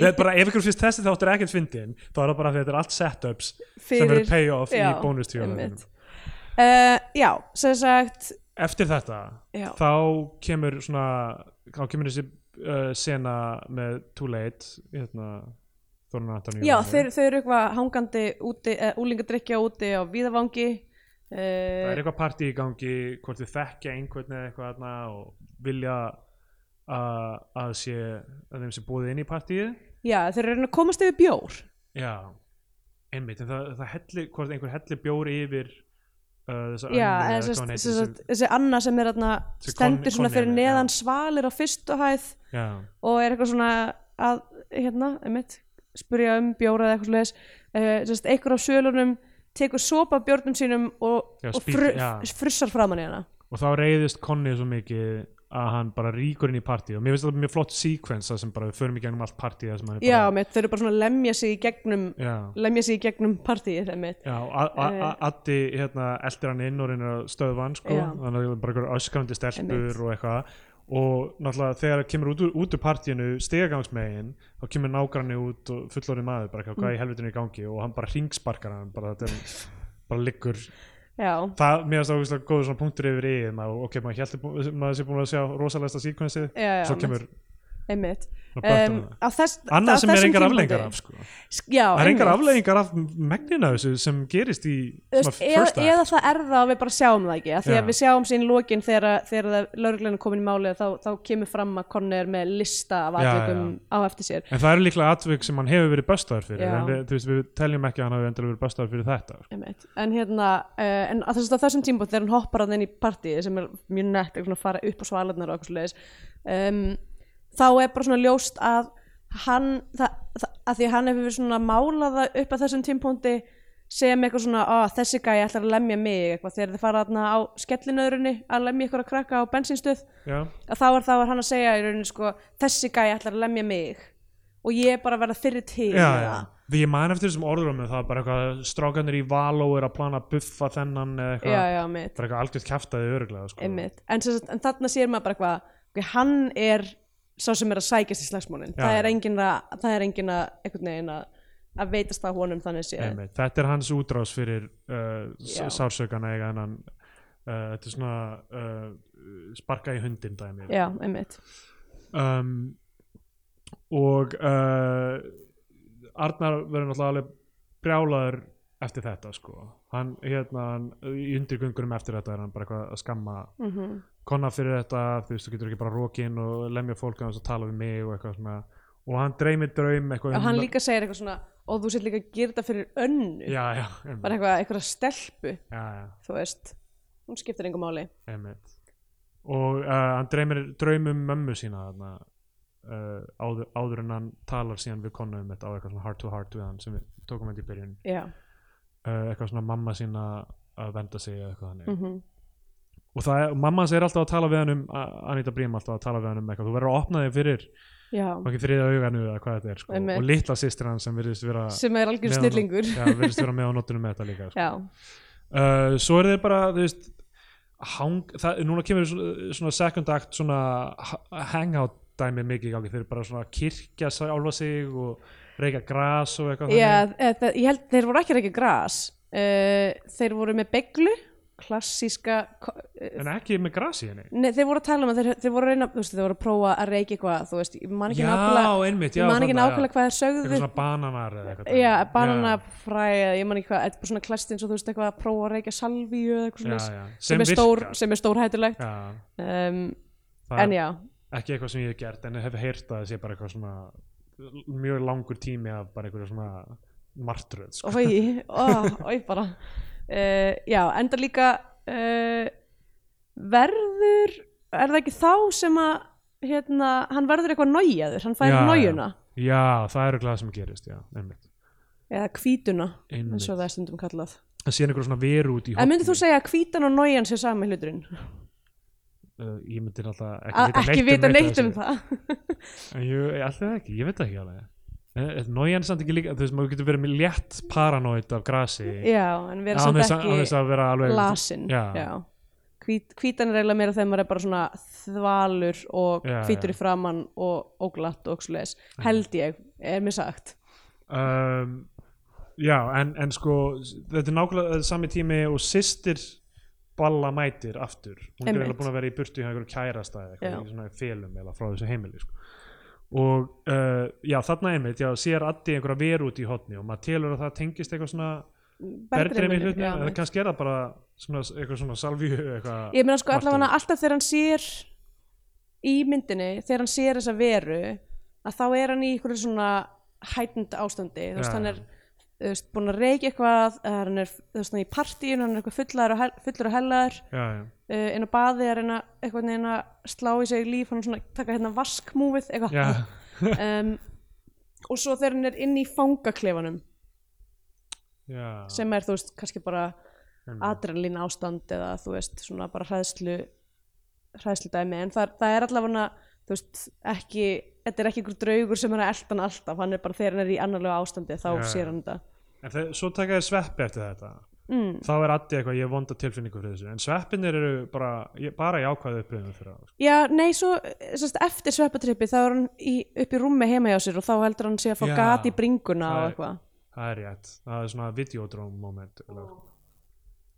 Speaker 2: Í-
Speaker 1: bara ef ykkur finnst þessi þáttur ekkert fyndin þá er það bara að þetta er allt setups sem
Speaker 2: Fyrir-
Speaker 1: eru payoff í
Speaker 2: já,
Speaker 1: bónust
Speaker 2: einmitt. Uh, já, sem sagt,
Speaker 1: eftir þetta
Speaker 2: Já.
Speaker 1: þá kemur svona þá kemur þessi uh, sena með Too Late hérna, Þorun Antoníu
Speaker 2: Já, þeir, þeir eru eitthvað hangandi úti, eða úlingadrykja úti á Víðavangi
Speaker 1: það er
Speaker 2: uh,
Speaker 1: eitthvað partí í gangi hvort þið þekkja einhvern eða eitthvað þarna og vilja að, að sé að þeim sé búið inn í partíið
Speaker 2: Já, þeir eru að reyna að komast yfir bjór
Speaker 1: já, einmitt en það, það helli, hvort einhver helli bjór yfir uh, þessa
Speaker 2: Já,
Speaker 1: önnu
Speaker 2: eða
Speaker 1: eða hvað hún heitir,
Speaker 2: þessi, þessi, þessi Anna sem er þarna
Speaker 1: Þessi kon-
Speaker 2: stendur svona
Speaker 1: konni
Speaker 2: fyrir
Speaker 1: henni,
Speaker 2: neðan
Speaker 1: já.
Speaker 2: svalir á fyrstu hæð
Speaker 1: sem- já,
Speaker 2: og er eitthvað svona að, hérna, einmitt spurja um bjóra eða eitthvað svoleiðis uh, sest, einhver á sölunum tekur sopa af bjórnum sínum og,
Speaker 1: Já,
Speaker 2: og
Speaker 1: spýt-
Speaker 2: fru,
Speaker 1: já.
Speaker 2: frussar framan í hana
Speaker 1: og þá reyðist Conny svo mikið að hann bara ríkur inn í partíið og mér finnst þetta mjög flott sequence það sem bara við förum í gegnum allt partíið þar sem hann er
Speaker 2: Já,
Speaker 1: bara
Speaker 2: mitt, þeir eru bara svona að lemja sig í gegnum
Speaker 1: já.
Speaker 2: lemja sig í gegnum partíið, einmitt
Speaker 1: Já, a- a- a- Addi hérna, eldir hann inn og reynir að stöðva hann sko,
Speaker 2: Eh. Já.
Speaker 1: þannig að það er bara einhver öskrandi
Speaker 2: Einmitt.
Speaker 1: stelpur og eitthvað og náttúrulega þegar það kemur út, úr- út úr partíinu stegagangsmegin, þá kemur nágranni út og fullorðið maður, bara
Speaker 2: Mm.
Speaker 1: eitthvað, hvað í helvitinu í gangi og hann bara ringsparkar hann bara, þetta er, bara liggur
Speaker 2: Já,
Speaker 1: það, mér finnst það ógeðslega góður svona punktur yfir í maður, ok, maður heldur, maður sé búin að sjá rosalegsta síkvensið,
Speaker 2: já, já,
Speaker 1: svo kemur
Speaker 2: einmitt
Speaker 1: svona
Speaker 2: um,
Speaker 1: böttum það
Speaker 2: á þess, á
Speaker 1: annað sem er
Speaker 2: þessum
Speaker 1: engar
Speaker 2: tímapunkti-
Speaker 1: afleggingar af sko.
Speaker 2: Sk- já,
Speaker 1: það er engar
Speaker 2: einmitt.
Speaker 1: afleggingar af megnina þessu sem gerist í
Speaker 2: Þú
Speaker 1: svona
Speaker 2: veist, eða,
Speaker 1: first act
Speaker 2: eða það er það að við bara sjáum það ekki af því
Speaker 1: Já.
Speaker 2: að við sjáum sín lokin þegar, þegar það- lögreglan er komin í máli þá, þá kemur fram að Conny er með lista af
Speaker 1: Já,
Speaker 2: atvikum á eftir sér
Speaker 1: En það eru líklega atvik sem hann hefur verið böstaður fyrir
Speaker 2: Já.
Speaker 1: en við, þú veist, við teljum ekki að hann hafi endilega verið böstaður fyrir þetta sko.
Speaker 2: einmitt. en hérna uh, en að þess, að þessum tímbútt þegar hann hoppar hann inn í partíi sem er mjög nett eitthvað svona fara upp á svalarnar og eitthvað svoleiðis um, þá er bara svona ljóst að hann það, það, að því að hann hefur svona málaða upp að þessum tímbúndi sem eitthvað svona "Ó, þessi gæi ætlar að lemja mig eitthvað þegar þið fara þarna á skellinöðrunni að lemja ykkur að krakka á bensinstöð
Speaker 1: Já,
Speaker 2: að þá er, þá er hann að segja í rauninni sko þessi gæi ætlar að lemja mig og ég er bara að verða fyrir til
Speaker 1: já,
Speaker 2: eða-
Speaker 1: já. Því ég man eftir þessum orðurum það er bara eitthvað strákanir í Való er að plana að buffa þennan eða
Speaker 2: já,
Speaker 1: eitthvað
Speaker 2: já, mitt
Speaker 1: Það er eitthvað algjört kæftaði öruglega sko.
Speaker 2: einmitt en, sem sagt, en þarna sér maður bara eitthvað ok, hann er sá sem er að sækjast í slagsmónin
Speaker 1: Já,
Speaker 2: það er
Speaker 1: já.
Speaker 2: engin að, það er engin að einhvern veginn að, að veitast það honum þannig sé
Speaker 1: Einmitt. þetta er hans útrás fyrir uh,
Speaker 2: Já.
Speaker 1: s- sársaukan að eiga hennan uh, þetta er svona uh, sparka í hundin dæmi
Speaker 2: já, einmitt
Speaker 1: um, og uh, Arnar verður náttúrulega alveg brjálaður eftir þetta sko hann hérna hann, í undirgöngunum eftir þetta er hann bara eitthvað að skamma
Speaker 2: mm
Speaker 1: konna fyrir þetta, þú veist þú getur ekki bara rókin og lemja fólk að þess að tala við mig og eitthvað svona og hann dreymir draum eitthvað
Speaker 2: og
Speaker 1: um-
Speaker 2: hann líka segir eitthvað svona og þú sér líka að gera þetta fyrir önnu
Speaker 1: já, já,
Speaker 2: bara
Speaker 1: einmitt,
Speaker 2: eitthvað, eitthvað stelpu
Speaker 1: já, já,
Speaker 2: þú veist, hún skiptir engum máli
Speaker 1: einmitt. og uh, hann dreymir draum um mömmu sína þarna, uh, áður, áður en hann talar síðan við konu um þetta á eitthvað svona heart to heart við hann sem við tókum þetta í byrjun
Speaker 2: já,
Speaker 1: uh, eitthvað svona mamma sína að venda sig eða eitthvað þannig
Speaker 2: mm
Speaker 1: og það er, mamma hans er alltaf að tala við hann um A- Anita Brím alltaf að tala við hann um eitthvað þú verður að opna þig fyrir
Speaker 2: já
Speaker 1: ekki þriða auganu eða hvað þetta er sko.
Speaker 2: Einmitt.
Speaker 1: og litla sýstir hann sem virðist vera
Speaker 2: sem er algjör
Speaker 1: Meðan-
Speaker 2: snillingur
Speaker 1: já, virðist vera með á nótunum með þetta líka sko.
Speaker 2: já,
Speaker 1: uh, svo er þeir bara þú veist hang, það, núna kemur svona, svona second act svona ha- hangout dæmi mikið í gangi þeir bara svona kirkja álfa sig og reyka gras og eitthvað
Speaker 2: já eða, ég held þeir voru ekki reykja gras uh, þeir voru með beglu klassíska ko- eh,
Speaker 1: þannig en ekki með gras í henni
Speaker 2: Nei, þeir voru að tala um að þeir, þeir voru að reyna, þú veist, þeir voru að prófa að reykja eitthvað, þú veist, ég man ekki nákvæmlega,
Speaker 1: já, einmitt, já,
Speaker 2: ég man ekki
Speaker 1: þarna, já.
Speaker 2: nákvæmlega hvað þeir sögðu,
Speaker 1: eitthvað svona bananar eða eitthvað
Speaker 2: já,
Speaker 1: dæmi.
Speaker 2: bananafræ, eða ég man ekki hvað, eitthvað svona klast eins og þú veist, eitthvað að prófa að reykja salvíu eða eitthvað
Speaker 1: já,
Speaker 2: svona,
Speaker 1: já. sem,
Speaker 2: sem, er stór,
Speaker 1: virkar.
Speaker 2: sem er stórhættulegt,
Speaker 1: já,
Speaker 2: um,
Speaker 1: það
Speaker 2: en já,
Speaker 1: er ekki eitthvað sem ég hef gert en hef heyrt að það sé bara eitthvað svona mjög langur tími af bara einhverju svona martröð sko.
Speaker 2: oi, oi, bara, uh, já, enda líka, uh, verður, er það ekki þá sem að, hérna, hann verður eitthvað nájaður, hann fær
Speaker 1: Já, já.
Speaker 2: nájuna,
Speaker 1: já, það er eitthvað sem gerist já, einmitt,
Speaker 2: eða kvítuna,
Speaker 1: einmitt.
Speaker 2: eins og það er stundum kallað.
Speaker 1: það sé einhverju svona veru út í
Speaker 2: En myndir þú segja að hvítan og nójan sé sami hluturinn?
Speaker 1: uh, ég myndi náttúrulega
Speaker 2: Að Ah, ekki
Speaker 1: ekki
Speaker 2: vita
Speaker 1: neitt
Speaker 2: neitt um
Speaker 1: þessu.
Speaker 2: það? [laughs]
Speaker 1: En ég- ég- alltaf ekki, ég veit það ekki alveg Eh, Nójan samt ekki líka, þú veist, maður getur verið með létt paranoid af grasi
Speaker 2: Já, en vera
Speaker 1: án
Speaker 2: samt
Speaker 1: þess að- án þess
Speaker 2: ekki
Speaker 1: að vera alveg
Speaker 2: lasin.
Speaker 1: Já.
Speaker 2: Já. Hvít, hvítan er eiginlega meira þegar maður er bara svona þvalur og
Speaker 1: Já, já.
Speaker 2: hvítur í framann og óglatt og svoleiðis. Held ég, er mér sagt.
Speaker 1: um, já, en, en sko þetta er nákvæmlega eh, sami tími og systir Balla mætir aftur hún er
Speaker 2: Einmitt.
Speaker 1: eiginlega búin að vera í burtu hjá einhverju kærasta eða
Speaker 2: Já.
Speaker 1: eitthvað, í svona félum eða frá þessu heimili sko. og uh, já, þarna einmitt, já, sér Addi einhverja veru út í hotni og maður telur að það tengist eitthvað svona berðreimi
Speaker 2: Bergdreyminu,
Speaker 1: hlutni,
Speaker 2: já,
Speaker 1: eða
Speaker 2: mitt.
Speaker 1: kannski er það bara svona, eitthvað svona salvíu eitthvað,
Speaker 2: Ég meina sko allavega
Speaker 1: Martin.
Speaker 2: alltaf þegar hann sér í myndinni, þegar hann sér þessa veru að þá er hann í einhverju svona hætnd ástandi, þú veist,
Speaker 1: Já,
Speaker 2: hann
Speaker 1: já.
Speaker 2: er þú veist, búin að reykja eitthvað eða hann er, þú veist, hann er í partíun, hann er eitthvað fullar og, hel, fullar og hellaður
Speaker 1: já, já,
Speaker 2: uh, inn á baði að reyna eitthvað neginn að slá í sig líf hann er svona að taka hérna vaskmúfið eitthvað [laughs]
Speaker 1: já
Speaker 2: um, og svo þegar hann er inn í fangaklefanum
Speaker 1: já,
Speaker 2: sem er, þú veist, kannski bara
Speaker 1: einmitt.
Speaker 2: adrenalín ástand eða þú veist svona bara hræðslu hræðslu dæmi en það, það er allavega þú veist ekki þetta er ekki einhver draugur sem er að elta hann alltaf hann er bara þegar hann er í annarlega ástandi þá
Speaker 1: Já, já.
Speaker 2: sér hann þetta
Speaker 1: en þeir, svo taka þér sveppi eftir þetta
Speaker 2: mm,
Speaker 1: þá er Addi eitthvað, ég hef vonda tilfinningu fyrir þessu en sveppinir eru bara, ég, bara í ákvæðu upplifinu fyrir það sko.
Speaker 2: já nei svo sest, eftir sveppatrippi þá er hann í, upp í rúmi heima hjá sér og þá heldur hann sé að fá
Speaker 1: Já.
Speaker 2: gat í bringuna
Speaker 1: Það
Speaker 2: og
Speaker 1: er-
Speaker 2: eitthvað
Speaker 1: það er rétt, það er svona videodrome moment oh.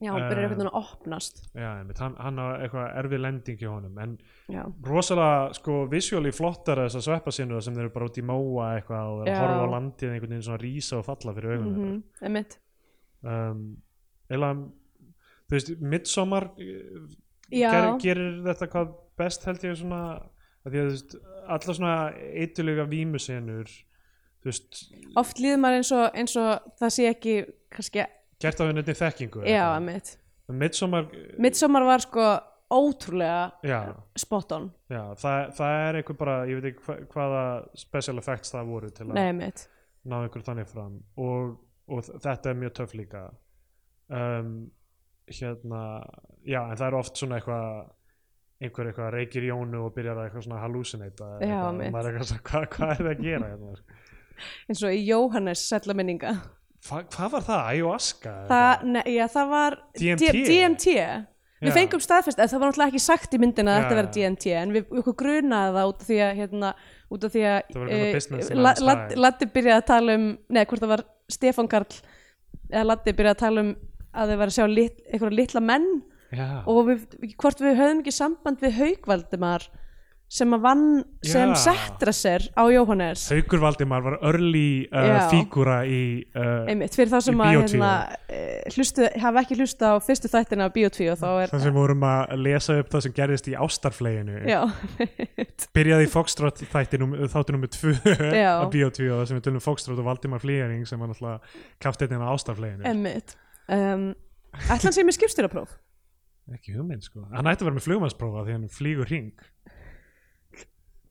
Speaker 2: já hann byrjar
Speaker 1: Eh.
Speaker 2: einhvern veginn að opnast
Speaker 1: já, einmitt, hann, hann á eitthvað erfið lending í honum en
Speaker 2: já
Speaker 1: rosalega sko visjóli flottar þessar sveppasinu sem þeir eru bara út í móa eitthvað og þeir
Speaker 2: Já.
Speaker 1: að horfa á landið einhvern veginn svona rísa og falla fyrir augunum
Speaker 2: mm
Speaker 1: mm
Speaker 2: emitt
Speaker 1: um, eða þú veist, midsommar
Speaker 2: Já.
Speaker 1: ger, gerir þetta hvað best held ég svona að því að þú veist, alla svona eitulega vímusenur þú veist,
Speaker 2: oft líður maður eins og, eins og það sé ekki kannski
Speaker 1: gert af henni þekkingu Um
Speaker 2: já emitt
Speaker 1: midsommar,
Speaker 2: Midsommar var sko ótrúlega
Speaker 1: já
Speaker 2: spot on
Speaker 1: Já, það, það er einhver bara, ég veit ekki hva, hvaða special effects það voru til að
Speaker 2: Nei, mitt
Speaker 1: ná einhver þannig fram og, og þ- þetta er mjög töff líka um, hérna já, en það er oft svona eitthvað einhver eitthvað reykir í jónu og byrjar að eitthvað svona hallucinata
Speaker 2: Já,
Speaker 1: eitthvað,
Speaker 2: mitt.
Speaker 1: maður er eitthvað svona, hvað, hvað er það að gera hérna?
Speaker 2: eins og í Jóhannes sætla minninga
Speaker 1: Hva, hvað var það, ayahuasca? eða
Speaker 2: það,
Speaker 1: eitthvað?
Speaker 2: ne, já, það var
Speaker 1: DMT?
Speaker 2: D- DMT
Speaker 1: Já.
Speaker 2: Við fengum staðfest, en það var náttúrulega ekki sagt í myndina að
Speaker 1: Já,
Speaker 2: þetta verið
Speaker 1: já.
Speaker 2: DMT en við okkur grunaði það út af því að hérna, út af því að
Speaker 1: Það var eitthvað
Speaker 2: eh,
Speaker 1: business
Speaker 2: La-
Speaker 1: man's
Speaker 2: Ladd-
Speaker 1: hag.
Speaker 2: Laddi byrjaði að tala um neða hvort það var Stefán Karl eða Laddi byrjaði að tala um að þau var að sjá lit, einhverja litla menn
Speaker 1: Já.
Speaker 2: og við, hvort við höfðum ekki samband við Haukvaldimar sem að vann sem
Speaker 1: Já.
Speaker 2: settra sér á Jóhannes
Speaker 1: Haukur Valdimar var örli uh,
Speaker 2: Já.
Speaker 1: fígúra í uh,
Speaker 2: einmitt, fyrir þá sem
Speaker 1: Í
Speaker 2: að
Speaker 1: Bíó
Speaker 2: hérna, eh, hlustu, hafa ekki hlusta á fyrstu þættina á Bíotvíu þá er
Speaker 1: þann sem vorum að lesa upp það sem gerðist í ástarfleginu
Speaker 2: já, [laughs]
Speaker 1: byrjaði í Foxtrot þættinum, þáttu nummer 2
Speaker 2: Já.
Speaker 1: á Bíotvíu og það sem við tölum um Foxtrot og Valdimar Flýjaring sem var náttúrulega kaftetinn á ástarfleginu
Speaker 2: einmitt um, ætlan sem er skipstjórapróf
Speaker 1: ekki hugmynd sko, hann ætti að vera með flugmannsprófa því hann flýgur ring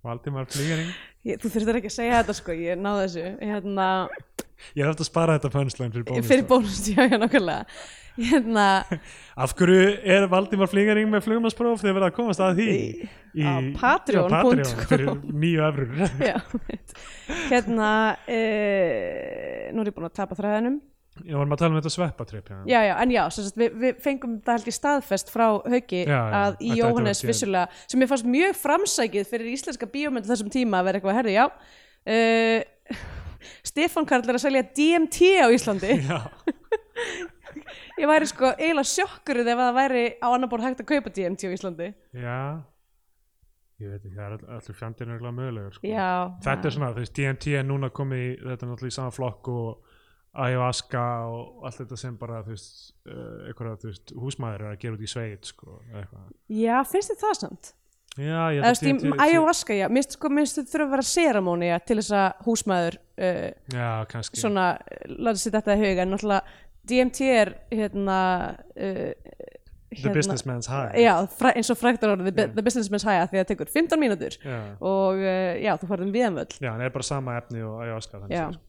Speaker 1: Valdimar Flýjaring
Speaker 2: Ég, þú þurftir ekki að segja þetta sko, ég náði þessu hérna,
Speaker 1: ég þarf að spara þetta pönslan fyrir bónus
Speaker 2: fyrir bónust, já, já, nákvæmlega hérna,
Speaker 1: [laughs] af hverju er Valdimar Flýjaring með flugmannspróf þegar verða að komast að því
Speaker 2: Í-
Speaker 1: í,
Speaker 2: á
Speaker 1: já,
Speaker 2: Patreon
Speaker 1: Patreon
Speaker 2: punktur com.
Speaker 1: fyrir nýju efrur
Speaker 2: já, einmitt. hérna e, nú er ég búin að tapa þræðinum
Speaker 1: Ég varum að tala um þetta sveppatrip
Speaker 2: já, já, en já, sem sagt, við, við fengum það held ég staðfest frá Hauki
Speaker 1: Já, já,
Speaker 2: að í
Speaker 1: þetta- þetta
Speaker 2: Jóhannes
Speaker 1: var ekki-
Speaker 2: vissulega, sem ég fannst mjög framsækið fyrir íslenska bíómyndu þessum tíma að vera eitthvað, herri, já uh, [laughs] Stefán Karl er að selja DMT á Íslandi
Speaker 1: [laughs] Já,
Speaker 2: ég væri sko eiginlega sjokkuruð ef það væri á annar borð hægt að kaupa DMT á Íslandi
Speaker 1: já Ég veit ekki, það er all- allur fjandinn örgulega mögulegur sko.
Speaker 2: já,
Speaker 1: Þetta er svona, þú veist, DMT er núna komið í, þetta er náttúrulega í sama flokk og ayahuasca og allt þetta sem bara, þú veist, uh, einhverja, þú veist, húsmaður er að gera út í sveit, sko, eða eitthvað.
Speaker 2: Já, finnst þið það samt?
Speaker 1: Já, ég
Speaker 2: Eða
Speaker 1: held
Speaker 2: stím, ayahuasca, já, minnst sko, minnst þið þurfa að vera seramóni til þess að húsmaður uh,
Speaker 1: Já, kannski.
Speaker 2: svona, láta sér þetta í huga, en náttúrulega DMT er hérna, uh,
Speaker 1: The businessman's high.
Speaker 2: hérna- Já, fra, eins og fræktar orðið, the, the businessman's high, af því að það tekur 15 mínútur
Speaker 1: Já.
Speaker 2: og uh, já, þú farðum viðanvöld.
Speaker 1: Já, hann er bara sama efni og ayahuasca þannig
Speaker 2: Já.
Speaker 1: séð, sko.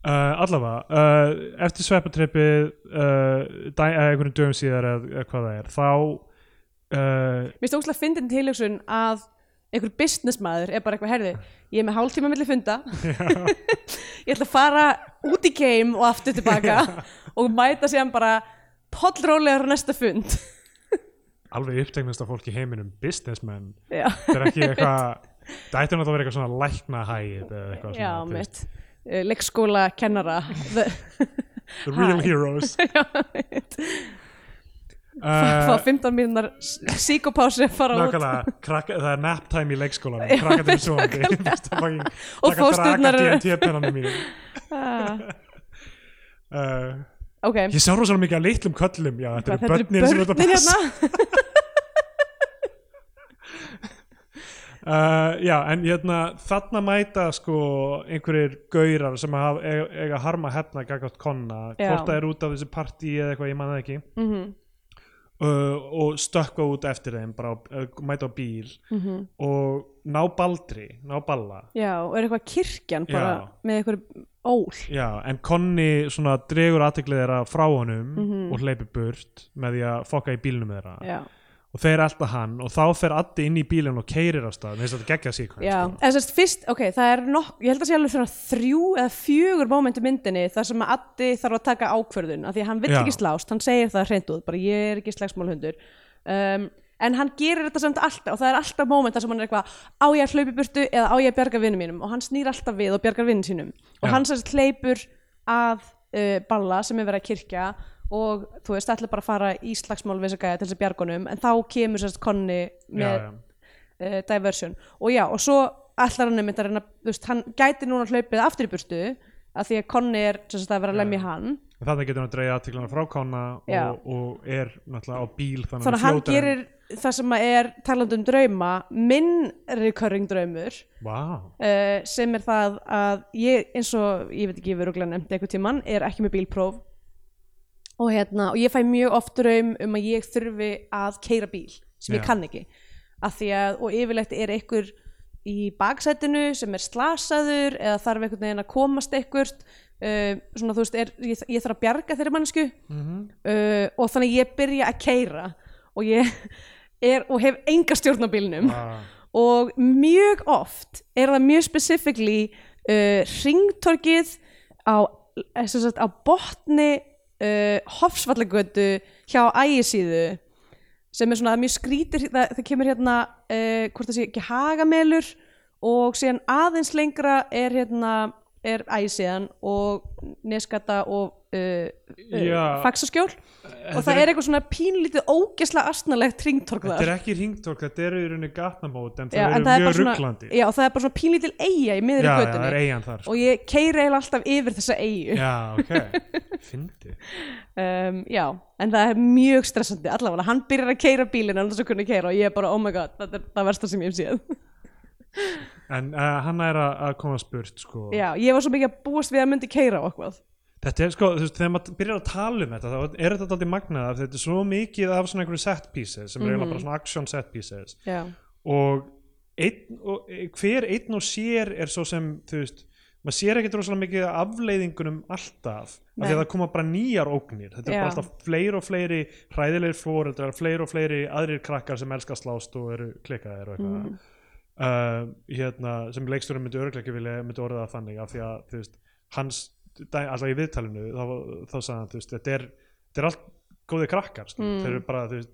Speaker 1: Uh, allavega, uh, eftir sveppatrippið uh, dæ- eða einhverjum dögum síðar eða eða hvað það er, þá uh,
Speaker 2: Mér finnst ógslag fyndin tilhugsun að einhver businessmaður er bara eitthvað herði ég er með hálftíma milli funda [laughs] ég ætla að fara út í game og aftur tilbaka og mæta síðan bara pollrólegar á næsta fund
Speaker 1: alveg upptegnast af fólki í heiminum businessmen
Speaker 2: já,
Speaker 1: það er ekki eitthvað það ætti náttúrulega að vera eitthvað svona læknahæð eða eitthvað
Speaker 2: já
Speaker 1: svona þú veist,
Speaker 2: mitt Eh, leikskóla
Speaker 1: [laughs]
Speaker 2: kennara The- [laughs]
Speaker 1: the real
Speaker 2: Hæ.
Speaker 1: heroes
Speaker 2: já, mitt [laughs] fá
Speaker 1: uh,
Speaker 2: 15 mínunar síkopási að fara út
Speaker 1: nákvæmlega, krakka, það er nap time í leikskólanum krakkandir er svoandi [laughs]
Speaker 2: Og
Speaker 1: og
Speaker 2: fóstjórnar eru-
Speaker 1: eru
Speaker 2: Ah,
Speaker 1: uh,
Speaker 2: ok,
Speaker 1: ég sá rosalega mikið að litlum köllum já, þetta eru börnin sem þetta
Speaker 2: börnin
Speaker 1: passa
Speaker 2: hérna
Speaker 1: uh, já, en hérna þarna mæta sko einhverjir gaurar sem haf, eiga, eiga harma hefna gaggátt konna,
Speaker 2: Já.
Speaker 1: hvort það er út af þessu partí eða eitthvað, ég man það ekki
Speaker 2: Mhm.
Speaker 1: uh, og stökkva út eftir þeim bara á- uh, mæta á bíl
Speaker 2: Mhm.
Speaker 1: -hmm. og ná baldri, ná balla
Speaker 2: já, og er eitthvað kirkjan bara
Speaker 1: Já.
Speaker 2: með eitthvað ól
Speaker 1: Já, en Conny svona dregur aðteklið þeirra frá honum og hleypir burt með því að fokka í bílnum þeirra
Speaker 2: Mhm. já
Speaker 1: og þeir alltaf hann og þá fer Addi inn í bílinn og keirir af stað, þess að þetta sko. geggja síkvæm
Speaker 2: Já, en sérst fyrst, ok, það er nokk, ég held að sé alveg svona þrjú eða fjögur moment í myndinni þar sem að Addi þarf að taka ákvörðun af því að hann vill
Speaker 1: Já.
Speaker 2: ekki slást, hann segir það hreint út, bara ég er ekki slagsmálhundur um, en hann gerir þetta samt alltaf og það er alltaf moment þar sem hann er eitthvað á ég að hlaupi burtu eða á ég að bjarga vinnum mínum og hann snýr alltaf við og bjargar vinnum sínum og
Speaker 1: Já.
Speaker 2: hann sérst hleypur að uh, balla sem er verið að kirkja og þú veist, ætla bara að fara í slagsmál við þess að til þess að bjargunum en þá kemur sérst konni með
Speaker 1: já.
Speaker 2: uh, diversion og já, og svo allar hann einmitt að reyna, þú veist, hann gæti núna hlaupið aftur í burtu að því að Conny er sem sagt að vera að lemja hann
Speaker 1: En Þannig getur hann að dreigja aðteklina frá Konna
Speaker 2: Já.
Speaker 1: og, og er náttúrulega á bíl þannig,
Speaker 2: þannig að hann
Speaker 1: fljótar
Speaker 2: gerir það sem að er talandi um drauma minn recurring draumur
Speaker 1: Vá,
Speaker 2: uh, sem er það að ég eins og, ég veit ekki, ég verður glæð nefndi eitthvað tíman er ekki með bílpróf og hérna, og ég fæ mjög oft draum um að ég þurfi að keira bíl sem ég
Speaker 1: Já.
Speaker 2: kann ekki að því að, og yfirleitt er einhver í baksætinu sem er slasaður eða þarf einhvern veginn að komast einhvert uh, svona þú veist, er, ég, ég þarf að bjarga þeirri mannsku
Speaker 1: Mhm.
Speaker 2: [laughs] uh, og þannig ég byrja að keira og ég [laughs] er, og hef enga stjórn á bílnum
Speaker 1: vá.
Speaker 2: og mjög oft er það mjög specifíkli uh, ringtorkið á, eh, sem sagt, á botni uh, hofsvallagötu hjá ægisíðu sem er svona mjög skrítir það, það kemur hérna uh, hvort það sé ekki hagamelur og síðan aðeins lengra er hérna er æsiðan og neskata og uh,
Speaker 1: Já.
Speaker 2: uh, faksaskjól og
Speaker 1: Þetta
Speaker 2: það er eitthvað svona pínlítið ógesla astnalegt ringtork
Speaker 1: Þetta er
Speaker 2: þar
Speaker 1: ekki ringtork, þetta eru í rauninni gatnamót en
Speaker 2: Já,
Speaker 1: það eru
Speaker 2: en það er bara
Speaker 1: mjög
Speaker 2: svona-
Speaker 1: rugglandi
Speaker 2: Já, og það er bara svona pínlítil eiga í miðri
Speaker 1: já, já, það
Speaker 2: götunni
Speaker 1: er eigin þar sko.
Speaker 2: og ég keiri eiginlega alltaf yfir þessa eigu
Speaker 1: Já, ok, fyndi
Speaker 2: um, já, en það er mjög stressandi allavega, hann byrjar að keira bílinn annars að kunna keira og ég er bara, oh my god, það er það versta sem ég hef séð
Speaker 1: En uh, hann er að, að koma spurt sko.
Speaker 2: já, ég var svo mikið að búast við að hann myndi keira á okkur
Speaker 1: Þetta er sko, þú veist, þegar maður byrjar að tala um þetta þá er þetta aldrei magnað af þetta er svo mikið af svona einhverju set pieces sem er
Speaker 2: Mhm.
Speaker 1: eiginlega bara svona action set pieces
Speaker 2: já,
Speaker 1: og, einn, og eh, hver einn og sér er svo sem þú veist, maður sér ekkert rosalega mikið af afleiðingunum alltaf af því
Speaker 2: Nei.
Speaker 1: að það koma bara nýjar ógnir þetta er
Speaker 2: Já.
Speaker 1: bara alltaf fleiri og fleiri hræðilegir fóreldrar, fleiri og fleiri aðrir krakkar sem elska að slást og eru klikkaðir og eitthvað
Speaker 2: Mm.
Speaker 1: uh, hérna, sem leikstjóri myndi örugglega ekki vilja myndi orða það þannig af því að þú veist, hans, dæ- alltaf í viðtalinu þá, þá sagði hann, þú veist, þetta er þetta er allt góðir krakkar mm.
Speaker 2: Mm.
Speaker 1: þeir eru bara, þú veist,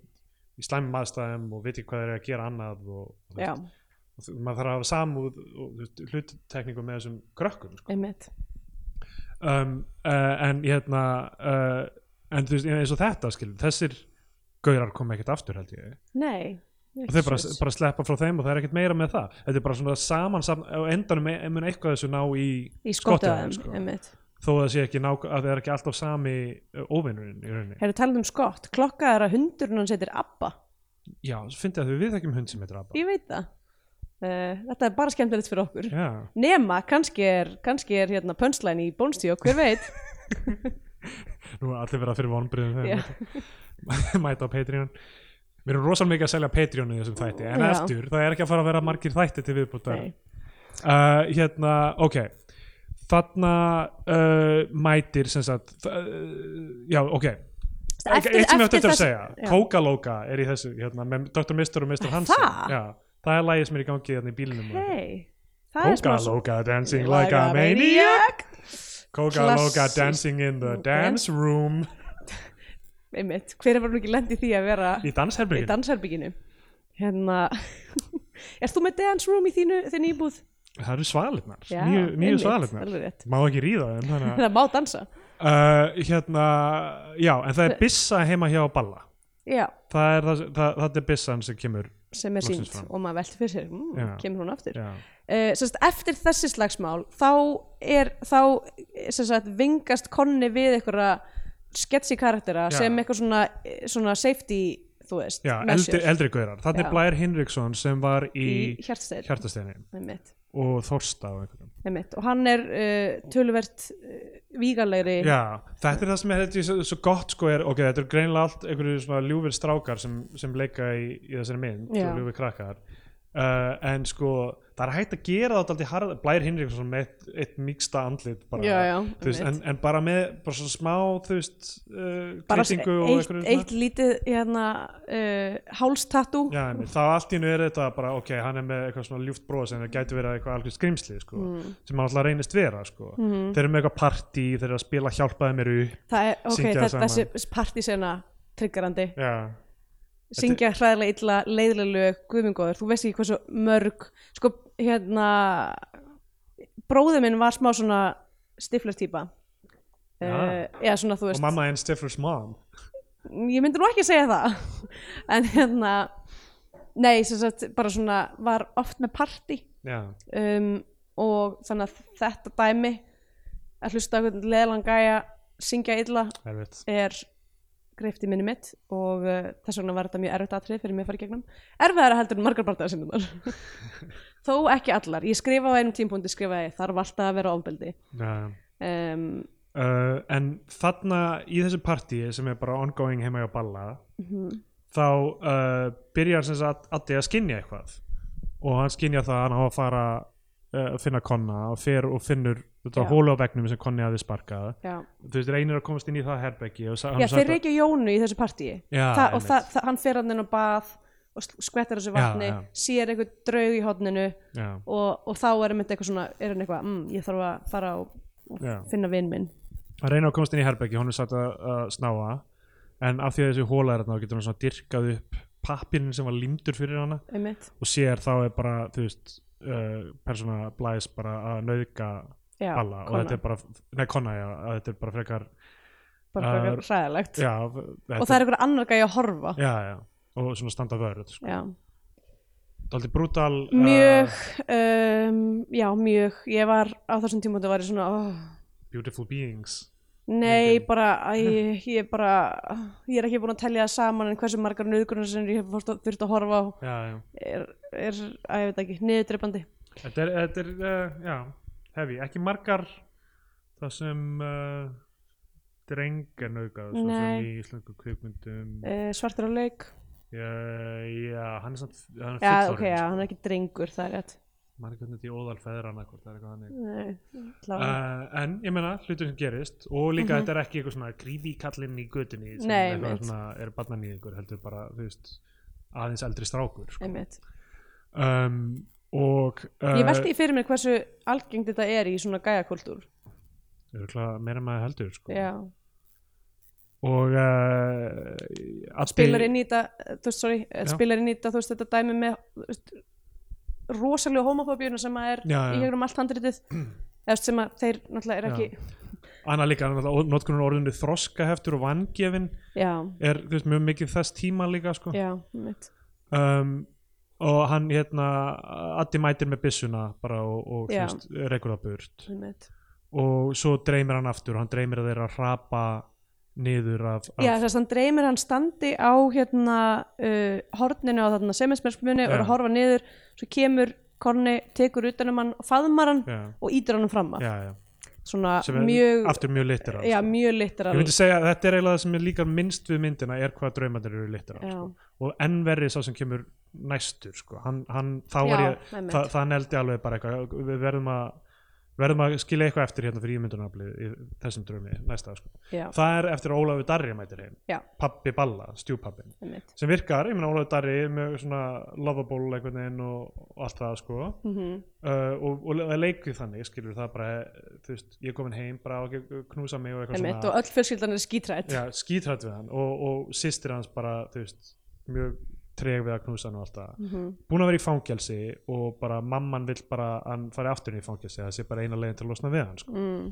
Speaker 1: í slæmum aðstæðum og viti hvað þeir eru að gera annað og, og þú
Speaker 2: já,
Speaker 1: veist, Og þú- maður þarf að hafa samúð og þú veist, hluttekningu með þessum krökkum sko.
Speaker 2: einmitt
Speaker 1: um, uh, en hérna uh, en þú veist eins og þetta skilur þessir gaurar koma ekkert aftur held ég
Speaker 2: nei,
Speaker 1: og þau bara, bara sleppa frá þeim og það er ekkert meira með það þetta er bara svona samansam og endanum e- mun eitthvað af þessu ná í skottið á
Speaker 2: í skottaðum,
Speaker 1: þeim, sko.
Speaker 2: einmitt
Speaker 1: þó að það sé ekki ná, að það er ekki alltaf sami uh, óvinurinn í rauninni
Speaker 2: hefur talað um skott, klokka er að hundurinn hans heitir Abba,
Speaker 1: já, svo fyndi að þau við þekkjum hund sem heitir Abba
Speaker 2: ég veit það Uh, þetta er bara skemmtilegt fyrir okkur
Speaker 1: já,
Speaker 2: nema, kannski er, kannski er hérna pönslæn í bónstíu,
Speaker 1: [laughs]
Speaker 2: hver veit
Speaker 1: nú er allir verða fyrir vonbriðum
Speaker 2: Já.
Speaker 1: mæta [laughs] á Patreon við erum rosalega mikið að selja Patreon í þessum þætti en
Speaker 2: Já.
Speaker 1: eftir, það er ekki að fara að vera margir þætti til viðbútar
Speaker 2: Nei.
Speaker 1: uh, hérna, ok þarna uh, mætir sem sagt uh, já, ok
Speaker 2: Eftir-
Speaker 1: eitt sem ég átti
Speaker 2: eftir
Speaker 1: eftir að
Speaker 2: þess-
Speaker 1: segja
Speaker 2: Já.
Speaker 1: Kókalóka er í þessu, hérna, með Dr. Mister og Mr. Hansen
Speaker 2: það?
Speaker 1: Já, það er lagið sem er í gangi hérna í bílinum
Speaker 2: Hey, það er smá svo-
Speaker 1: Kókalóka dancing like a maniac Kókalóka
Speaker 2: Klassískt.
Speaker 1: dancing in the dance room
Speaker 2: Einmitt, hver var nú ekki lent í því að vera
Speaker 1: í
Speaker 2: í
Speaker 1: dansherbyggin
Speaker 2: dansherbygginu? Hérna, [laughs] erst þú með dance room í þínu, þínu íbúð?
Speaker 1: það eru svalirnar,
Speaker 2: Já,
Speaker 1: nýju, nýju
Speaker 2: einmitt,
Speaker 1: svalirnar
Speaker 2: alveg rétt.
Speaker 1: má ekki ríða þeim þannig að [laughs]
Speaker 2: Það Hérna, má dansa.
Speaker 1: uh, hérna, já, en það er byssa heima hjá Balla
Speaker 2: Já,
Speaker 1: það er, það, það, það er byssan sem kemur
Speaker 2: sem er
Speaker 1: Loksins
Speaker 2: sínt
Speaker 1: fram.
Speaker 2: og maður velti fyrir sér, mm,
Speaker 1: Já.
Speaker 2: kemur hún aftur.
Speaker 1: já,
Speaker 2: Uh, sérst, eftir þessi slagsmál, þá er, þá, sérst, vingast konni við einhverja sketsi karaktera
Speaker 1: Já.
Speaker 2: sem eitthvað svona, eh, svona safety, þú veist,
Speaker 1: já
Speaker 2: measure
Speaker 1: eldri, eldri gaurar þannig
Speaker 2: Já.
Speaker 1: er Blær Hinriksson sem var í,
Speaker 2: í hjartsteinn.
Speaker 1: hjartasteini
Speaker 2: Einmitt.
Speaker 1: og Þorsta og einhverjum
Speaker 2: Einmitt. og hann er uh, töluvert uh, vígalegri
Speaker 1: Já, þetta er það sem er þetta er svo, svo gott sko er, ok, þetta er greinilega allt einhverju svona ljúfir strákar sem, sem leika í, í þessari mynd
Speaker 2: Já.
Speaker 1: og ljúfir krakkar uh, en sko, það er hægt að gera þetta alltaf harð, Blær Hinriksson með eitt, eitt mýksta andlit bara,
Speaker 2: Já, já,
Speaker 1: þú veist, en,
Speaker 2: einmitt.
Speaker 1: en bara með bara svona smá, þú veist uh,
Speaker 2: bara
Speaker 1: klippingu og
Speaker 2: eitt,
Speaker 1: einhverju
Speaker 2: eitt lítið hérna, uh, hálstatú
Speaker 1: Já, einmitt, þá allt í hennu er þetta bara, ok, hann er með eitthvað svona ljúft bros en það gæti verið eitthvað algjör skrimsli, sko,
Speaker 2: Mm.
Speaker 1: sem hann alltaf reynist vera, sko. Þeir eru með eitthvað partí, þeir eru að spila hjálpaði mér upp.
Speaker 2: Mhm. það er ok,
Speaker 1: Syngja
Speaker 2: það,
Speaker 1: saman.
Speaker 2: þessi partísena triggerandi,
Speaker 1: Já,
Speaker 2: syngja hræðilega illa leiðilega lög, guðmingóður, þú veist ekki hversu mörg, sko hérna bróður minn var smá svona stiflur típa
Speaker 1: Já.
Speaker 2: Uh, eða svona þú
Speaker 1: og
Speaker 2: veist
Speaker 1: mamma en Stifler's mom.
Speaker 2: ég myndi nú ekki segja það [laughs] en hérna nei, sem sagt, bara svona var oft með partí
Speaker 1: Já,
Speaker 2: um, og þannig að þetta dæmi að hlusta á einhvern leðlan gæja syngja illa
Speaker 1: erfitt.
Speaker 2: er greift í minni mitt og uh, þess vegna var þetta mjög erfitt atrið fyrir mig að fara í gegnum erfiðara heldur en margar bardaða
Speaker 1: [laughs]
Speaker 2: sinnunar þó ekki allar, ég skrifaði á einum tímpúndi skrifaði ég, þarf alltaf að vera ofbeldi
Speaker 1: Já, já.
Speaker 2: um,
Speaker 1: Uh, en þarna í þessu partíi sem er bara ongoing heima hjá Balla
Speaker 2: Mhm.
Speaker 1: þá uh, byrjar sem sagt Addi að skinja eitthvað og hann skinja það að hann á að fara uh, að finna konna og fer og finnur þetta
Speaker 2: Já.
Speaker 1: hólu á vegnum sem konni hafði sparkað
Speaker 2: já,
Speaker 1: þú veist, reynir að komast inn í það herbergi og sa- hann
Speaker 2: já
Speaker 1: sagði
Speaker 2: þeir eru ekki Jónu í þessu partíi
Speaker 1: Já,
Speaker 2: Þa, og
Speaker 1: einmitt.
Speaker 2: það, það, hann fer hann inn á bað og s- skvettar þessu
Speaker 1: Já,
Speaker 2: vatni
Speaker 1: já.
Speaker 2: sér einhver draug í hodninu
Speaker 1: já,
Speaker 2: og, og þá er hann eitthvað svona er hann eitthvað, mm, ég þarf að fara og, og
Speaker 1: Já.
Speaker 2: finna vinn minn
Speaker 1: hann reynir að komast inn í herbergi, hún er satt að, að snáa en af því að þessi hóla er þarna þá getur hann svona dyrkað upp pappirinn sem var lindur fyrir hana
Speaker 2: einmitt,
Speaker 1: og sér þá er bara þú veist uh, persóna blæs bara að nauðga
Speaker 2: já,
Speaker 1: alla og
Speaker 2: kona.
Speaker 1: þetta er bara, nei konna já að þetta er bara frekar
Speaker 2: bara
Speaker 1: það
Speaker 2: frekar hræðilegt
Speaker 1: já,
Speaker 2: og það er einhver annar gæði að horfa
Speaker 1: já, já, og svona standa vörð sko.
Speaker 2: já.
Speaker 1: Daldi brútal
Speaker 2: mjög
Speaker 1: uh,
Speaker 2: um, já, mjög, ég var á þessum tímúti var ég svona oh,
Speaker 1: Beautiful beings
Speaker 2: nei,
Speaker 1: Myndin.
Speaker 2: bara, æ, ég bara ég er ekki búin að telja það saman en hversu margar nöðgunar sem ég hef fórst að- þurft að horfa á
Speaker 1: já, já.
Speaker 2: er, er að ég veit ekki, niðurdreipandi
Speaker 1: Þetta er, þetta er uh, já, hefi, ekki margar það sem uh, dreng er nauðgað svo
Speaker 2: Nei.
Speaker 1: sem í íslengu kvikmyndum uh,
Speaker 2: uh, svartur á leik
Speaker 1: já, hann er samt hann er
Speaker 2: já, ok,
Speaker 1: fullorðinn,
Speaker 2: já,
Speaker 1: sko.
Speaker 2: hann er ekki drengur, það er rétt
Speaker 1: maður ekki hvernig þetta í óðal feðrana hvort það er eitthvað þannig
Speaker 2: nei, uh,
Speaker 1: uh, en ég meina hlutur sem gerist og líka
Speaker 2: Mhm.
Speaker 1: þetta er ekki eitthvað svona grífi kallinn í götunni sem
Speaker 2: Nei,
Speaker 1: eitthvað
Speaker 2: einmitt.
Speaker 1: svona er barnan í ykkur heldur bara þú veist aðeins eldri strákur sko.
Speaker 2: einmitt
Speaker 1: um, og uh,
Speaker 2: ég velti í fyrir mér hversu algengt þetta er í svona gæjakultúr
Speaker 1: eh, örugglega meira en maður heldur sko.
Speaker 2: já,
Speaker 1: og uh, Addi-
Speaker 2: spilar inn í þetta eh, þú veist, sorry,
Speaker 1: Já.
Speaker 2: spilar inn í þetta þú veist, þetta dæmi með þú veist, rosalega homofóbíuna sem að er
Speaker 1: Já, já.
Speaker 2: í gegnum allt
Speaker 1: [clears throat]
Speaker 2: handritið eða þú veist, sem að þeir náttúrulega er ekki já,
Speaker 1: annað líka notkunnur orðinu þroskaheftur og vangefin
Speaker 2: já,
Speaker 1: er þú veist, mjög mikið þess tíma líka sko.
Speaker 2: já einmitt.
Speaker 1: um, og hann hérna Addi mætir með byssuna bara og, og þú
Speaker 2: Já.
Speaker 1: veist, rekur það burt
Speaker 2: einmitt.
Speaker 1: og svo dreymir hann aftur og hann dreymir að þeirra hrapa niður af, af
Speaker 2: já þess að hann dreymir hann standi á hérna uh, horninu á þarna semismersmunni og er
Speaker 1: Já.
Speaker 2: að horfa niður svo kemur Korni, tekur utanum hann og faðmar hann
Speaker 1: já,
Speaker 2: og ítir hann fram að
Speaker 1: já, já.
Speaker 2: svona
Speaker 1: sem er
Speaker 2: mjög
Speaker 1: aftur mjög sko. litur
Speaker 2: já, mjög litteral
Speaker 1: ég myndi segja að þetta er eiginlega það sem er líka minnst við myndina er hvað draumandir eru litur
Speaker 2: Já.
Speaker 1: sko. og enn verri sá sem kemur næstur sko. hann, hann, þá
Speaker 2: Já,
Speaker 1: er ég
Speaker 2: einmitt.
Speaker 1: það, það neldi alveg bara eitthvað við verðum að verðum að skilja eitthvað eftir hérna fyrir ímyndunaflið í þessum draumi næsta sko.
Speaker 2: já,
Speaker 1: það er eftir að Ólafur Darri mætir heim
Speaker 2: Já.
Speaker 1: pappi Balla, stjúpappin
Speaker 2: einmitt
Speaker 1: sem virkar, ég meina Ólafur Darri er með svona lovable einhvern veginn og, og allt það sko
Speaker 2: mm
Speaker 1: uh, og, og það leikur þannig skilur það bara, þú veist, ég er komin heim bara á ekki að knúsa mig og eitthvað
Speaker 2: einmitt, og öll fjölskyldan er skítrætt
Speaker 1: já, skítrætt við hann og, og sýstir hans bara, þú veist mjög treg við að knúsa hann og allt það
Speaker 2: Mhm.
Speaker 1: búin að vera í fangelsi og bara mamman vill bara að hann fari aftur inn í fangelsi það sé bara eina leiðin til að losna við hann sko.
Speaker 2: mm.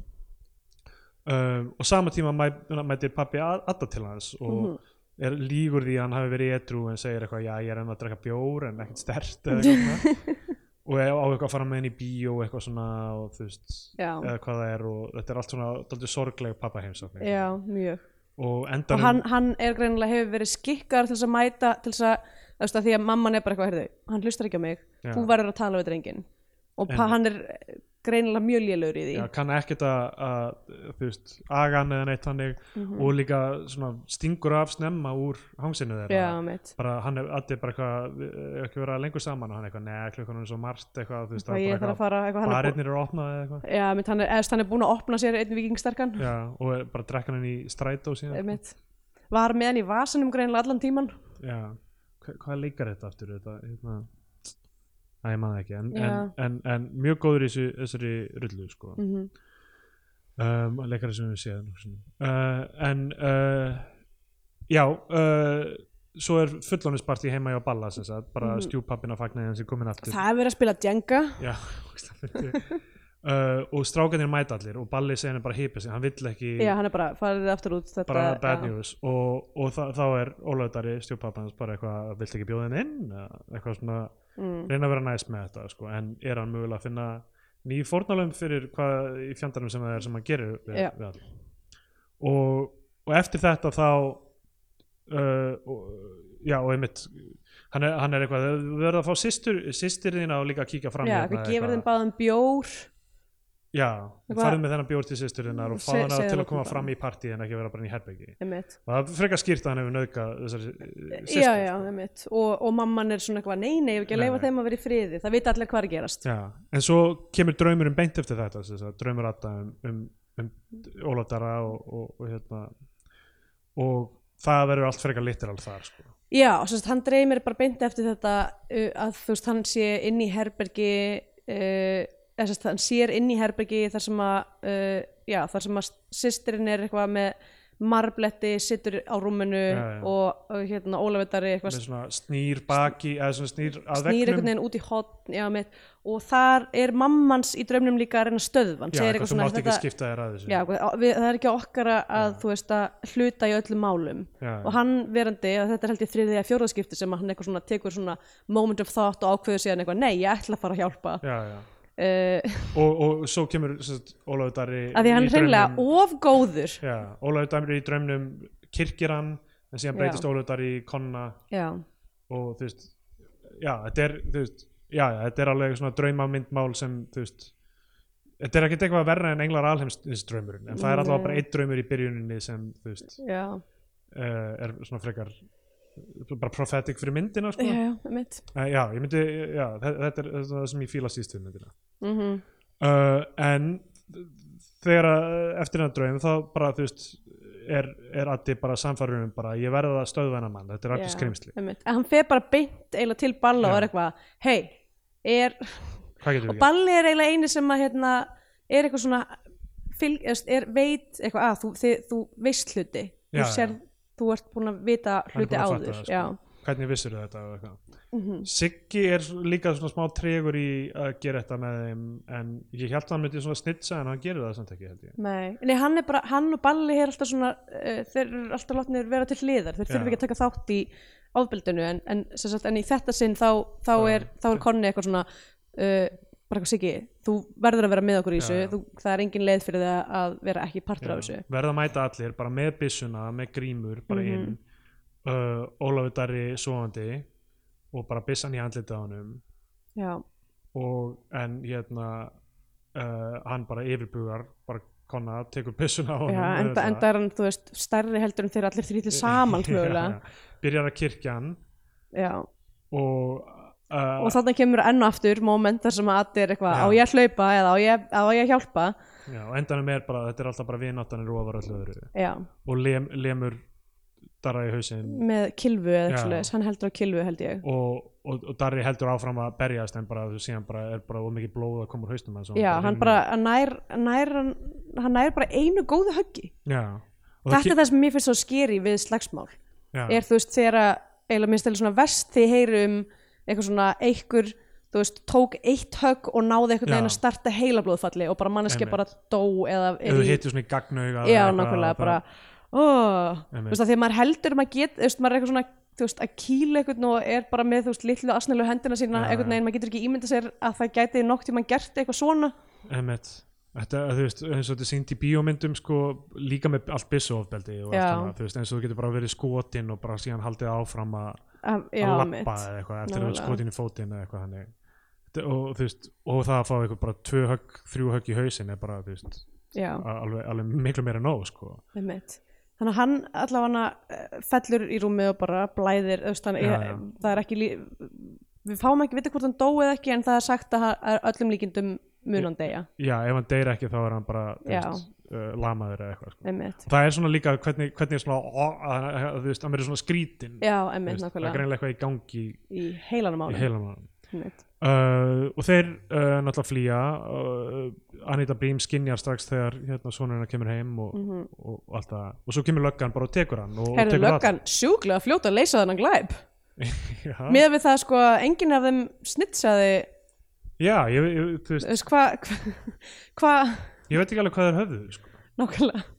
Speaker 1: um, og sama tíma mæ- mætir pappi Adda til hans og
Speaker 2: Mhm.
Speaker 1: er lígur því að hann hafi verið etru en segir eitthvað, já ég er enn að drekka bjór en ekkert stert eða eitthvað svona.
Speaker 2: [laughs]
Speaker 1: og er á eitthvað að fara með henni í bíó eitthvað svona og þú veist
Speaker 2: Já.
Speaker 1: eða hvað það er og þetta er allt svona daldið sorgleg pappa heimsókn
Speaker 2: já, mjög
Speaker 1: og
Speaker 2: og
Speaker 1: endanum
Speaker 2: hann, hann er greinilega hefur verið skikkar til þess að mæta til þess að, þú veist að því að mamman er bara eitthvað heyrðu, hann hlustar ekki á mig,
Speaker 1: Já.
Speaker 2: þú verður að tala við drengin og pa,
Speaker 1: Einmitt.
Speaker 2: hann er greinilega mjög lélur í því
Speaker 1: já, kann ekkert að, að þú veist, aga hann eða neitt hannig
Speaker 2: Mhm. Mm.
Speaker 1: og líka svona stingur af snemma úr hangsinu þeirra
Speaker 2: já, mitt
Speaker 1: bara hann er allir bara eitthvað við- eh, ekki vera lengur saman og hann eitthvað neða klukkan er svo margt eitthvað þú veist
Speaker 2: og
Speaker 1: það
Speaker 2: ég
Speaker 1: er
Speaker 2: þarf
Speaker 1: bara
Speaker 2: að fara eitthvað hann er búinn-
Speaker 1: barinnir eru opnað eða eitthvað
Speaker 2: já, mitt, hann er, eðst, hann er búin að opna sér einn vikingsterkan
Speaker 1: já, og er bara drekkan hann í strætó síðan
Speaker 2: mitt var með hann í vasanum greinilega allan tíman
Speaker 1: já, Hva, hvað leikar þetta aftur þetta, hérna Æ, ég maður ekki, en, en,
Speaker 2: Já.
Speaker 1: en, en mjög góður í þessu, þessari rullu sko.
Speaker 2: mm
Speaker 1: um, leikari sem við séðum uh, en uh, já uh, svo er fullónisparti heima hjá Balla sem sagt, bara mm
Speaker 2: Mhm.
Speaker 1: -hmm. stjúpappina fagnaði hans er komin aftur
Speaker 2: það er verið að spila Djenga
Speaker 1: já, ógeðslega fyndið. uh, og strákanir mæta allir og Balli segir henni bara hýpa sig, hann vill ekki
Speaker 2: já, hann er bara farið aftur út þetta,
Speaker 1: bara bad
Speaker 2: já.
Speaker 1: news og, og þa þá er ólöðdari stjúpappans bara eitthvað, vill ekki bjóða henni inn eða eitthvað svona,
Speaker 2: mm.
Speaker 1: reyna að vera næst með þetta sko, en er hann mögulega að finna ný fórnálum fyrir hvað í fjandarum sem það er sem hann gerir við,
Speaker 2: Já.
Speaker 1: við alla. og, og eftir þetta þá uh, og, já og einmitt hann er, hann er eitthvað, við verðum að fá systur, systir þína og líka að kíkja fram
Speaker 2: já,
Speaker 1: hérna
Speaker 2: við gefur
Speaker 1: eitthvað.
Speaker 2: þeim báðum bjór
Speaker 1: já,
Speaker 2: Eitthvað-
Speaker 1: farið með þennan bjór til systurinnar og
Speaker 2: Se-
Speaker 1: fá hana
Speaker 2: segðu
Speaker 1: til að
Speaker 2: okkur
Speaker 1: koma
Speaker 2: bara.
Speaker 1: fram í partí en ekki vera bara inn í herbergi
Speaker 2: einmitt
Speaker 1: og það er frekar skýrt að hann hefur nauðgað þessari eh, systur
Speaker 2: já, já,
Speaker 1: sko.
Speaker 2: einmitt og, og mamman er svona eitthvað, nei, nei, ég hef ekki að
Speaker 1: Nei,
Speaker 2: leifa
Speaker 1: nei.
Speaker 2: þeim að vera í friði það vita allir hvað er að gerast
Speaker 1: Já, en svo kemur draumurinn beint eftir þetta sem sagt, draumur Adda um, um, um Ólaf Dara og, og, og hérna og það verður allt frekar literal þar sko.
Speaker 2: já, og sem sagt, hann dreymir bara beint eftir þetta uh, að þú veist, hann sé inn í herbergi uh, eða sem sagt, hann sér inn í herbergi þar sem að uh, já, þar sem að sýstirinn er eitthvað með marbletti, sittur á rúminu
Speaker 1: Já, já.
Speaker 2: og, og hérna ólefittari eitthvað
Speaker 1: með svona snýr baki eða svona snýr að
Speaker 2: snýr einhvern
Speaker 1: vegnum
Speaker 2: veginn út í hotn já, mitt, og þar er mammans í draumnum líka að reyna að stöðvan
Speaker 1: já, eitthvað þú mátt ekki skipta þér að þessu
Speaker 2: já, hvað- á- við, það er ekki á okkar að- að þú veist að hluta í öllum málum
Speaker 1: Já,
Speaker 2: og
Speaker 1: já.
Speaker 2: hann verandi, og þetta er held ég þriðið að fjóraðskipti sem að hann eitthvað svona tekur svona moment of thought og ákveður síðan eitthvað nei, ég ætla að fara að hjálpa
Speaker 1: já, já.
Speaker 2: uh,
Speaker 1: Og, og svo kemur sem sagt, Ólafur Darri
Speaker 2: að því hann
Speaker 1: í
Speaker 2: er hreinlega
Speaker 1: draumnum-
Speaker 2: of góður
Speaker 1: já, Ólafur Darri í draumnum kirkir hann en síðan
Speaker 2: Já.
Speaker 1: breytist Ólafur Darri í konna
Speaker 2: já,
Speaker 1: og þú veist já, þetta er, þú veist, já, já, þetta er alveg svona draumamyndmál sem þú veist þetta er ekkert eitthvað verra en englar alheims þessi draumurinn, en það er allavega
Speaker 2: Nei.
Speaker 1: bara einn draumur í byrjuninni sem þú veist
Speaker 2: já,
Speaker 1: uh, er svona frekar bara prophetic fyrir myndina
Speaker 2: [laughs]
Speaker 1: sko.
Speaker 2: já, mitt
Speaker 1: uh, já, ég myndi, já, þe- þetta er þetta er það sem ég fíla síst við myndina
Speaker 2: mm -hmm.
Speaker 1: uh, en þegar að- eftir hennar draum þá bara þú veist er, er Addi bara samfærunum bara ég verða að stöðva hennar mann, þetta er allir skrimsli
Speaker 2: en hann fer bara beint eiginlega til balla og
Speaker 1: Já.
Speaker 2: er eitthvað, hei er,
Speaker 1: hvað getum
Speaker 2: og
Speaker 1: við gert?
Speaker 2: balli er eiginlega eini sem að hérna, er eitthvað svona fylg, eðst, er veit eitthvað að þú, þið, þú veist hluti
Speaker 1: Já,
Speaker 2: þú, sér, þú ert búin að vita
Speaker 1: Hann er
Speaker 2: hluti
Speaker 1: búinn að fatta
Speaker 2: áður
Speaker 1: það, sko.
Speaker 2: já,
Speaker 1: hvernig vissur þetta og eitthvað
Speaker 2: mhm,
Speaker 1: Siggi er líka svona smá tregur í að gera þetta með þeim en ég held að hann myndi svona snitsa en hann gerir það samt ekki held ég
Speaker 2: nei. nei, hann er bara hann og balli er alltaf svona uh, þeir eru alltaf látnir vera til hliðar þeir
Speaker 1: Já.
Speaker 2: þurfum ekki að taka þátt í ofbeldinu en, en, sem sagt, en í þetta sinn þá, þá
Speaker 1: Já.
Speaker 2: er, þá er konni eitthvað svona uh, bara eitthvað Siggi, þú verður að vera með okkur í
Speaker 1: Já,
Speaker 2: þessu
Speaker 1: já.
Speaker 2: þú, það er engin leið fyrir það að vera ekki partur af þessu
Speaker 1: verða að mæta allir bara með byssuna, með grímur bara
Speaker 2: Mhm.
Speaker 1: inn uh, Ólafur Darri svoandi og bara byssan í andlitið á honum
Speaker 2: já,
Speaker 1: og en hérna uh, hann bara yfirbugar bara konna, tekur byssuna á honum
Speaker 2: Já, enda,
Speaker 1: auðvitað.
Speaker 2: enda er hann, þú veist, stærri heldur en þeir allir þrítið saman, mögulega.
Speaker 1: [laughs] Já, já. byrjar að kirkja hann
Speaker 2: Já,
Speaker 1: og uh,
Speaker 2: og þannig kemur enn og aftur moment þar sem að allir er eitthvað,
Speaker 1: Já.
Speaker 2: á ég að hlaupa eða á ég, á ég að hjálpa.
Speaker 1: já, og endanum er bara þetta er alltaf bara vináttanir ofar öllu öðru
Speaker 2: Já,
Speaker 1: og lem, lemur Darra í hausinn
Speaker 2: með kilvu eða
Speaker 1: Já.
Speaker 2: eitthvað leis, hann heldur á kilvu held ég.
Speaker 1: og, og, og Darri heldur áfram að berjast en bara þú síðan bara er bara of mikið blóð að koma úr haustum hans og
Speaker 2: Já, hann
Speaker 1: hrynur.
Speaker 2: bara, hann nær, nær, hann, hann nær bara einu góðu höggi.
Speaker 1: já, og
Speaker 2: Þetta er það sem mér finnst svo skeri við slagsmál.
Speaker 1: já,
Speaker 2: er þú veist þegar að eiginlega minnst eða svona vest þið heyrum um eitthvað svona einhver þú veist tók eitt högg og náði einhvern
Speaker 1: Já.
Speaker 2: veginn að starta heilablóðfalli og bara manneskja
Speaker 1: Einmitt.
Speaker 2: bara dó eða
Speaker 1: ef þú hittir svona í gagnauga
Speaker 2: já
Speaker 1: eða eitthvað,
Speaker 2: nákvæmlega
Speaker 1: það-
Speaker 2: bara oh. þú
Speaker 1: Einmitt.
Speaker 2: veist að því að maður heldur maður get þú veist maður er eitthvað svona þú veist að kýla einhvern og er bara með þú veist litlu asnilu hendina sína
Speaker 1: Já,
Speaker 2: einhvern
Speaker 1: já.
Speaker 2: veginn maður getur ekki ímynda sér að það gæti nokk tíma gert eitthvað svona
Speaker 1: einmitt. þetta, þú veist, eins og þetta er sýnt í bíómyndum sko, líka með allt byssuofbeldi og allt
Speaker 2: Já.
Speaker 1: annað, þú veist, eins og þú getur bara verið skotin og bara síðan haldið áfram að
Speaker 2: að, já,
Speaker 1: að
Speaker 2: mitt.
Speaker 1: lappa eða eitthvað eftir að vera
Speaker 2: Nákvæmlega.
Speaker 1: skotin í fótinn eða eitthvað þannig Þetta- og, þú veist, og það að fá eitthvað bara tvö högg, þrjú högg í hausinn er bara, þú veist,
Speaker 2: já,
Speaker 1: a- alveg, alveg miklu meira en nóg sko.
Speaker 2: Einmitt. Þannig að hann allavega eh, fellur í rúmið og bara blæðir þú veist, hann,
Speaker 1: Já,
Speaker 2: er,
Speaker 1: já.
Speaker 2: það er ekki lí... við fáum ekki vita hvort hann dói eða ekki en það er sagt að, hann- að öllum líkindum mun hann deyja
Speaker 1: já, ef hann deyr ekki þá er hann bara þú
Speaker 2: Já.
Speaker 1: veist, uh, lamaður eða eitthvað sko.
Speaker 2: einmitt.
Speaker 1: það er svona líka hvernig, hvernig er svona, ó, að, að, að, þú veist, hann verður svona skrítin
Speaker 2: Já,
Speaker 1: Þú
Speaker 2: einmitt
Speaker 1: veist, það er
Speaker 2: nákvæmlega
Speaker 1: greinlega eitthvað í gangi í,
Speaker 2: í heilanum
Speaker 1: í
Speaker 2: ánum
Speaker 1: heilan hann Uh, og þeir uh, náttúrulega flýja uh, Anita Brím skinjar strax þegar hérna, sonurinn kemur heim og,
Speaker 2: Mm. Mhm.
Speaker 1: og, og allt það og svo kemur löggan bara og tekur hann og, og
Speaker 2: Herri
Speaker 1: tekur
Speaker 2: löggan sjúklega fljóta að leysa þennan glæp
Speaker 1: alla. [laughs] já,
Speaker 2: Miðað við það sko að enginn af þeim snitsaði
Speaker 1: já ég, ég, þú veist,
Speaker 2: veist, hvað hva, hva,
Speaker 1: ég veit ekki alveg hvað þeir höfðu sko.
Speaker 2: nákvæmlega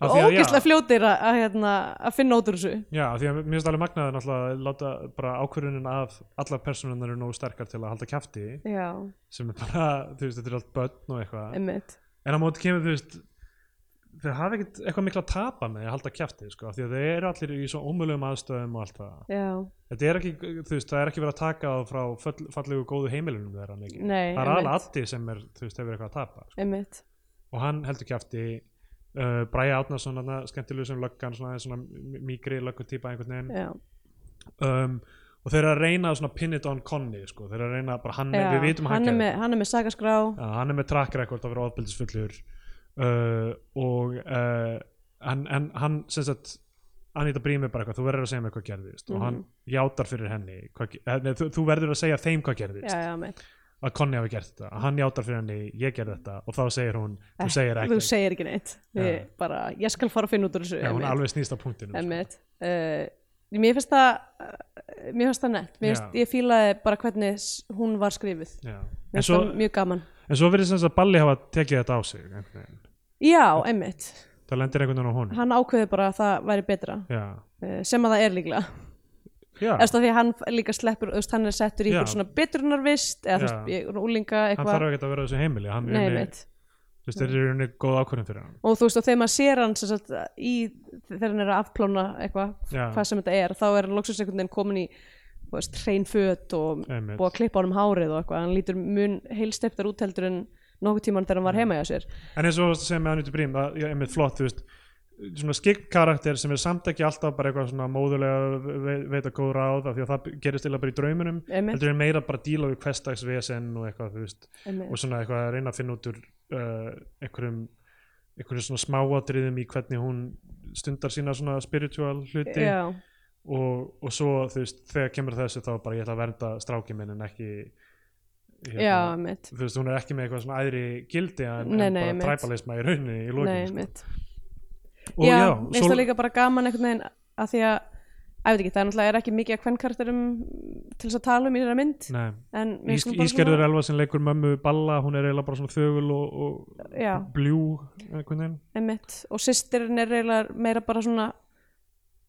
Speaker 1: Af því að- já.
Speaker 2: Ógislega fljótir að, að, hérna, að finna út úr þessu
Speaker 1: já, af því að mér finnst alveg magnaði náttúrulega að láta bara ákvörunin af allar personunar eru nógu sterkar til að halda kjafti
Speaker 2: Já,
Speaker 1: sem er bara, þú veist, þetta er allt börn og eitthvað
Speaker 2: einmitt
Speaker 1: en á móti kemur, þú veist þau hafa ekkert eitthvað mikla að tapa með að halda kjafti, sko, af því að þau eru allir í svo ómögulegum aðstöðum og allt það
Speaker 2: Já,
Speaker 1: þetta er ekki, þú veist, það er ekki verið að taka það frá fall- fallegu góðu heimilunum þeirra mikið.
Speaker 2: Nei,
Speaker 1: það er
Speaker 2: einmitt.
Speaker 1: alveg Addi sem er, þú veist, hefur eitthvað að tapa sko.
Speaker 2: einmitt
Speaker 1: og hann heldur kjafti uh, Bræja Átnarsson, hann skemmtilegu sem löggan svona, aðeins svona mí- mýgri löggutýpa einhvern
Speaker 2: já,
Speaker 1: veginn um, og þeir eru að reyna að svona pin it on Conny sko. þeir eru að reyna, bara hann er,
Speaker 2: já.
Speaker 1: við vitum að
Speaker 2: hann, er
Speaker 1: gerði
Speaker 2: með, hann er með sagaskrá
Speaker 1: Já, hann er með track record að vera ofbeldisfullur uh, og uh, hann, en hann sem sagt Anita Brím er bara eitthvað, þú verður að segja mér hvað gerðist og
Speaker 2: Mhm.
Speaker 1: hann játar fyrir henni hvað, ge- eh, nei, þú, þú verður að segja þeim hvað gerðist
Speaker 2: já, já, mitt.
Speaker 1: að Conny hafi gert þetta að hann játar fyrir henni, ég gerði þetta og þá segir hún, þú segir ekki
Speaker 2: Eh, þú segir ekki neitt við
Speaker 1: Já.
Speaker 2: bara, ég skal fara að finna út úr þessu
Speaker 1: Já, hún
Speaker 2: einmitt.
Speaker 1: alveg snýst á punktinu sko.
Speaker 2: Einmitt. Uh, mér finnst það uh, mér finnst það nett mér finnst,
Speaker 1: Já.
Speaker 2: ég fílaði bara hvernig s- hún var skrifuð
Speaker 1: Já. En
Speaker 2: mér finnst
Speaker 1: svo,
Speaker 2: það mjög gaman
Speaker 1: en svo verið þess að Balli hafa tekið þetta á sig einhvern veginn.
Speaker 2: já, emmitt,
Speaker 1: það lendir einhvern veginn á honum
Speaker 2: hann ákveði bara að það væri betra
Speaker 1: Já,
Speaker 2: uh, sem að það er líklega
Speaker 1: já
Speaker 2: eftir því að hann líka sleppur þú veist, hann er settur í
Speaker 1: Já.
Speaker 2: einhver svona betrunarvist eða þú
Speaker 1: Já.
Speaker 2: veist, í- úlinga
Speaker 1: hann
Speaker 2: eitthvað
Speaker 1: þarf ekki að vera á þessu heimili hann
Speaker 2: Nei,
Speaker 1: er unni,
Speaker 2: einmitt.
Speaker 1: þú veist, þeir eru unni góð ákvörðin fyrir hann
Speaker 2: og þú veist og þegar maður sér hann sem sagt, í, þegar hann er að afplóna eitthvað,
Speaker 1: Já.
Speaker 2: hvað sem þetta er þá er hann loksins einhvern veginn komin í þú veist, hrein föt og
Speaker 1: Einmitt.
Speaker 2: búið að klippa honum hárið og eitthvað, hann lítur mun heilsteftar út heldur en nokkuð tíman þegar hann var heima hjá sér
Speaker 1: en eins og þú varst að segja með Anjutu Brím það er einmitt flott, þú veist svona skikk karakter sem er samt ekki alltaf bara eitthvað svona móðulega ve- veita góð ráð af því að það gerist eða bara í draumunum
Speaker 2: Einmitt.
Speaker 1: heldur er meira bara að díla við hverstags vesen og eitthvað, þú veist,
Speaker 2: Einmitt.
Speaker 1: og svona eitthvað að reyna að finna út úr uh, einhverjum einhverjum svona smáatriðum í hvernig hún stundar sína svona spiritual hluti
Speaker 2: já,
Speaker 1: og, og svo þú veist, þegar kemur þessu þá bara ég ætla að vernda stráki minn en ekki hérna,
Speaker 2: já, mitt
Speaker 1: þú veist, hún er ekki með eitthvað svona æðri gildi en,
Speaker 2: Nei,
Speaker 1: en
Speaker 2: nei,
Speaker 1: bara
Speaker 2: einmitt.
Speaker 1: træpalisma í rauninni í
Speaker 2: Nei,
Speaker 1: lokin sko.
Speaker 2: mitt
Speaker 1: og
Speaker 2: já,
Speaker 1: já,
Speaker 2: mér finnst
Speaker 1: svo,
Speaker 2: það líka bara gaman einhvern veginn að því að, að veit ekki, það er náttúrulega er ekki mikið að kvenkarterum til þess að tala um í þeirra mynd
Speaker 1: nei,
Speaker 2: en mér
Speaker 1: Ís,
Speaker 2: finnst hún bara
Speaker 1: Mm. Ísgerður Elva sem leikur mömmu Balla, hún er eiginlega bara svona þögul og, og
Speaker 2: já,
Speaker 1: bljú einhvern veginn
Speaker 2: einmitt og sýstirinn er eiginlega meira bara svona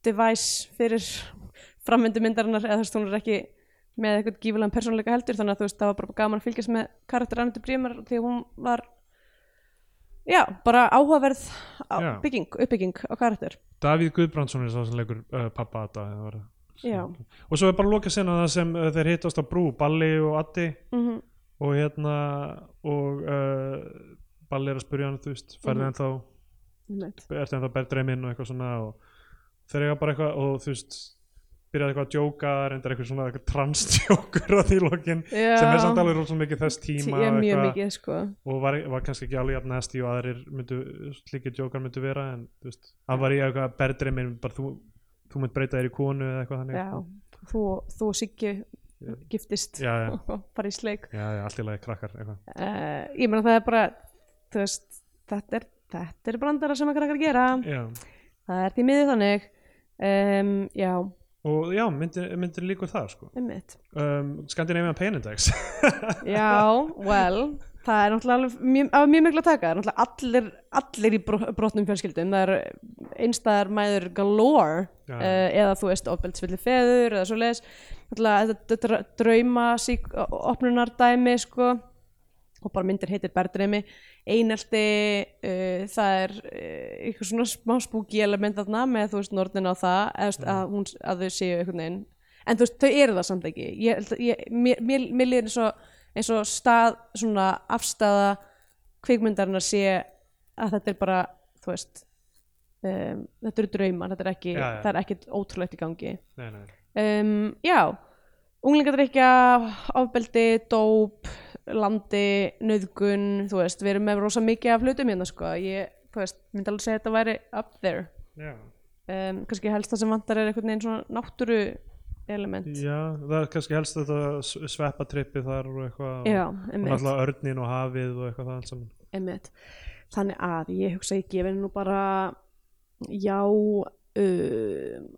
Speaker 2: device fyrir [laughs] framvindu myndarinnar eða þú veist hún er ekki með eitthvað gífulegan persónuleika heldur þannig að þú veist það var bara gaman að fylgjast með karakter Annetu Brímar því að hún var já, bara áhugaverð á,
Speaker 1: Já.
Speaker 2: bygging, uppbygging á karakter
Speaker 1: Davíð Guðbrandsson er sá sem leikur uh, pappa Adda eða var það-
Speaker 2: Já.
Speaker 1: og svo er bara loka sinna það sem uh, þeir hittast á brú Balli og Addi
Speaker 2: mm -hmm.
Speaker 1: og hérna og uh, Balli er að spurja hann þú veist,
Speaker 2: Mhm.
Speaker 1: færði mm. ennþá ertu ennþá berðdreiminn og eitthvað svona og þeir eiga bara eitthvað og þú veist byrjaði eitthvað að djóka, reyndar eitthvað svona eitthvað transdjókur á því lokin
Speaker 2: Já.
Speaker 1: sem er samt alveg rosa mikið þess tíma
Speaker 2: ég
Speaker 1: og
Speaker 2: mjög
Speaker 1: eitthvað,
Speaker 2: mikið sko
Speaker 1: og var, var kannski ekki alveg jafn næsti og aðrir myndu, slíkir djókar myndu vera en þú veist, hann var í eitthvað berðri minn bara þú, þú mynd breyta þér í konu eða eitthvað þannig
Speaker 2: já, þú, þú og Siggi giftist
Speaker 1: Já, já.
Speaker 2: [laughs] og bara í sleik
Speaker 1: já, já, allt í lagi krakkar eitthvað
Speaker 2: uh, ég meina það er bara þú veist, þetta er, þetta er brandara sem að krakkar gera
Speaker 1: já.
Speaker 2: það er því miðið þannig um, já,
Speaker 1: og já, myndir, myndir líkur það sko
Speaker 2: einmitt
Speaker 1: um, Skandinavian Penindex
Speaker 2: já, well það er náttúrulega alveg mjög, af mjög miklu að taka það er náttúrulega allir, allir í bro, brotnum fjölskyldum það eru einstæðar mæður galore
Speaker 1: Já.
Speaker 2: uh, eða þú veist ofbeldsvilli feður eða svoleiðis náttúrulega þetta dra- drauma sík, opnunardæmi sko og bara myndir heitir Berðreimi einelti, uh, það er uh, eitthvað svona smá spooky element þarna með þú veist nornin á það eða, mm.
Speaker 1: Mhm.
Speaker 2: að, hún, að þau séu einhvern veginn en þú veist, þau eru það samt ekki ég, held að- ég, mér, mér, mér líður eins og, eins og stað, svona afstaða kvikmyndarinnar sé að þetta er bara, þú veist um, þetta eru draumar þetta er ekki,
Speaker 1: Já, já.
Speaker 2: það er ekkit ótrúlegt í gangi
Speaker 1: [laughs] nei, nei.
Speaker 2: um, já unglingadrykja, ofbeldi dóp, landi nöðgun, þú veist, við erum með rosa mikið af hlutum hérna sko ég, þú veist, myndi alveg segja að þetta væri up there
Speaker 1: Já.
Speaker 2: um, kannski helst það sem vantar er einhvern veginn svona náttúru element
Speaker 1: já, það er kannski helst þetta sveppatrippi þar og eitthvað
Speaker 2: já,
Speaker 1: og
Speaker 2: einmitt,
Speaker 1: náttúrulega örnin og hafið og eitthvað það allt saman
Speaker 2: einmitt þannig að ég hugsa ég gefi henni nú bara já um,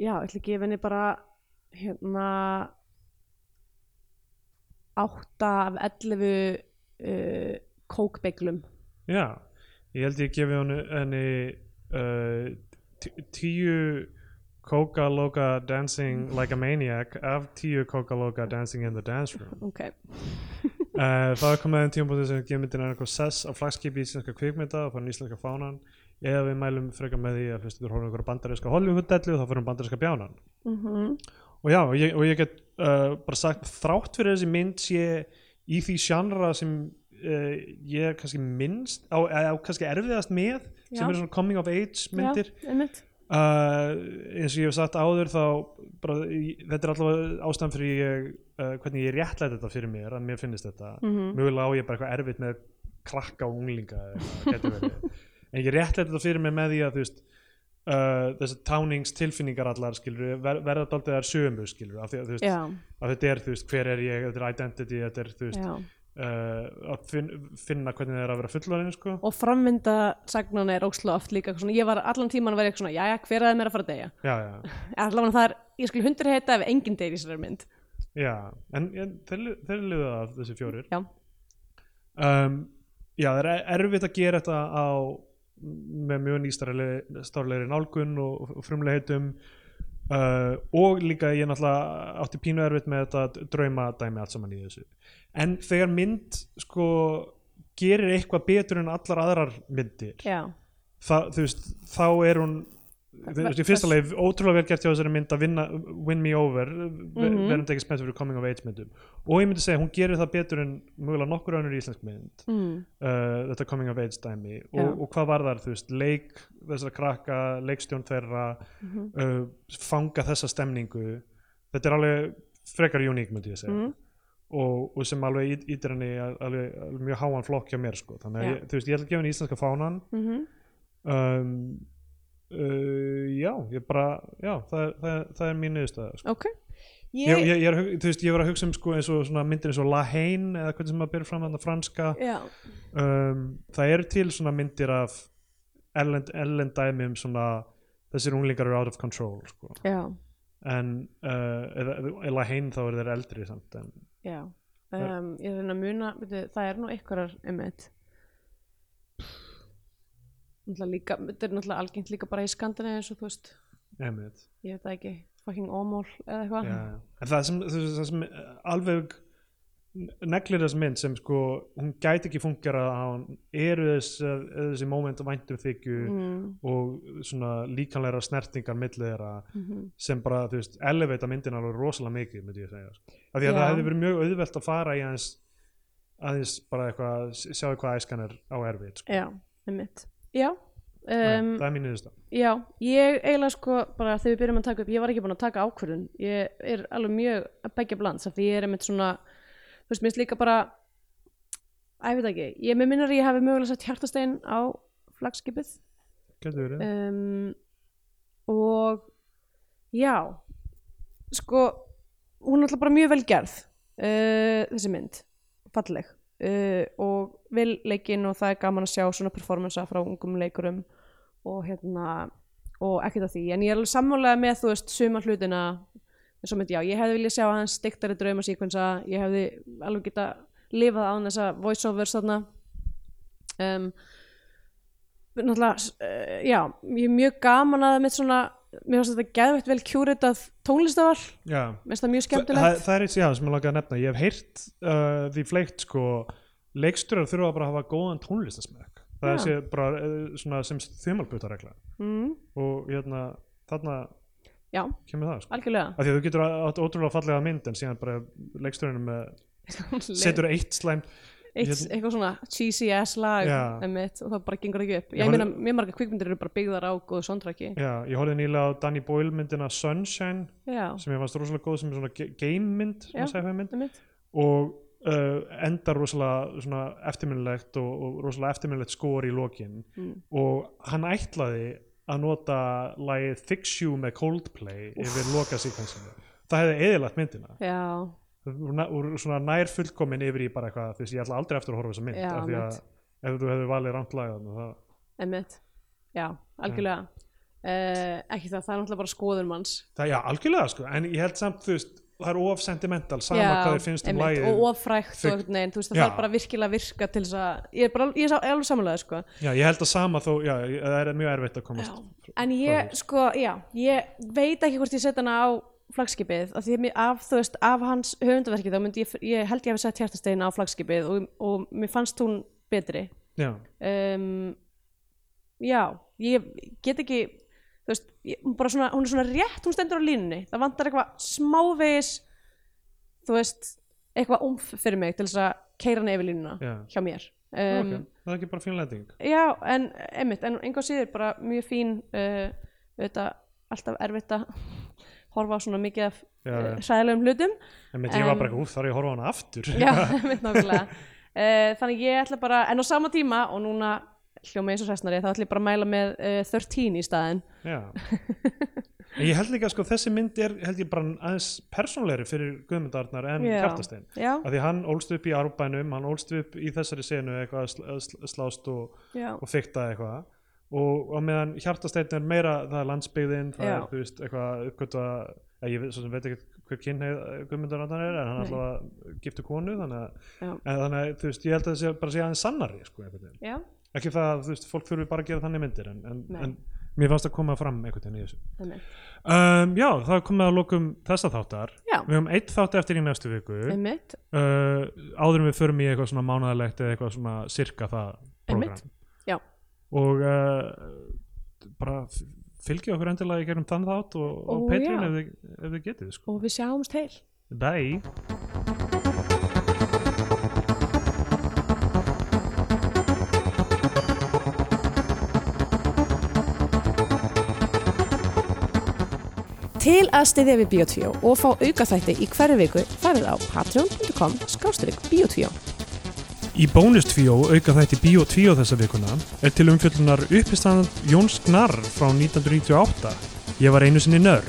Speaker 2: já, ég ætla að gefa henni bara hérna átta af 11 uh, kókbeglum
Speaker 1: Já, ég held ég gefi henni, henni uh, tí- tíu Coca-Loca Dancing Like a Maniac af tíu Coca-Loca Dancing in the Dance [laughs] Room.
Speaker 2: ok,
Speaker 1: Uh, það er komið að þeim tímabótið sem gefur myndin er eitthvað sess á flagskipi íslenska kvikmynda og fann íslenska fánan eða við mælum frekar með því að fyrst þú horfum einhverja bandaríska Hollywood-dellu þá fyrir bandaríska bjánan.
Speaker 2: Mhm.
Speaker 1: Og já, og ég, og ég get uh, bara sagt þrátt fyrir þessi mynd sé í því sjánra sem uh, ég er kannski minnst á, á kannski erfiðast með sem
Speaker 2: Já.
Speaker 1: eru svona coming of age myndir
Speaker 2: já, einmitt
Speaker 1: uh, eins og ég hef sagt áður þá bara, ég, þetta er allavega ástæðan fyrir ég, uh, hvernig ég réttlæti þetta fyrir mér að mér finnist þetta
Speaker 2: Mhm.
Speaker 1: mögulega á ég bara eitthvað erfitt með krakka og unglinga eða eitthvað, gæti verið. en ég réttlæti þetta fyrir mér með því að þú veist uh, þessar táningstilfinningar allar skilur ver, verða daldið þær sömu skilur af því að, þú veist,
Speaker 2: já,
Speaker 1: að þetta er þú veist hver er ég, þetta er identity þetta er þú veist
Speaker 2: já.
Speaker 1: uh, að finn, finna hvernig það er að vera fullorinn sko.
Speaker 2: og framvinda sagnana er ósla oft líka eitthvað svona, ég var allan tíman að vera eitthvað svona jæja, hver að þeim er að fara að deyja
Speaker 1: já, já,
Speaker 2: allavega það er, ég skil hundur heita ef enginn deyr í þessari mynd
Speaker 1: já en, en þeir, li- þeir lifa það þessi fjórir
Speaker 2: já,
Speaker 1: um, já, það er erfitt að gera þetta á með mjög nýstárlegri nálgun og, og frumlegheitum uh, og líka ég náttúrulega átti pínu erfitt með þetta draumadæmi allt saman í þessu en þegar mynd sko gerir eitthvað betur en allar aðrar myndir
Speaker 2: já,
Speaker 1: Þa, þú veist, þá er hún þú veist, í fyrsta leið ótrúlega vel gert hjá þessari mynd að vinna, win me over mm -hmm.
Speaker 2: Mhm.
Speaker 1: verðum ekki spennt fyrir coming of age myndum og ég myndi segja, hún gerir það betur en mögulega nokkur önnur íslensk mynd
Speaker 2: mm,
Speaker 1: uh, þetta coming of age dæmi og,
Speaker 2: Já.
Speaker 1: og hvað var þar, þú veist, leik þessara krakka, leikstjón þeirra
Speaker 2: Mhm.
Speaker 1: uh, fanga þessa stemningu þetta er alveg frekar uník myndi ég segja
Speaker 2: Mhm.
Speaker 1: og, og sem alveg ít- ítir henni að- alveg, alveg mjög háan flokk hjá mér sko. þannig að
Speaker 2: Já.
Speaker 1: ég, þú veist, ég ætla að gefa henni íslenska fánan
Speaker 2: mhm,
Speaker 1: um, uh, já, ég bara já, það, er- það, er- það er mín niðurstaða sko.
Speaker 2: ok
Speaker 1: ég, ég, ég, er, að hug- þú veist, ég var að hugsa um sko, eins og svona myndir eins og La Haine eða hvernig sem maður byrja fram þarna franska
Speaker 2: já,
Speaker 1: um, það eru til svona myndir af ellend, ellend dæmi um svona þessir unglingar eru out of control sko.
Speaker 2: já,
Speaker 1: en uh, eða, eða La Haine þá eru þeir eldri samt en
Speaker 2: já um, ég reyna að muna, veitu, það er nú einhverjar einmitt náttúrulega líka, þetta er náttúrulega algengt líka bara í skandinu eins og þú veist
Speaker 1: emitt
Speaker 2: ég veit það ekki, fucking ómól eða
Speaker 1: Já,
Speaker 2: eitthvað
Speaker 1: já. en það sem, þú veist, það sem eh, alveg neglir þess mynd sem sko hún gæti ekki fungerað á hann eru þess, uh, þessi moment væntum þykju
Speaker 2: mm,
Speaker 1: og svona líkanlegra snertingar milli þeirra
Speaker 2: mhm,
Speaker 1: sem bara þú veist elevita myndin alveg rosalega mikið myndi ég segja sko. af því að
Speaker 2: Já.
Speaker 1: það hefði verið mjög auðvelt að fara í aðeins aðeins bara eitthvað sjá hvað æskan er á erfið sko.
Speaker 2: já, einmitt já, um,
Speaker 1: það er mín niðursta
Speaker 2: Já, ég eiginlega sko bara þegar við byrjum að taka upp, ég var ekki búin að taka ákvörðun ég er alveg mjög að begja bland því ég er einmitt svona, þú veist, minnst líka bara Æ, ég veit það ekki, ég með minnur að ég hafi mögulega sett hjartastein á flagskipið
Speaker 1: getur verið
Speaker 2: um, og já sko, hún er alltaf bara mjög vel gerð uh, þessi mynd falleg uh, og vil leikinn og það er gaman að sjá svona performansa frá ungum leikurum og hérna og ekkert af því, en ég er alveg sammálega með þú veist suma hlutina eins og mynd, já, ég hefði viljað sjá hans stiktari draumasíkvensa ég hefði alveg geta lifað án þessa voiceovers þarna um, náttúrulega, s- eh, já, ég er mjög gaman að mitt svona, mér finnst þetta geðvægt vel kjúritað tónlistaval,
Speaker 1: já
Speaker 2: mér finnst það mjög
Speaker 1: það,
Speaker 2: skemmtilegt.
Speaker 1: það er eitt já, sem ég langaði að nefna ég hef heyrt uh, því fleikt sko, leiksturar þurfa bara að hafa góðan tónlistasmekk það
Speaker 2: Já.
Speaker 1: er sé bara uh, svona, sem þumalbutaregla
Speaker 2: Mm,
Speaker 1: og hérna, þarna
Speaker 2: já,
Speaker 1: kemur það sko.
Speaker 2: algjörlega.
Speaker 1: af því að þú getur átt ótrúlega fallega mynd en síðan bara leiksturinn með, [laughs] setur eitt slæm
Speaker 2: [laughs] Eitt, eitthvað svona cheesy ass lag
Speaker 1: Já.
Speaker 2: einmitt, og það bara gengur ekki upp.
Speaker 1: Ég
Speaker 2: Ég,
Speaker 1: horfði-
Speaker 2: meina, mjög margar kvikmyndir eru bara byggðar á góðu sondræki.
Speaker 1: já, ég horfði nýlega á Danny Boyle myndina Sunshine
Speaker 2: Já,
Speaker 1: sem ég fannst rosalega góð sem er svona ge- game mynd,
Speaker 2: Já.
Speaker 1: svona sci-fi mynd
Speaker 2: einmitt.
Speaker 1: og uh, endar rosalega svona eftirminnilegt og, og rosalega eftirminnilegt skor í lokin
Speaker 2: Mm.
Speaker 1: og hann ætlaði að nota lagið Fix You með Coldplay yfir loka síkvensinu það hefði eðilagt myndina
Speaker 2: Já,
Speaker 1: Úr na- úr svona nær fullkomin yfir í bara eitthvað þú veist ég ætla aldrei eftir að horfa á þessa mynd
Speaker 2: Já,
Speaker 1: af því að
Speaker 2: mitt.
Speaker 1: ef þú hefði valið rangt lagað það,
Speaker 2: einmitt. Já, algjörlega. Uh, ekki það, það er náttúrulega bara skoður manns.
Speaker 1: það, já algjörlega sko en ég held samt þú veist það er of sentimental sama
Speaker 2: Já,
Speaker 1: hvað þér finnst um
Speaker 2: einmitt,
Speaker 1: lagið
Speaker 2: Og ofrækt og
Speaker 1: Þig-
Speaker 2: einhvern veginn, þú veist,
Speaker 1: Já.
Speaker 2: það þarf bara virkilega að virka til þess að, ég er bara, ég er sá- alveg samlega, sko.
Speaker 1: já ég held að sama þó já það er mjög erfitt að komast
Speaker 2: Já, en ég,
Speaker 1: frá
Speaker 2: sko, já, ég veit ekki hvort ég set hana á flagskipið af því að mér- af, þú veist, af hans höfundaverki þá myndi ég, ég held ég hafi sett hjartastegin á flagskipið og, og mér fannst hún betri
Speaker 1: já,
Speaker 2: um, já, ég get ekki þú veist, ég, hún bara svona, hún er svona rétt hún stendur á línunni, það vantar eitthvað smávegis þú veist, eitthvað umf fyrir mig til þess að keira hann yfir línuna
Speaker 1: já.
Speaker 2: hjá mér
Speaker 1: Um,
Speaker 2: um,
Speaker 1: það er ekki bara fín lending
Speaker 2: Já, en einmitt, en einhvað síður bara mjög fín uh, auðvitað alltaf erfitt að [laughs] horfa á svona mikið af
Speaker 1: Já,
Speaker 2: uh,
Speaker 1: já.
Speaker 2: sæðilegum
Speaker 1: [laughs]
Speaker 2: hlutum
Speaker 1: En ég var
Speaker 2: En-
Speaker 1: bara eitthvað, úf, þarf ég að horfa á hana aftur
Speaker 2: Eh, Já, einmitt nákvæmlega uh, Þannig ég ætla bara, en á sama tíma og núna hljóma eins og sessnari þá ætlum ég bara að mæla með uh, 13 í staðin
Speaker 1: [laughs]
Speaker 2: [laughs]
Speaker 1: Já En ég held líka sko þessi mynd er held ég bara aðeins persónleiri fyrir Guðmundarnar en
Speaker 2: Já.
Speaker 1: Kjartastein
Speaker 2: já,
Speaker 1: af því hann ólst upp í árbænum hann ólst upp í þessari senu eitthvað að sl- að sl- slást og,
Speaker 2: já,
Speaker 1: og fykta eitthvað og, og meðan Hjartastein er meira það er landsbyggðin, það
Speaker 2: Já.
Speaker 1: er þú veist eitthvað uppgötu að ég veit, svo sem veit ekki hver kynneið Guðmundarnar er en hann
Speaker 2: Nei.
Speaker 1: alltaf giftu konu þannig að,
Speaker 2: Já.
Speaker 1: en þannig að þú veist ég held að það sé bara sé aðeins sannari sko einhvern veginn
Speaker 2: já,
Speaker 1: ekki það að þú veist, fólk þurfi bara að gera þannig myndir en, en,
Speaker 2: Nei.
Speaker 1: en mér fannst að koma fram einhvern veginn í þessu
Speaker 2: þannig
Speaker 1: um, já, það er komið að lokum þessa þáttar
Speaker 2: Já.
Speaker 1: við höfum eitt þátt eftir í næstu viku uh,
Speaker 2: einmitt,
Speaker 1: áður en við förum í eitthvað svona mánaðalegt eða eitthvað svona sirka það
Speaker 2: Einmitt.
Speaker 1: program
Speaker 2: já,
Speaker 1: og uh, bara f- fylgið okkur endilega í gegnum þann þátt og, og
Speaker 2: Ó,
Speaker 1: Patreon
Speaker 2: já.
Speaker 1: ef þið, ef þið getið sko.
Speaker 2: og við sjáumst heil
Speaker 1: bye
Speaker 2: Til að styðja við Bíotvíó og fá aukaþætti í hverju viku farið á patreon.com skástrík Bíotvíó.
Speaker 1: Í bónustvíó auka þætti Bíó 2 þessa vikuna er til umfjöllunar uppistand Jóns Gnarr frá 1998. Ég var einu sinni nörd.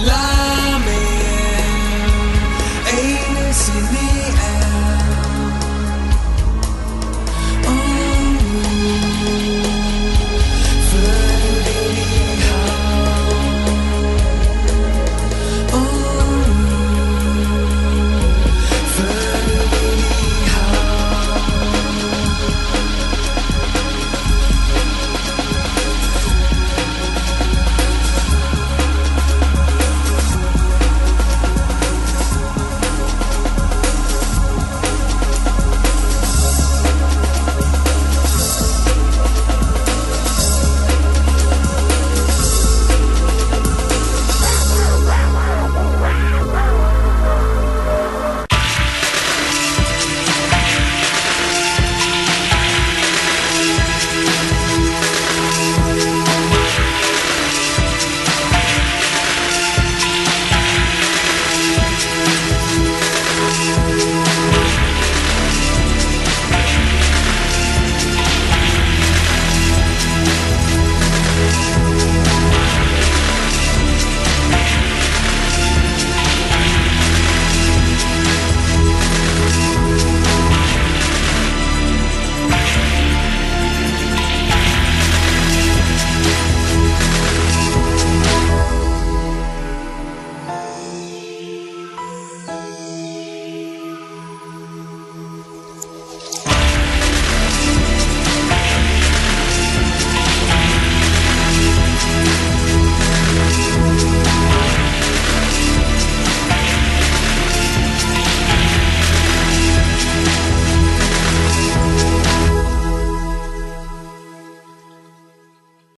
Speaker 3: Lying, anus in the air.